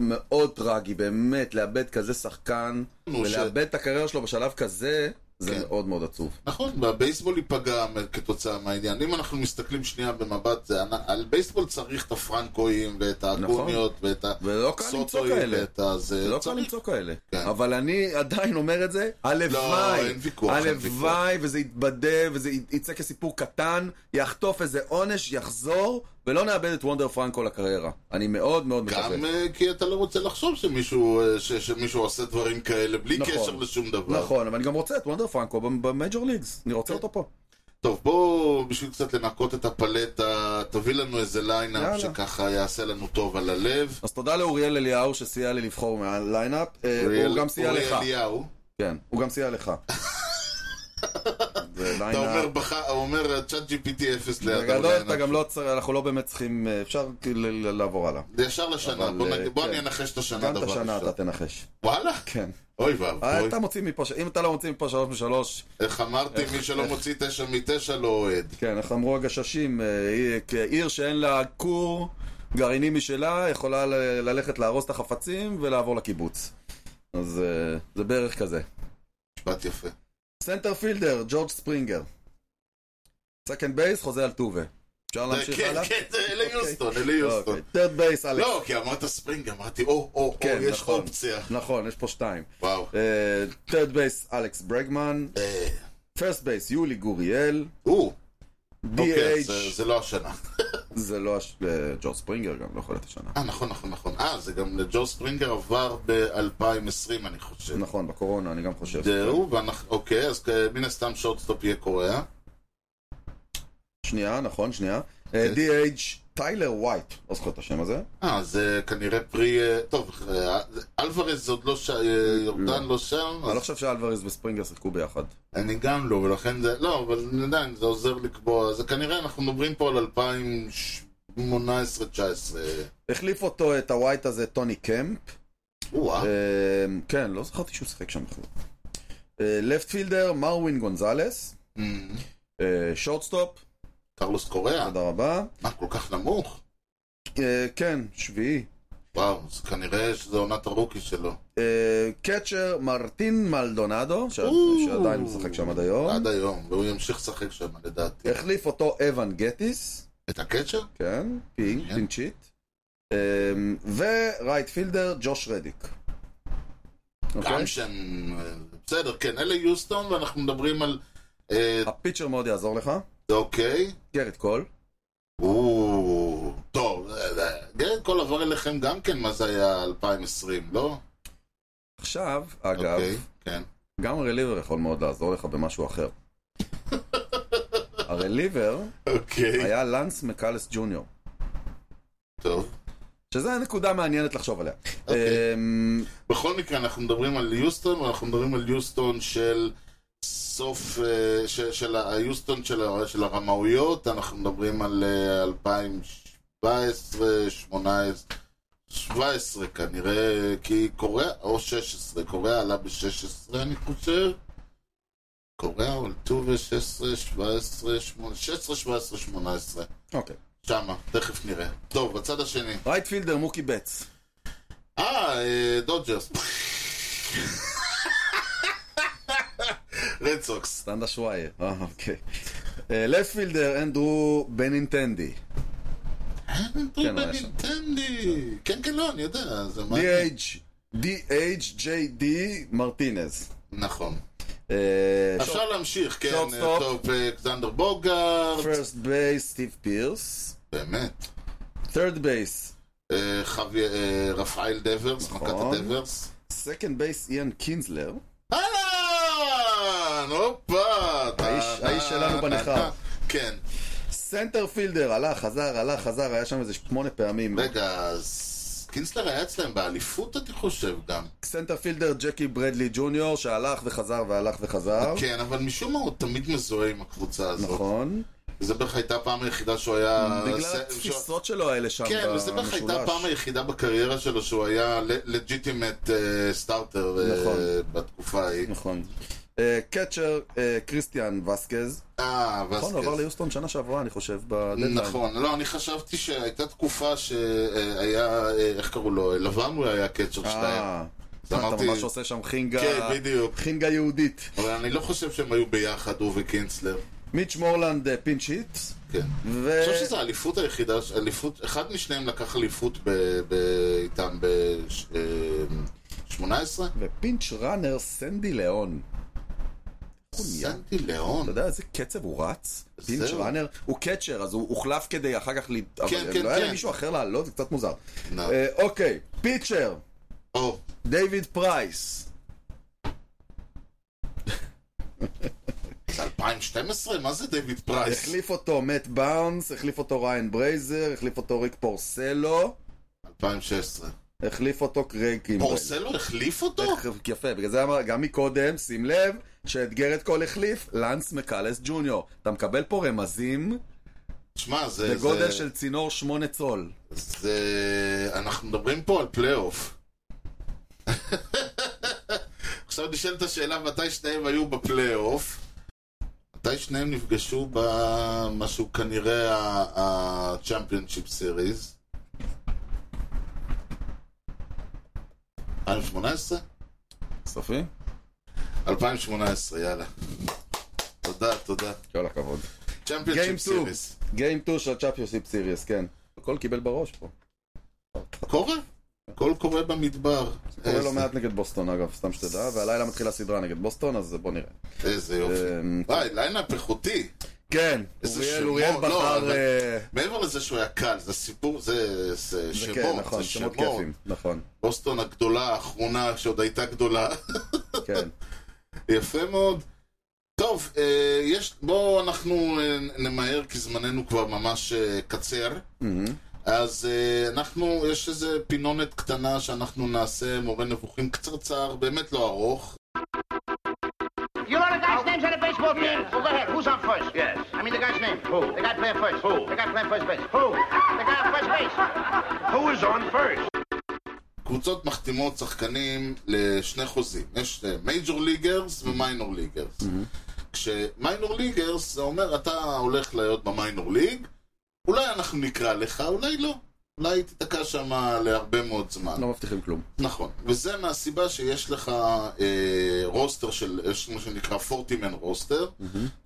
Speaker 1: ומאוד טרגי, באמת, לאבד כזה שחקן,
Speaker 2: נו, ש-
Speaker 1: ולאבד את הקריירה שלו בשלב כזה, זה
Speaker 2: כן.
Speaker 1: מאוד מאוד עצוב.
Speaker 2: נכון, והבייסבול ייפגע כתוצאה מהעניין. אם אנחנו מסתכלים שנייה במבט, זה, ענ- על בייסבול צריך את הפרנקואים ואת האקוניות ואת
Speaker 1: נכון. ולא קל למצוא
Speaker 2: הסוטואים
Speaker 1: כאלה.
Speaker 2: ואת הזה.
Speaker 1: לא קל
Speaker 2: צריך.
Speaker 1: למצוא כאלה.
Speaker 2: כן. לא,
Speaker 1: אבל אני עדיין אומר את זה, הלוואי.
Speaker 2: אין ויכוח, אין
Speaker 1: הלוואי, וזה יתבדה, וזה י- יצא כסיפור קטן, יחטוף איזה עונש, יחזור, ולא נאבד את וונדר פרנקו לקריירה. אני מאוד מאוד מקווה.
Speaker 2: גם אה, כי אתה לא רוצה לחשוב שמישהו, אה, ש, שמישהו עושה דברים כאלה בלי
Speaker 1: נכון.
Speaker 2: קשר לשום דבר.
Speaker 1: נכון, אבל אני גם רוצה את וונדר פרנקו במ- במייג'ור ליגס. אני רוצה
Speaker 2: כן.
Speaker 1: אותו פה.
Speaker 2: טוב, בואו בשביל קצת לנקות את הפלטה, תביא לנו איזה
Speaker 1: יאללה.
Speaker 2: ליינאפ שככה יעשה לנו טוב על הלב.
Speaker 1: אז תודה לאוריאל אליהו שסייע לי לבחור מהליינאפ. אה,
Speaker 2: אוריאל-
Speaker 1: הוא גם סייע
Speaker 2: אוריאל
Speaker 1: לך.
Speaker 2: אליהו.
Speaker 1: כן, הוא גם סייע לך. זה
Speaker 2: אתה
Speaker 1: ליינאפ.
Speaker 2: אומר, בח... הוא אומר צ'אט GPT אפס ליד
Speaker 1: בגדול
Speaker 2: הליינאפ
Speaker 1: אתה גם לא צריך, אנחנו לא באמת צריכים, אה, אפשר כאילו ל- ל- לעבור הלאה.
Speaker 2: זה ישר לשנה,
Speaker 1: אבל,
Speaker 2: בוא,
Speaker 1: אה,
Speaker 2: נגיד, בוא
Speaker 1: כן.
Speaker 2: אני אנחש את השנה
Speaker 1: גם
Speaker 2: דבר
Speaker 1: את השנה
Speaker 2: ראשון.
Speaker 1: אתה תנחש.
Speaker 2: וואלה?
Speaker 1: כן.
Speaker 2: אוי ואבוי.
Speaker 1: אתה מוציא מפה, ש- אם אתה לא מוציא מפה שלוש משלוש,
Speaker 2: איך אמרתי, מי שלא מוציא תשע מתשע לא אוהד.
Speaker 1: כן, איך אמרו הגששים, אה, היא- כ- עיר שאין לה כור גרעיני משלה, יכולה ל- ללכת לארוז את החפצים ולעבור לקיבוץ. אז אה, זה בערך כזה.
Speaker 2: משפט יפה.
Speaker 1: סנטר פילדר, ג'ורג' ספרינגר. סקנד בייס, חוזה על טובה. אפשר להמשיך
Speaker 2: כן,
Speaker 1: הלאה?
Speaker 2: כן, זה אלי
Speaker 1: אוקיי.
Speaker 2: יוסטון, אלי יוסטון.
Speaker 1: טרד בייס, אלכס.
Speaker 2: לא, כי אמרת ספרינג, אמרתי, או, או, או,
Speaker 1: כן,
Speaker 2: יש
Speaker 1: נכון.
Speaker 2: אופציה.
Speaker 1: נכון, יש פה שתיים. אה,
Speaker 2: וואו.
Speaker 1: טרד בייס, אלכס ברגמן.
Speaker 2: אה,
Speaker 1: פרסט בייס, יולי גוריאל.
Speaker 2: או, אוקיי,
Speaker 1: DH,
Speaker 2: זה- זה לא השנה.
Speaker 1: זה לא הש- אה, ג'ורג' ספרינגר גם לא יכול להיות השנה.
Speaker 2: אה, נכון, נכון, נכון. אה, זה גם לג'ו ספרינגר עבר ב-2020, אני חושב.
Speaker 1: נכון, בקורונה, אני גם חושב.
Speaker 2: זהו, ואנחנו... אוקיי, אז אה, מן הסתם שורטסטופ יהיה קוריאה.
Speaker 1: שנייה, נכון, שנייה.
Speaker 2: אוקיי.
Speaker 1: אה, DH טיילר ווייט, לא זוכר את השם הזה.
Speaker 2: אה, זה כנראה פרי... אה, טוב, אה, אלוורז עוד לא שם, יורדן לא שם,
Speaker 1: אני לא
Speaker 2: אז
Speaker 1: חושב שאלוורז וספרינגר שיחקו ביחד.
Speaker 2: אני גם לא, ולכן זה... לא, אבל עדיין, זה עוזר לקבוע. זה כנראה, אנחנו מדברים פה על 2018-2019.
Speaker 1: החליף אותו, את הווייט הזה, טוני קמפ.
Speaker 2: או-אה,
Speaker 1: אה, כן, לא זכרתי שהוא שיחק שם בכלל. לפט פילדר, מרווין גונזלס.
Speaker 2: אמ,
Speaker 1: אה, שורטסטופ,
Speaker 2: קרלוס קוריאה.
Speaker 1: תודה רבה.
Speaker 2: מה, כל כך נמוך?
Speaker 1: אה, כן, שביעי.
Speaker 2: וואו, אז כנראה שזה עונת הרוקי שלו.
Speaker 1: אה, קצ'ר מרטין מלדונדו, ש-
Speaker 2: או.
Speaker 1: שעדיין משחק שם עד היום.
Speaker 2: עד היום, והוא ימשיך לשחק שם, לדעתי.
Speaker 1: החליף אותו אבן גטיס,
Speaker 2: את הקצ'ר?
Speaker 1: כן, פינק,
Speaker 2: כן.
Speaker 1: פינצ'יט. אה, ורייט פילדר, ג'וש רדיק. אוקיי?
Speaker 2: גם שם... אה, בסדר, כן, אלה יוסטון, ואנחנו מדברים על... אה,
Speaker 1: הפיצ'ר מאוד יעזור לך.
Speaker 2: אוקיי.
Speaker 1: גרד קול.
Speaker 2: או, טוב, אה, אה, גרד קול עבר אליכם גם כן, מה זה היה 2020, לא?
Speaker 1: עכשיו, אגב,
Speaker 2: אוקיי, כן.
Speaker 1: גם רליבר יכול מאוד לעזור לך במשהו
Speaker 2: <laughs>
Speaker 1: אחר. הרליבר
Speaker 2: אוקיי.
Speaker 1: היה לנס מקלס ג'וניור.
Speaker 2: טוב.
Speaker 1: שזה נקודה מעניינת לחשוב עליה.
Speaker 2: אוקיי.
Speaker 1: אמ,
Speaker 2: בכל מקרה, אנחנו מדברים על יוסטון, ואנחנו מדברים על יוסטון של סוף... אה, ש- של ה- היוסטון של ה- של הרמאויות, אנחנו מדברים על אה, 2017, 18, 17 כנראה, כי קוריאה, או 16, קוריאה עלה ב-16 אני חושב. קוריאה, אולטובה, 16, 17, 16, 17, 18.
Speaker 1: אוקיי.
Speaker 2: שמה, תכף נראה. טוב, בצד השני.
Speaker 1: רייט פילדר מוקי בטס.
Speaker 2: אה, אה, דודג'רס. רד סוקס.
Speaker 1: סטנדה שווייר. אה, אוקיי. לפט פילדר אנדרו בנינטנדי.
Speaker 2: אנדרו
Speaker 1: כן, הוא היה
Speaker 2: בנינטנדי. כן, כן, לא, אני יודע. זה מה...
Speaker 1: DH, DH, JD מרטינז.
Speaker 2: נכון.
Speaker 1: אה,
Speaker 2: אפשר להמשיך, כן.
Speaker 1: שורט
Speaker 2: אה,
Speaker 1: סטופ.
Speaker 2: טוב, אה, אלכסנדר בוגארד.
Speaker 1: פרסט בייס, סטיב פירס.
Speaker 2: באמת.
Speaker 1: תרד בייס,
Speaker 2: אה, חווי... אה, רפאל דברס,
Speaker 1: נכון.
Speaker 2: מכת הדברס.
Speaker 1: סקנד בייס איאן קינזלר.
Speaker 2: אהלן! הופה! טה,
Speaker 1: האיש- האיש
Speaker 2: טה,
Speaker 1: שלנו
Speaker 2: טה,
Speaker 1: בנכר.
Speaker 2: טה. כן.
Speaker 1: סנטר פילדר, עלה, חזר, עלה, חזר, היה שם איזה שמונה פעמים.
Speaker 2: רגע, אז... קינסלר היה אצלם באליפות, אני חושב, גם.
Speaker 1: סנטר פילדר ג'קי ברדלי ג'וניור, שהלך וחזר והלך וחזר.
Speaker 2: כן, אבל משום מה הוא תמיד מזוהה עם הקבוצה הזאת.
Speaker 1: נכון.
Speaker 2: זה בערך הייתה הפעם היחידה שהוא היה...
Speaker 1: בגלל
Speaker 2: ש-
Speaker 1: התפיסות שלו האלה שם
Speaker 2: אה, כן, וזה בערך הייתה הפעם היחידה בקריירה שלו שהוא היה לג'יטימט סטארטר
Speaker 1: נכון.
Speaker 2: אה, בתקופה ההיא.
Speaker 1: נכון. אה, קצ'ר, אה, כריסטיאן וסקז.
Speaker 2: אה,
Speaker 1: נכון, הוא עבר
Speaker 2: וסקס.
Speaker 1: ליוסטון שנה שעברה, אני חושב, בדדליין.
Speaker 2: נכון, לא, אני חשבתי שהייתה תקופה שהיה, אה, איך קראו לו, לבן הוא היה קצ'ר שלהם.
Speaker 1: אה,
Speaker 2: אז
Speaker 1: אתה
Speaker 2: אמרתי-
Speaker 1: ממש עושה שם חינגה...
Speaker 2: כן, בדיוק.
Speaker 1: חינגה יהודית.
Speaker 2: אבל אני לא חושב שהם היו ביחד, הוא וקינצלר.
Speaker 1: מיץ' מורלנד אה, פינץ' היט.
Speaker 2: כן.
Speaker 1: ו...
Speaker 2: אני חושב שזו האליפות היחידה, ש- אליפות, אחד משניהם לקח אליפות ב- ב- אה, איתם ב-18?
Speaker 1: ופינץ' ראנר סנדי ליאון. הוא נהיה?
Speaker 2: סנטי
Speaker 1: אתה
Speaker 2: ליאון.
Speaker 1: יודע איזה קצב הוא רץ? פינץ'
Speaker 2: זהו.
Speaker 1: ראנר, הוא קצ'ר, אז הוא הוחלף כדי אחר כך ל...
Speaker 2: כן,
Speaker 1: אבל
Speaker 2: כן,
Speaker 1: לא היה
Speaker 2: כן.
Speaker 1: למישהו אחר לעלות, זה קצת מוזר.
Speaker 2: נא. לא,
Speaker 1: אה, אוקיי, פיצ'ר,
Speaker 2: או,
Speaker 1: דיוויד פרייס.
Speaker 2: זה 2012? מה זה דיוויד פרייס?
Speaker 1: החליף אותו מאט באונס, החליף אותו ריין ברייזר, החליף אותו ריק פורסלו, לא
Speaker 2: 2016.
Speaker 1: החליף אותו קרייג קימבל.
Speaker 2: פורסלו החליף אותו?
Speaker 1: איך- יפה, בגלל זה אמר, גם מקודם, שים לב, שאת גרד קול החליף, לנס מקלס ג'וניור. אתה מקבל פה רמזים
Speaker 2: שמע, זה...
Speaker 1: בגודל
Speaker 2: זה-
Speaker 1: של צינור שמונה צול.
Speaker 2: זה... אנחנו מדברים פה על פלייאוף. עכשיו נשאלת השאלה מתי שניהם היו בפלייאוף. מתי שניהם נפגשו במה שהוא כנראה ה-Championship Series? 2018?
Speaker 1: סופי?
Speaker 2: 2018, יאללה. תודה, תודה.
Speaker 1: כל הכבוד. Game
Speaker 2: צ'מפיונשיפ
Speaker 1: two.
Speaker 2: סיריס.
Speaker 1: גיים 2 של צ'אפיוסיפ סיריוס, כן. הכל קיבל בראש פה.
Speaker 2: קורה? הכל קורה במדבר.
Speaker 1: קורה לא
Speaker 2: איזה-
Speaker 1: מעט נגד בוסטון, אגב, סתם שתדע, והלילה מתחילה סדרה נגד בוסטון, אז בוא נראה.
Speaker 2: איזה יופי.
Speaker 1: אמ,
Speaker 2: וואי, ליינאפ איכותי.
Speaker 1: כן,
Speaker 2: איזה
Speaker 1: אוריאל,
Speaker 2: שמות,
Speaker 1: אוריאל
Speaker 2: לא,
Speaker 1: בחר...
Speaker 2: אבל-
Speaker 1: אה,
Speaker 2: מעבר לזה שהוא היה קל, זה סיפור, זה, זה
Speaker 1: זה
Speaker 2: שמות,
Speaker 1: כן,
Speaker 2: זה
Speaker 1: נכון, שמות
Speaker 2: שמות.
Speaker 1: כיפים, נכון,
Speaker 2: בוסטון הגדולה, האחרונה, שעוד הייתה גדולה. <laughs>
Speaker 1: כן.
Speaker 2: יפה מאוד. טוב, אה, יש, בואו אנחנו אה, נמהר, כי זמננו כבר ממש אה, קצר.
Speaker 1: מהמם.
Speaker 2: אז אה, אנחנו, יש איזה פינונת קטנה שאנחנו נעשה, מורה נבוכים קצרצר, באמת לא ארוך.
Speaker 5: You know the guy's names on the baseball team? Well, go ahead. Who's on first? Yes. I mean the guy's name. Who? The guy playing first. Who? The guy playing first base. Who? The guy on first base. Who is on first?
Speaker 2: קבוצות מחתימות שחקנים לשני חוזים. יש אה, מייג'ור ליגרס ומיינור ליגרס. כשמיינור ליגרס זה אומר, אתה הולך להיות במיינור ליג, אולי אנחנו נקרא לך, אולי לא. אולי תיתקע שם להרבה מאוד זמן.
Speaker 1: לא מבטיחים כלום.
Speaker 2: נכון, וזה מהסיבה שיש לך אה, רוסטר של, יש מה שנקרא 40-man רוסטר,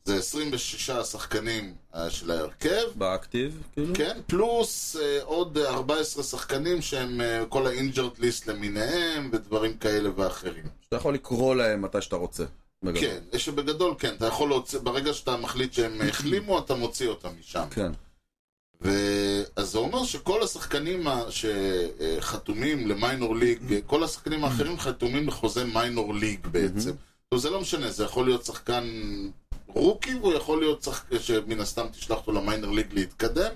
Speaker 2: זה 26 השחקנים אה, של ההרכב,
Speaker 1: באקטיב, כאילו?
Speaker 2: כן, פלוס אה, עוד אה, 14 שחקנים שהם אה, כל ה-injured list למיניהם ודברים כאלה ואחרים.
Speaker 1: שאתה יכול לקרוא להם מתי שאתה רוצה. בגדול.
Speaker 2: כן, שבגדול כן, אתה יכול להוציא, ברגע שאתה מחליט שהם החלימו, אתה מוציא אותם משם.
Speaker 1: כן.
Speaker 2: ו- אז זה אומר שכל השחקנים ה- שחתומים למיינור ליג, כל השחקנים האחרים חתומים לחוזה מיינור ליג בעצם. טוב, זה לא משנה, זה יכול להיות שחקן רוקי, והוא יכול להיות שחקן שמן הסתם תשלח אותו למיינור ליג להתקדם,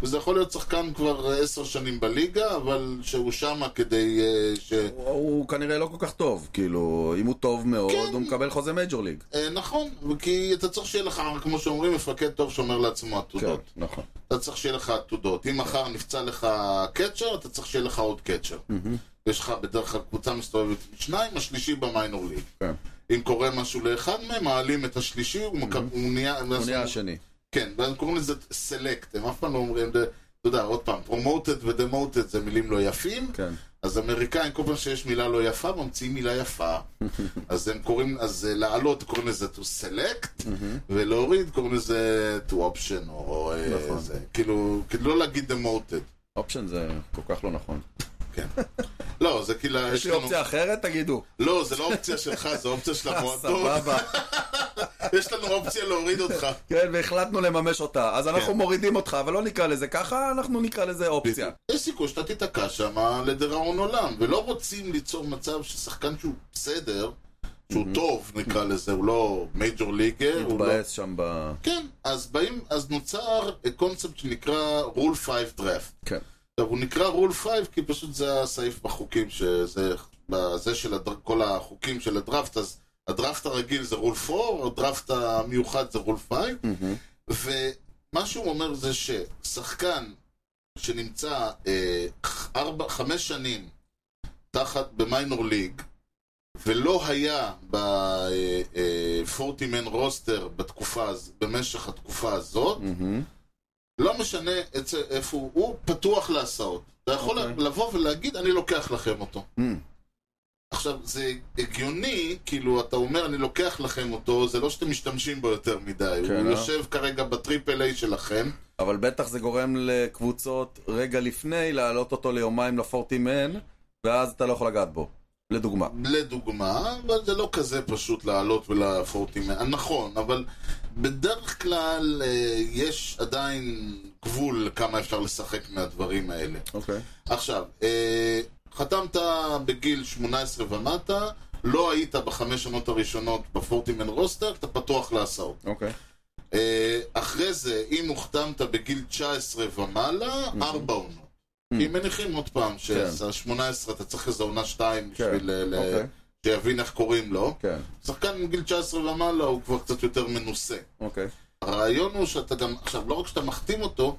Speaker 2: וזה יכול להיות שחקן כבר עשר שנים בליגה, אבל שהוא שמה כדי אה, ש...
Speaker 1: הוא- הוא כנראה לא כל כך טוב, כאילו, אם הוא טוב מאוד,
Speaker 2: כן.
Speaker 1: הוא מקבל חוזה מייג'ור ליג.
Speaker 2: אה, נכון, כי אתה צריך שיהיה לך, כמו שאומרים, מפקד טוב שומר לעצמו עתודות.
Speaker 1: כן, נכון.
Speaker 2: אתה צריך שיהיה לך עתודות. אם מחר נפצע לך קצ'ר, אתה צריך שיהיה לך עוד קצ'ר. יש לך בדרך כלל קבוצה מסתובבת עם שניים, השלישי במיינור ליג.
Speaker 1: כן.
Speaker 2: אם קורה משהו לאחד מהם, מעלים את השלישי, הוא מק- הוא נהיה...
Speaker 1: הוא נהיה השני.
Speaker 2: כן, ואז קוראים לזה סלקט, הם אף פעם לא אומרים... אתה יודע, עוד פעם, פרומוטד ודמוטד זה מילים לא יפים,
Speaker 1: כן.
Speaker 2: אז אמריקאים, כל פעם שיש מילה לא יפה, ממציאים מילה
Speaker 1: <laughs>
Speaker 2: יפה. אז הם קוראים, אז אה, לעלות קוראים לזה to select,
Speaker 1: Mhm.
Speaker 2: ולהוריד קוראים לזה to option, או אה,
Speaker 1: נכון.
Speaker 2: זה. כאילו, כאילו לא להגיד demoted.
Speaker 1: אופשן זה כל כך לא נכון.
Speaker 2: כן. <laughs> לא, זה כאילו...
Speaker 1: יש לי אופציה אחרת? תגידו. אה,
Speaker 2: לא, זה לא אופציה
Speaker 1: <laughs>
Speaker 2: שלך, זו אופציה של המועדון.
Speaker 1: סבבה.
Speaker 2: <laughs> יש לנו אופציה להוריד אותך.
Speaker 1: כן, והחלטנו לממש אותה. אז אנחנו
Speaker 2: כן.
Speaker 1: מורידים אותך, אבל לא נקרא לזה ככה, אנחנו נקרא לזה <laughs> אופציה.
Speaker 2: יש סיכוי שאתה תיתקע שם לדיראון עולם, ולא רוצים ליצור מצב ששחקן שהוא בסדר, שהוא טוב נקרא לזה, הוא לא מייג'ור ליגר, הוא לא...
Speaker 1: Mhm. מתבאס שם ב...
Speaker 2: כן, אז באים, אז נוצר אה, קונספט שנקרא Rule 5 Draft.
Speaker 1: כן.
Speaker 2: עכשיו, הוא נקרא Rule 5 כי פשוט זה הסעיף בחוקים, שזה, בזה של הדר, כל החוקים של הדראפט, אז הדראפט הרגיל זה Rule 4, הדראפט המיוחד זה Rule 5, ומה שהוא אומר זה ששחקן שנמצא אה, ארבע, חמש שנים תחת, במיינור ליג, ולא היה ב-40 מן רוסטר בתקופה, הז- במשך התקופה הזאת,
Speaker 1: מהמם.
Speaker 2: לא משנה אצל- איפה הוא, הוא פתוח להסעות. אתה יכול
Speaker 1: אוקיי.
Speaker 2: לבוא ולהגיד, אני לוקח לכם אותו.
Speaker 1: מהמם.
Speaker 2: עכשיו, זה הגיוני, כאילו, אתה אומר, אני לוקח לכם אותו, זה לא שאתם משתמשים בו יותר מדי.
Speaker 1: כן,
Speaker 2: הוא
Speaker 1: אה?
Speaker 2: יושב כרגע בטריפל איי שלכם.
Speaker 1: אבל בטח זה גורם לקבוצות רגע לפני להעלות אותו ליומיים לפורטימן, ואז אתה לא יכול לגעת בו. לדוגמה.
Speaker 2: לדוגמה, אבל זה לא כזה פשוט לעלות ולפורטים, נכון, אבל בדרך כלל אה, יש עדיין גבול כמה אפשר לשחק מהדברים האלה.
Speaker 1: אוקיי.
Speaker 2: עכשיו, אה, חתמת בגיל 18 ומטה, לא היית בחמש שנות הראשונות בפורטימן רוסטר, אתה פתוח להסעות.
Speaker 1: אוקיי.
Speaker 2: אה, אחרי זה, אם הוחתמת בגיל 19 ומעלה,
Speaker 1: Mhm.
Speaker 2: ארבע עונות. כי מניחים עוד פעם, ש-18 אתה צריך איזו עונה שתיים
Speaker 1: כן,
Speaker 2: בשביל אה, ל- ל-
Speaker 1: אוקיי.
Speaker 2: שיבין איך קוראים לו.
Speaker 1: כן.
Speaker 2: שחקן מגיל 19 ומעלה הוא כבר קצת יותר מנוסה.
Speaker 1: אוקיי.
Speaker 2: הרעיון הוא שאתה גם, עכשיו, לא רק שאתה מחתים אותו,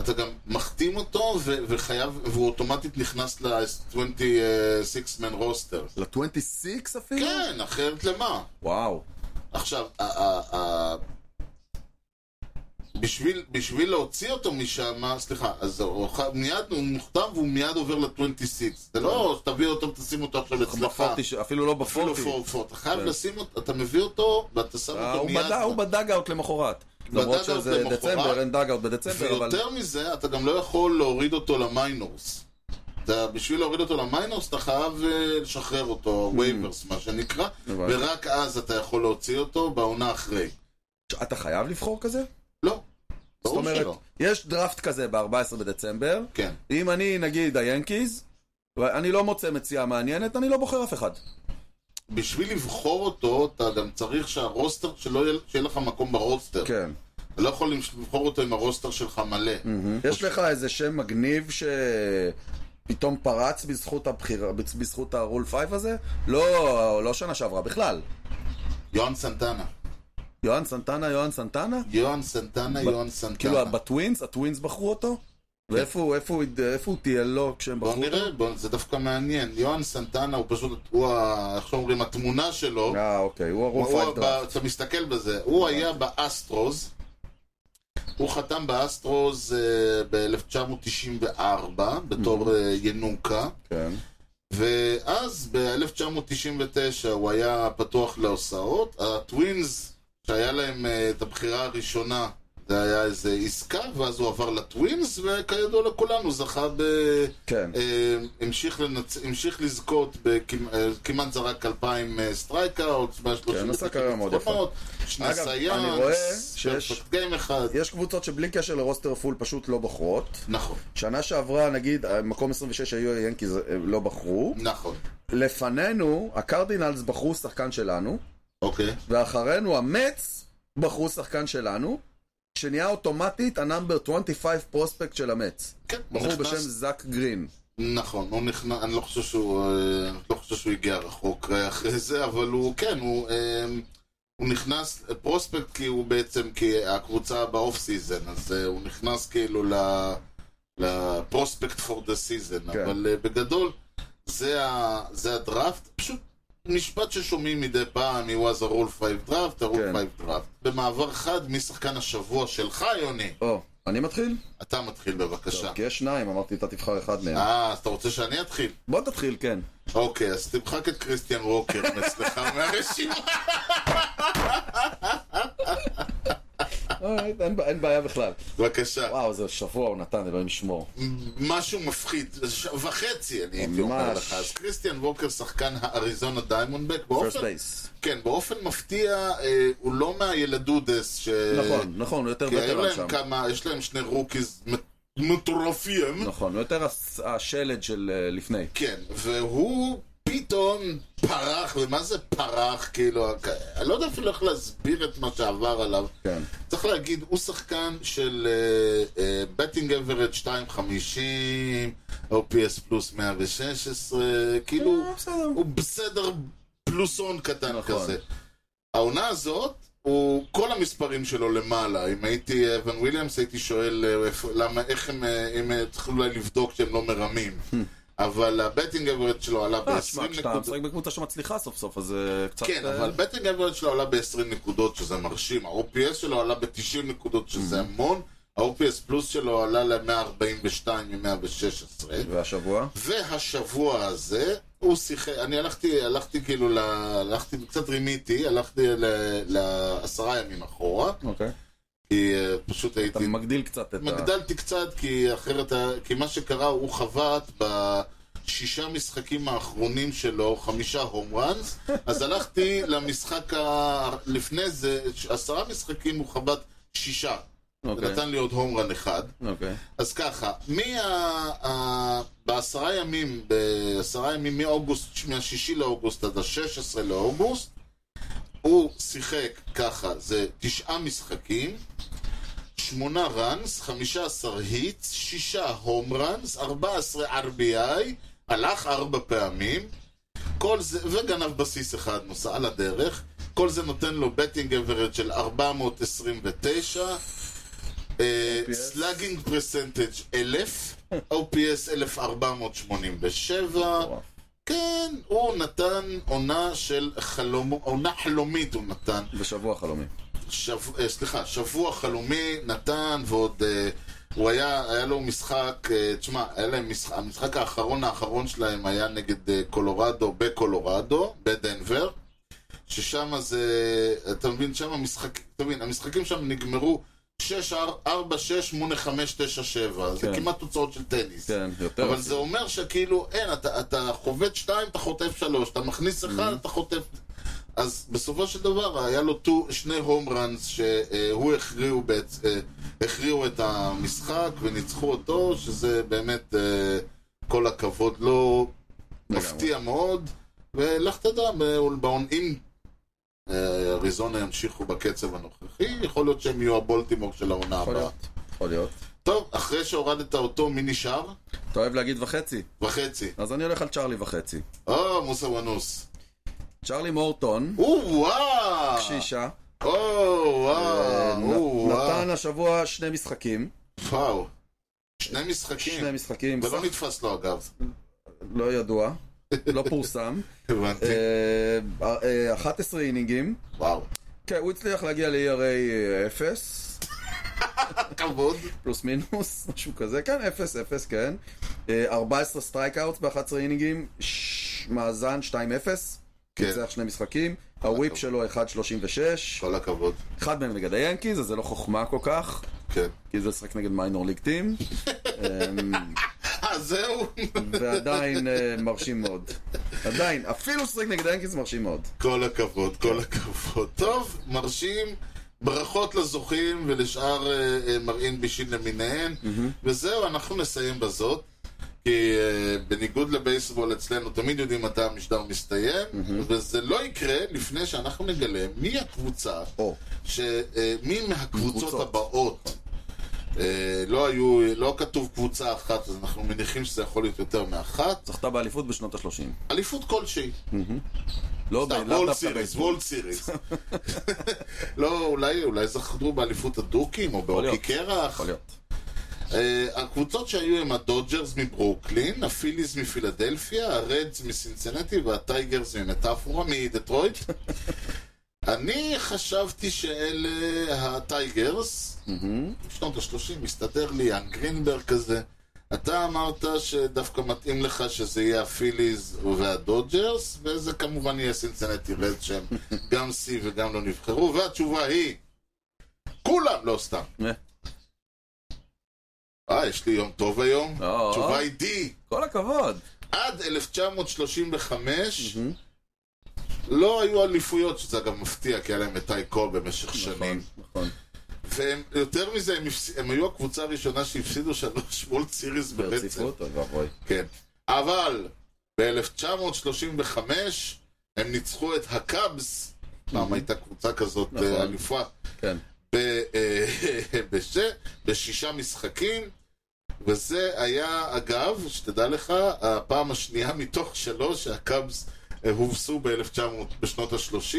Speaker 2: אתה גם מחתים אותו ו- וחייב, והוא אוטומטית נכנס ל-26 man roster.
Speaker 1: ל-26 אפילו?
Speaker 2: כן, אחרת למה?
Speaker 1: וואו.
Speaker 2: עכשיו, ה- ה- ה- בשביל, בשביל להוציא אותו משם, סליחה, אז הוא ח- מיד הוא מוכתב והוא מיד עובר ל-26. זה לא שתביא אותו ותשים אותו עכשיו אצלך.
Speaker 1: בפורטי- אפילו לא
Speaker 2: אפילו
Speaker 1: בפורטי.
Speaker 2: פור- פור. אתה חייב
Speaker 1: כן.
Speaker 2: לשים אותו, אתה מביא אותו ואתה שם
Speaker 1: אה,
Speaker 2: אותו
Speaker 1: הוא
Speaker 2: מיד.
Speaker 1: בדג- הוא בדאגאוט למחרת. למרות
Speaker 2: בדאגאוט
Speaker 1: שזה
Speaker 2: למחרת.
Speaker 1: דצמבר, אין דאגאוט בדצמבר, אבל...
Speaker 2: ויותר מזה, אתה גם לא יכול להוריד אותו למיינורס. אתה, בשביל להוריד אותו למיינורס, אתה חייב אה, לשחרר אותו, ווייברס, מה שנקרא,
Speaker 1: Hmm. הבנתי.
Speaker 2: ורק אז אתה יכול להוציא אותו בעונה אחרי.
Speaker 1: אתה חייב לבחור כזה?
Speaker 2: לא,
Speaker 1: זאת
Speaker 2: ברור
Speaker 1: אומרת,
Speaker 2: שלא.
Speaker 1: יש דראפט כזה ב-14 בדצמבר,
Speaker 2: כן.
Speaker 1: אם אני, נגיד, היאנקיז, אני לא מוצא מציאה מעניינת, אני לא בוחר אף אחד.
Speaker 2: בשביל לבחור אותו, אתה גם צריך שהרוסטר, שלא יהיה, שיהיה לך מקום ברוסטר.
Speaker 1: כן.
Speaker 2: אתה לא יכול לבחור אותו אם הרוסטר שלך מלא.
Speaker 1: יש לך איזה שם מגניב שפתאום פרץ בזכות הבחירה, בז- בזכות הרול פייב הזה? לא, לא שנה שעברה בכלל.
Speaker 2: יוהן סנטנה.
Speaker 1: יוהן סנטנה, יוהן סנטנה?
Speaker 2: יוהן סנטנה, יוהן סנטנה.
Speaker 1: כאילו, בטווינס, הטווינס בחרו אותו? ואיפה הוא- איפה הוא הד- איפה הוא טייל לו כשהם
Speaker 2: בוא
Speaker 1: בחרו אותו?
Speaker 2: נראה, בוא, זה דווקא מעניין. יוהן סנטנה הוא פשוט, הוא, ה- איך שאומרים, התמונה שלו.
Speaker 1: אה, אוקיי, הוא הרול
Speaker 2: הוא
Speaker 1: פייב דראפט.
Speaker 2: ב- אתה מסתכל בזה, הוא
Speaker 1: כן.
Speaker 2: היה באסטרוס, הוא חתם באסטרוס אה, ב-1994 בתור אה, ינוקה,
Speaker 1: כן.
Speaker 2: ואז ב-1999 הוא היה פתוח להוסעות, הטווינס שהיה להם אה, את הבחירה הראשונה זה היה איזה עסקה, ואז הוא עבר לטווינס, וכידוע לכולנו זכה ב...
Speaker 1: כן.
Speaker 2: אה, המשיך, לנצ... המשיך לזכות בכמעט כמעט זרק אה, 2,000 סטרייקאוט,
Speaker 1: כן, עשה קריירה מאוד יפה.
Speaker 2: שני
Speaker 1: אגב,
Speaker 2: סייאנס,
Speaker 1: אני רואה שיש-
Speaker 2: פרפקט גיים אחד.
Speaker 1: יש קבוצות שבלי קשר לרוסטר פול פשוט לא בוחרות.
Speaker 2: נכון,
Speaker 1: שנה שעברה, נגיד, מקום 26 היו היאנקיז, הם לא בחרו.
Speaker 2: נכון,
Speaker 1: לפנינו, הקרדינלס בחרו שחקן שלנו,
Speaker 2: אוקיי.
Speaker 1: ואחרינו המץ בחרו שחקן שלנו, שנהיה אוטומטית הנאמבר 25 פרוספקט של המץ.
Speaker 2: כן, הוא
Speaker 1: בחור
Speaker 2: נכנס-
Speaker 1: בשם זאק גרין.
Speaker 2: נכון, הוא נכנס, אני לא חושב שהוא, אה, לא חושב שהוא הגיע רחוק אה, אחרי זה, אבל הוא, כן, הוא, אה, הוא נכנס אה, פרוספקט כי הוא בעצם, כי הקבוצה באוף סיזן, אז אה, הוא נכנס כאילו ל... לפרוספקט פור דה סיזן,
Speaker 1: כן.
Speaker 2: אבל אה, בגדול זה, ה, זה הדראפט, פשוט משפט ששומעים מדי פעם, he was a rule 5 draft, a rule
Speaker 1: כן.
Speaker 2: 5 draft. במעבר חד, מי שחקן השבוע שלך, יוני?
Speaker 1: או, אני מתחיל?
Speaker 2: אתה מתחיל בבקשה.
Speaker 1: כי יש שניים, אמרתי, אתה תבחר אחד מהם.
Speaker 2: אה, אז אתה רוצה שאני אתחיל?
Speaker 1: בוא תתחיל, כן.
Speaker 2: אוקיי, אז תמחק את קריסטיאן רוקר <laughs> אצלך מהרשימה.
Speaker 1: אה, אין בע- אין בעיה בכלל.
Speaker 2: בבקשה.
Speaker 1: וואו, זה שבוע הוא נתן, אלוהים ישמור.
Speaker 2: אוקיי. משהו מפחיד, ש- וחצי אני הייתי אומר
Speaker 1: ממש.
Speaker 2: לך. אז קריסטיאן רוקר, שחקן האריזונה דיימונדבק,
Speaker 1: פרסט
Speaker 2: באופן...
Speaker 1: בייס.
Speaker 2: כן, באופן מפתיע, אה, הוא לא מהילדודס ש...
Speaker 1: נכון, נכון, הוא יותר
Speaker 2: כי היו
Speaker 1: וטרן
Speaker 2: להם
Speaker 1: שם.
Speaker 2: כמה, יש להם שני רוקיז מ- מטורפים.
Speaker 1: נכון, הוא יותר הס- השלד של אה, לפני.
Speaker 2: כן, והוא פתאום פרח, ומה זה פרח? כאילו, אני לא יודע אפילו איך להסביר את מה שעבר עליו.
Speaker 1: כן.
Speaker 2: צריך להגיד, הוא שחקן של אה, בטינג אברד 250, OPS פלוס 116, כאילו,
Speaker 1: אה, בסדר.
Speaker 2: הוא בסדר פלוסון קטן
Speaker 1: נכון.
Speaker 2: כזה. העונה הזאת, הוא, כל המספרים שלו למעלה. אם הייתי אה, אבן וויליאמס, הייתי שואל אה, איפה- למה, איך הם, אה, הם אה, צריכים אולי לבדוק שהם לא מרמים. אבל הבטינג אברד שלו עלה
Speaker 1: אה, תשמע,
Speaker 2: ב-20
Speaker 1: כשאתה
Speaker 2: נקודות.
Speaker 1: משחק בקבוצה שמצליחה סוף סוף, אז אה, קצת...
Speaker 2: כן,
Speaker 1: אה,
Speaker 2: אבל בטינג אברד שלו עלה ב-20 נקודות, שזה מרשים. ה-OPS שלו עלה ב-90 נקודות, שזה המון. ה-OPS פלוס שלו עלה ל-142 מ-116.
Speaker 1: והשבוע?
Speaker 2: והשבוע הזה, הוא שיחק, אני הלכתי, הלכתי כאילו, ל... הלכתי, קצת רימיתי, הלכתי ל- לעשרה ימים אחורה,
Speaker 1: אוקיי.
Speaker 2: כי אה, פשוט הייתי...
Speaker 1: אתה מגדיל קצת את ה...
Speaker 2: מגדלתי קצת, כי אחרת, ה- כי מה שקרה, הוא חבט בשישה משחקים האחרונים שלו, חמישה הום ראנס, אז הלכתי למשחק ה... לפני זה, עשרה משחקים הוא חבט שישה.
Speaker 1: אוקיי.
Speaker 2: ונתן לי עוד הום רן אחד.
Speaker 1: אוקיי.
Speaker 2: אז ככה, מה... ה- בעשרה ימים, בעשרה ימים מאוגוסט, מהשישי לאוגוסט עד ה-16 לאוגוסט, הוא שיחק ככה, זה תשעה משחקים, שמונה ראנס, חמישה עשר היטס, שישה הום ראנס, ארבע עשרה RBI, הלך ארבע פעמים, כל זה, וגנב בסיס אחד נוסע על הדרך, כל זה נותן לו בטינג אברד של 429, סלאגינג פרסנטג' 1000, OPS 1487,
Speaker 1: וואו.
Speaker 2: כן, הוא נתן עונה של חלום, עונה חלומית הוא נתן.
Speaker 1: בשבוע חלומי.
Speaker 2: שב, אה, סליחה, שבוע חלומי נתן ועוד... אה, הוא היה, היה לו משחק, אה, תשמע, היה להם משחק, המשחק האחרון האחרון שלהם היה נגד אה, קולורדו בקולורדו, בדנבר, ששם זה, אתה מבין, שם המשחק, אתה מבין, המשחקים שם נגמרו 6, 4, 6, 8, 5, 9, 7, זה
Speaker 1: כן.
Speaker 2: כמעט תוצאות של טניס.
Speaker 1: כן, יותר.
Speaker 2: אבל זה אומר שכאילו, אין, אתה, אתה חובט שתיים, אתה חוטף שלוש, אתה מכניס אחד, אתה חוטף... אז בסופו של דבר היה לו טו, שני הום ראנס שהוא הכריעו, בעצ... אה, הכריעו את המשחק וניצחו אותו, שזה באמת אה, כל הכבוד לו,
Speaker 1: לגמרי.
Speaker 2: מפתיע מאוד, ולך תדע, באולבאון, אם אה, אריזונה ימשיכו בקצב הנוכחי, יכול להיות שהם יהיו הבולטימור של העונה
Speaker 1: יכול
Speaker 2: הבאה.
Speaker 1: להיות. יכול להיות.
Speaker 2: טוב, אחרי שהורדת אותו, מי נשאר?
Speaker 1: אתה אוהב להגיד וחצי?
Speaker 2: וחצי.
Speaker 1: אז אני הולך על צ'ארלי וחצי.
Speaker 2: או, אה, מוסא ונוס.
Speaker 1: צ'ארלי מורטון,
Speaker 2: או, וואו!
Speaker 1: קשישה,
Speaker 2: או,
Speaker 1: אה,
Speaker 2: וואו! כן. או,
Speaker 1: נ-
Speaker 2: וואו!
Speaker 1: נתן השבוע שני משחקים.
Speaker 2: וואו. שני משחקים.
Speaker 1: שני משחקים.
Speaker 2: ולא
Speaker 1: סך-
Speaker 2: נתפס לו אגב.
Speaker 1: לא
Speaker 2: <laughs>
Speaker 1: ידוע. לא פורסם.
Speaker 2: הבנתי.
Speaker 1: אה, אה, 11 אינינגים.
Speaker 2: וואו.
Speaker 1: כן, הוא הצליח להגיע ל-ERA 0,
Speaker 2: כבוד.
Speaker 1: פלוס מינוס, <laughs> משהו כזה, כן, 0, 0, כן. אה, 14 סטרייקאוטס ב-11 אינינגים, ש- מאזן 2-0,
Speaker 2: כן.
Speaker 1: ניצח שני משחקים, הוויפ שלו 1.36,
Speaker 2: כל הכבוד.
Speaker 1: אחד מהם נגד היאנקיז, אז זה לא חוכמה כל כך,
Speaker 2: כן.
Speaker 1: כי זה לשחק נגד מיינור ליג
Speaker 2: <laughs>
Speaker 1: טים,
Speaker 2: אה, זהו.
Speaker 1: ועדיין אה, מרשים מאוד. עדיין, אפילו לשחק נגד היאנקיז מרשים מאוד.
Speaker 2: כל הכבוד, כל הכבוד. טוב, מרשים. ברכות לזוכים ולשאר אה, אה, מרעין בישין למיניהן. וזהו, אנחנו נסיים בזאת. כי אה, בניגוד לבייסבול אצלנו תמיד יודעים מתי המשדר מסתיים, וזה לא יקרה לפני שאנחנו נגלה מי הקבוצה
Speaker 1: או,
Speaker 2: שמי מהקבוצות
Speaker 1: קבוצות.
Speaker 2: הבאות אה, לא היו, לא כתוב קבוצה אחת, אז אנחנו מניחים שזה יכול להיות יותר מאחת.
Speaker 1: זכתה באליפות בשנות ה-30.
Speaker 2: אליפות כלשהי.
Speaker 1: לא, ב- לאו
Speaker 2: וולד
Speaker 1: דווקא
Speaker 2: סיריס,
Speaker 1: בייסבול.
Speaker 2: וולד סיריס. <laughs> לא, אולי, אולי זכרו באליפות הדורקים, או באוקי
Speaker 1: להיות.
Speaker 2: קרח.
Speaker 1: יכול להיות.
Speaker 2: אה, הקבוצות שהיו הם הדודג'רס מברוקלין, הפיליז מפילדלפיה, הרדס מסינסנטי והטייגרס ממטאפורה מדטרויט. אני חשבתי שאלה הטייגרס, שנות ה-30, מסתדר לי, יאן גרינברג כזה. אתה אמרת שדווקא מתאים לך שזה יהיה הפיליז והדודג'רס, וזה כמובן יהיה סינסנטי רדס שהם גם שיא וגם לא נבחרו, והתשובה היא, כולם, לא סתם.
Speaker 1: אה.
Speaker 2: אה, יש לי יום טוב היום?
Speaker 1: או.
Speaker 2: התשובה היא די.
Speaker 1: כל הכבוד.
Speaker 2: עד 1935 לא היו אליפויות, שזה אגב מפתיע, כי היה להם את טייקו במשך שנים.
Speaker 1: נכון.
Speaker 2: והם, יותר מזה, הם, הפס... הם היו הקבוצה הראשונה שהפסידו שלוש וולד סיריס ברצף.
Speaker 1: ברציפות, אוי ואבוי.
Speaker 2: כן. אבל ב-1935 הם ניצחו את הקאבס, פעם הייתה קבוצה כזאת
Speaker 1: נכון.
Speaker 2: אה, אלופה. <laughs>
Speaker 1: כן.
Speaker 2: ב- אה, <laughs> בש- בשישה משחקים, וזה היה, אגב, שתדע לך, הפעם השנייה <laughs> מתוך שלוש שהקאבס אה, הובסו ב-1900, בשנות ה-30,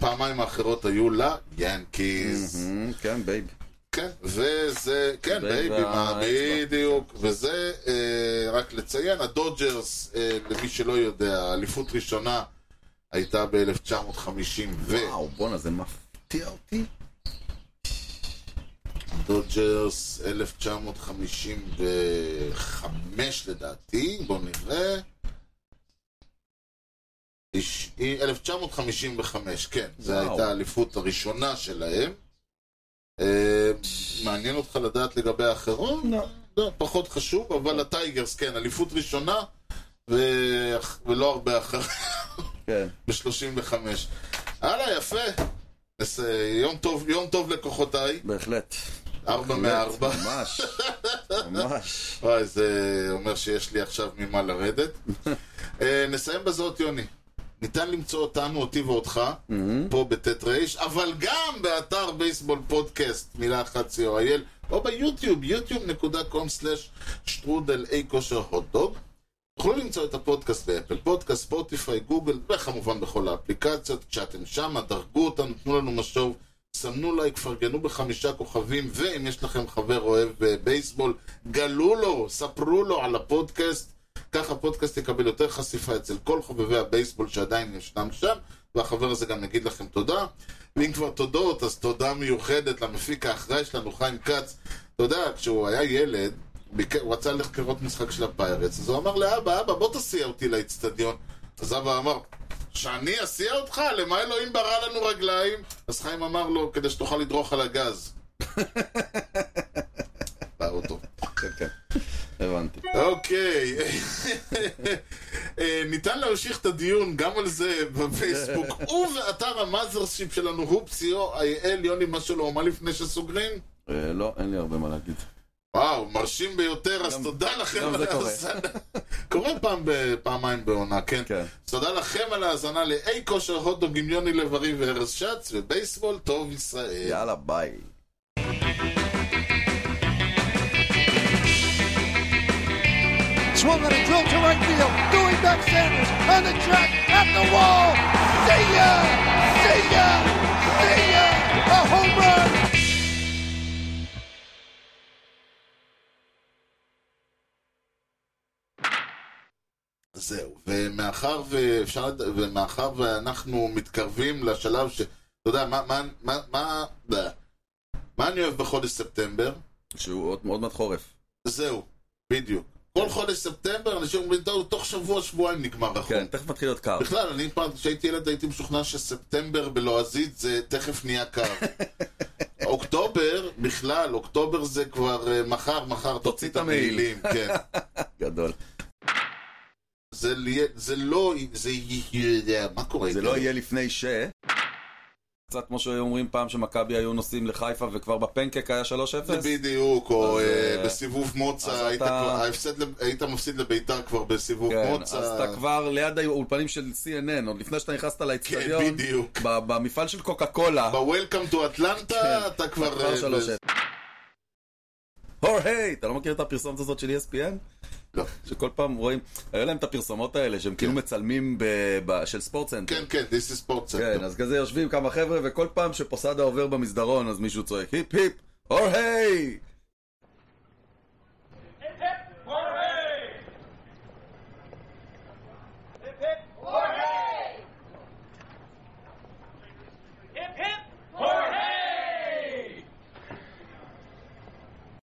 Speaker 2: פעמיים האחרות היו ליאנקיז.
Speaker 1: מהמם, כן, בייב.
Speaker 2: כן, וזה, כן,
Speaker 1: זה
Speaker 2: בייבי, מה,
Speaker 1: והאצבע.
Speaker 2: בדיוק, וזה, אה, רק לציין, הדודג'רס, אה, למי שלא יודע, אליפות ראשונה הייתה ב-1950,
Speaker 1: וואו, בואנה, זה מפתיע אותי.
Speaker 2: דודג'רס 1955 לדעתי, בואו נראה. איש- אה, 1955, כן, זו
Speaker 1: וואו.
Speaker 2: הייתה האליפות הראשונה שלהם. אה, מעניין אותך לדעת לגבי האחרות?
Speaker 1: לא.
Speaker 2: לא, פחות חשוב, אבל הטייגרס, כן, אליפות ראשונה, ו- ולא הרבה <laughs> אחרות.
Speaker 1: כן.
Speaker 2: ב-35. הלאה, יפה. אז, אה, יום טוב, יום טוב לכוחותיי.
Speaker 1: בהחלט.
Speaker 2: ארבע
Speaker 1: בהחלט,
Speaker 2: מארבע.
Speaker 1: ממש. ממש.
Speaker 2: וואי, זה אומר שיש לי עכשיו ממה לרדת. אה, נסיים בזאת, יוני. ניתן למצוא אותנו, אותי ואותך, פה בט' ר', אבל גם באתר בייסבול פודקאסט, מילה אחת co.il, או ביוטיוב, yוטיוב.com/שטרודל אי כושר הוטדוג. תוכלו למצוא את הפודקאסט באפל פודקאסט, ספוטיפיי, גוגל, וכמובן בכל האפליקציות. כשאתם שם, דרגו אותנו, תנו לנו משוב, סמנו לייק, פרגנו בחמישה כוכבים, ואם יש לכם חבר אוהב אה, בייסבול, גלו לו, ספרו לו על הפודקאסט. ככה הפודקאסט יקבל יותר חשיפה אצל כל חובבי הבייסבול שעדיין ישנם שם, והחבר הזה גם יגיד לכם תודה. ואם כבר תודות, אז תודה מיוחדת למפיק האחראי שלנו, חיים כץ. אתה יודע, כשהוא היה ילד, ביק... הוא רצה ללכת לראות משחק של הפיירטס, אז הוא אמר לאבא, אבא, בוא תסיע אותי לאצטדיון. אז אבא אמר, שאני אסיע אותך? למה אלוהים ברא לנו רגליים? אז חיים אמר לו, כדי שתוכל לדרוך על הגז. <laughs> באוטו.
Speaker 1: כן, כן. הבנתי.
Speaker 2: אוקיי. אוקיי. <laughs> אה, ניתן להמשיך את הדיון גם על זה בפייסבוק ובאתר המאזרשיפ שלנו, הופסי.או.איי.אל, יוני, מה שלא, מה לפני שסוגרים?
Speaker 1: אה, לא, אין לי הרבה מה להגיד.
Speaker 2: וואו, מרשים ביותר, אז
Speaker 1: גם-
Speaker 2: תודה לכם
Speaker 1: גם
Speaker 2: על
Speaker 1: זה קורה.
Speaker 2: ההאזנה. <laughs> קורה פעם ב- פעמיים בעונה, כן.
Speaker 1: כן.
Speaker 2: אז תודה לכם על ההאזנה לאי כושר הוטדוגים יוני לב-ארי וארז שץ, ובייסבול טוב ישראל.
Speaker 1: יאללה, ביי.
Speaker 6: Swung on a drill to right field. Doing back Sanders on the track at the wall. See ya! See ya! See ya! A home run!
Speaker 2: זהו, ומאחר, ואפשר, לד- ומאחר ואנחנו מתקרבים לשלב ש... אתה יודע, מה, מה, מה, מה, מה, מה אני אוהב בחודש ספטמבר?
Speaker 1: שהוא עוד- עוד מעט חורף.
Speaker 2: זהו, בדיוק.
Speaker 1: כן.
Speaker 2: כל חודש ספטמבר אנשים אומרים, "טוב, תוך שבוע, שבועיים נגמר החום.
Speaker 1: כן, תכף מתחיל להיות קר.
Speaker 2: בכלל, אני פעם, כשהייתי ילד הייתי משוכנע שספטמבר בלועזית זה תכף נהיה
Speaker 1: <laughs>
Speaker 2: קר. אוקטובר, בכלל, אוקטובר זה כבר אה, מחר, מחר, תוציא את המעילים,
Speaker 1: <laughs>
Speaker 2: כן.
Speaker 1: גדול.
Speaker 2: זה ליה- זה לא, זה יהיה, מה קורה?
Speaker 1: זה לא יהיה לפני ש... קצת כמו שאומרים פעם שמכבי היו נוסעים לחיפה וכבר בפנקק היה 3-0.
Speaker 2: בדיוק, או
Speaker 1: אז,
Speaker 2: אה,
Speaker 1: אה,
Speaker 2: בסיבוב מוצא,
Speaker 1: אז
Speaker 2: היית
Speaker 1: אתה-
Speaker 2: כבר- ההפסד לב- היית מפסיד לביתר כבר בסיבוב
Speaker 1: כן, אז
Speaker 2: מוצא.
Speaker 1: אתה כבר ליד האולפנים של CNN, עוד לפני שאתה נכנסת לאצטדיון.
Speaker 2: כן, בדיוק.
Speaker 1: ב- במפעל של קוקה קולה.
Speaker 2: ב-Welcome to
Speaker 1: כן,
Speaker 2: Atlanta, אתה כבר...
Speaker 1: כבר
Speaker 2: אה,
Speaker 1: 3-0. הוריי, אתה לא מכיר את הפרסומת הזאת של E ESPN?
Speaker 2: לא.
Speaker 1: שכל פעם רואים, היו להם את הפרסומות האלה שהם כאילו מצלמים ב- ב- של ספורטסנטר.
Speaker 2: כן, כן, this is sports.
Speaker 1: כן, אז כזה יושבים כמה חבר'ה, וכל פעם שפוסדה עובר במסדרון, אז מישהו צועק, היפ היפ, הוריי!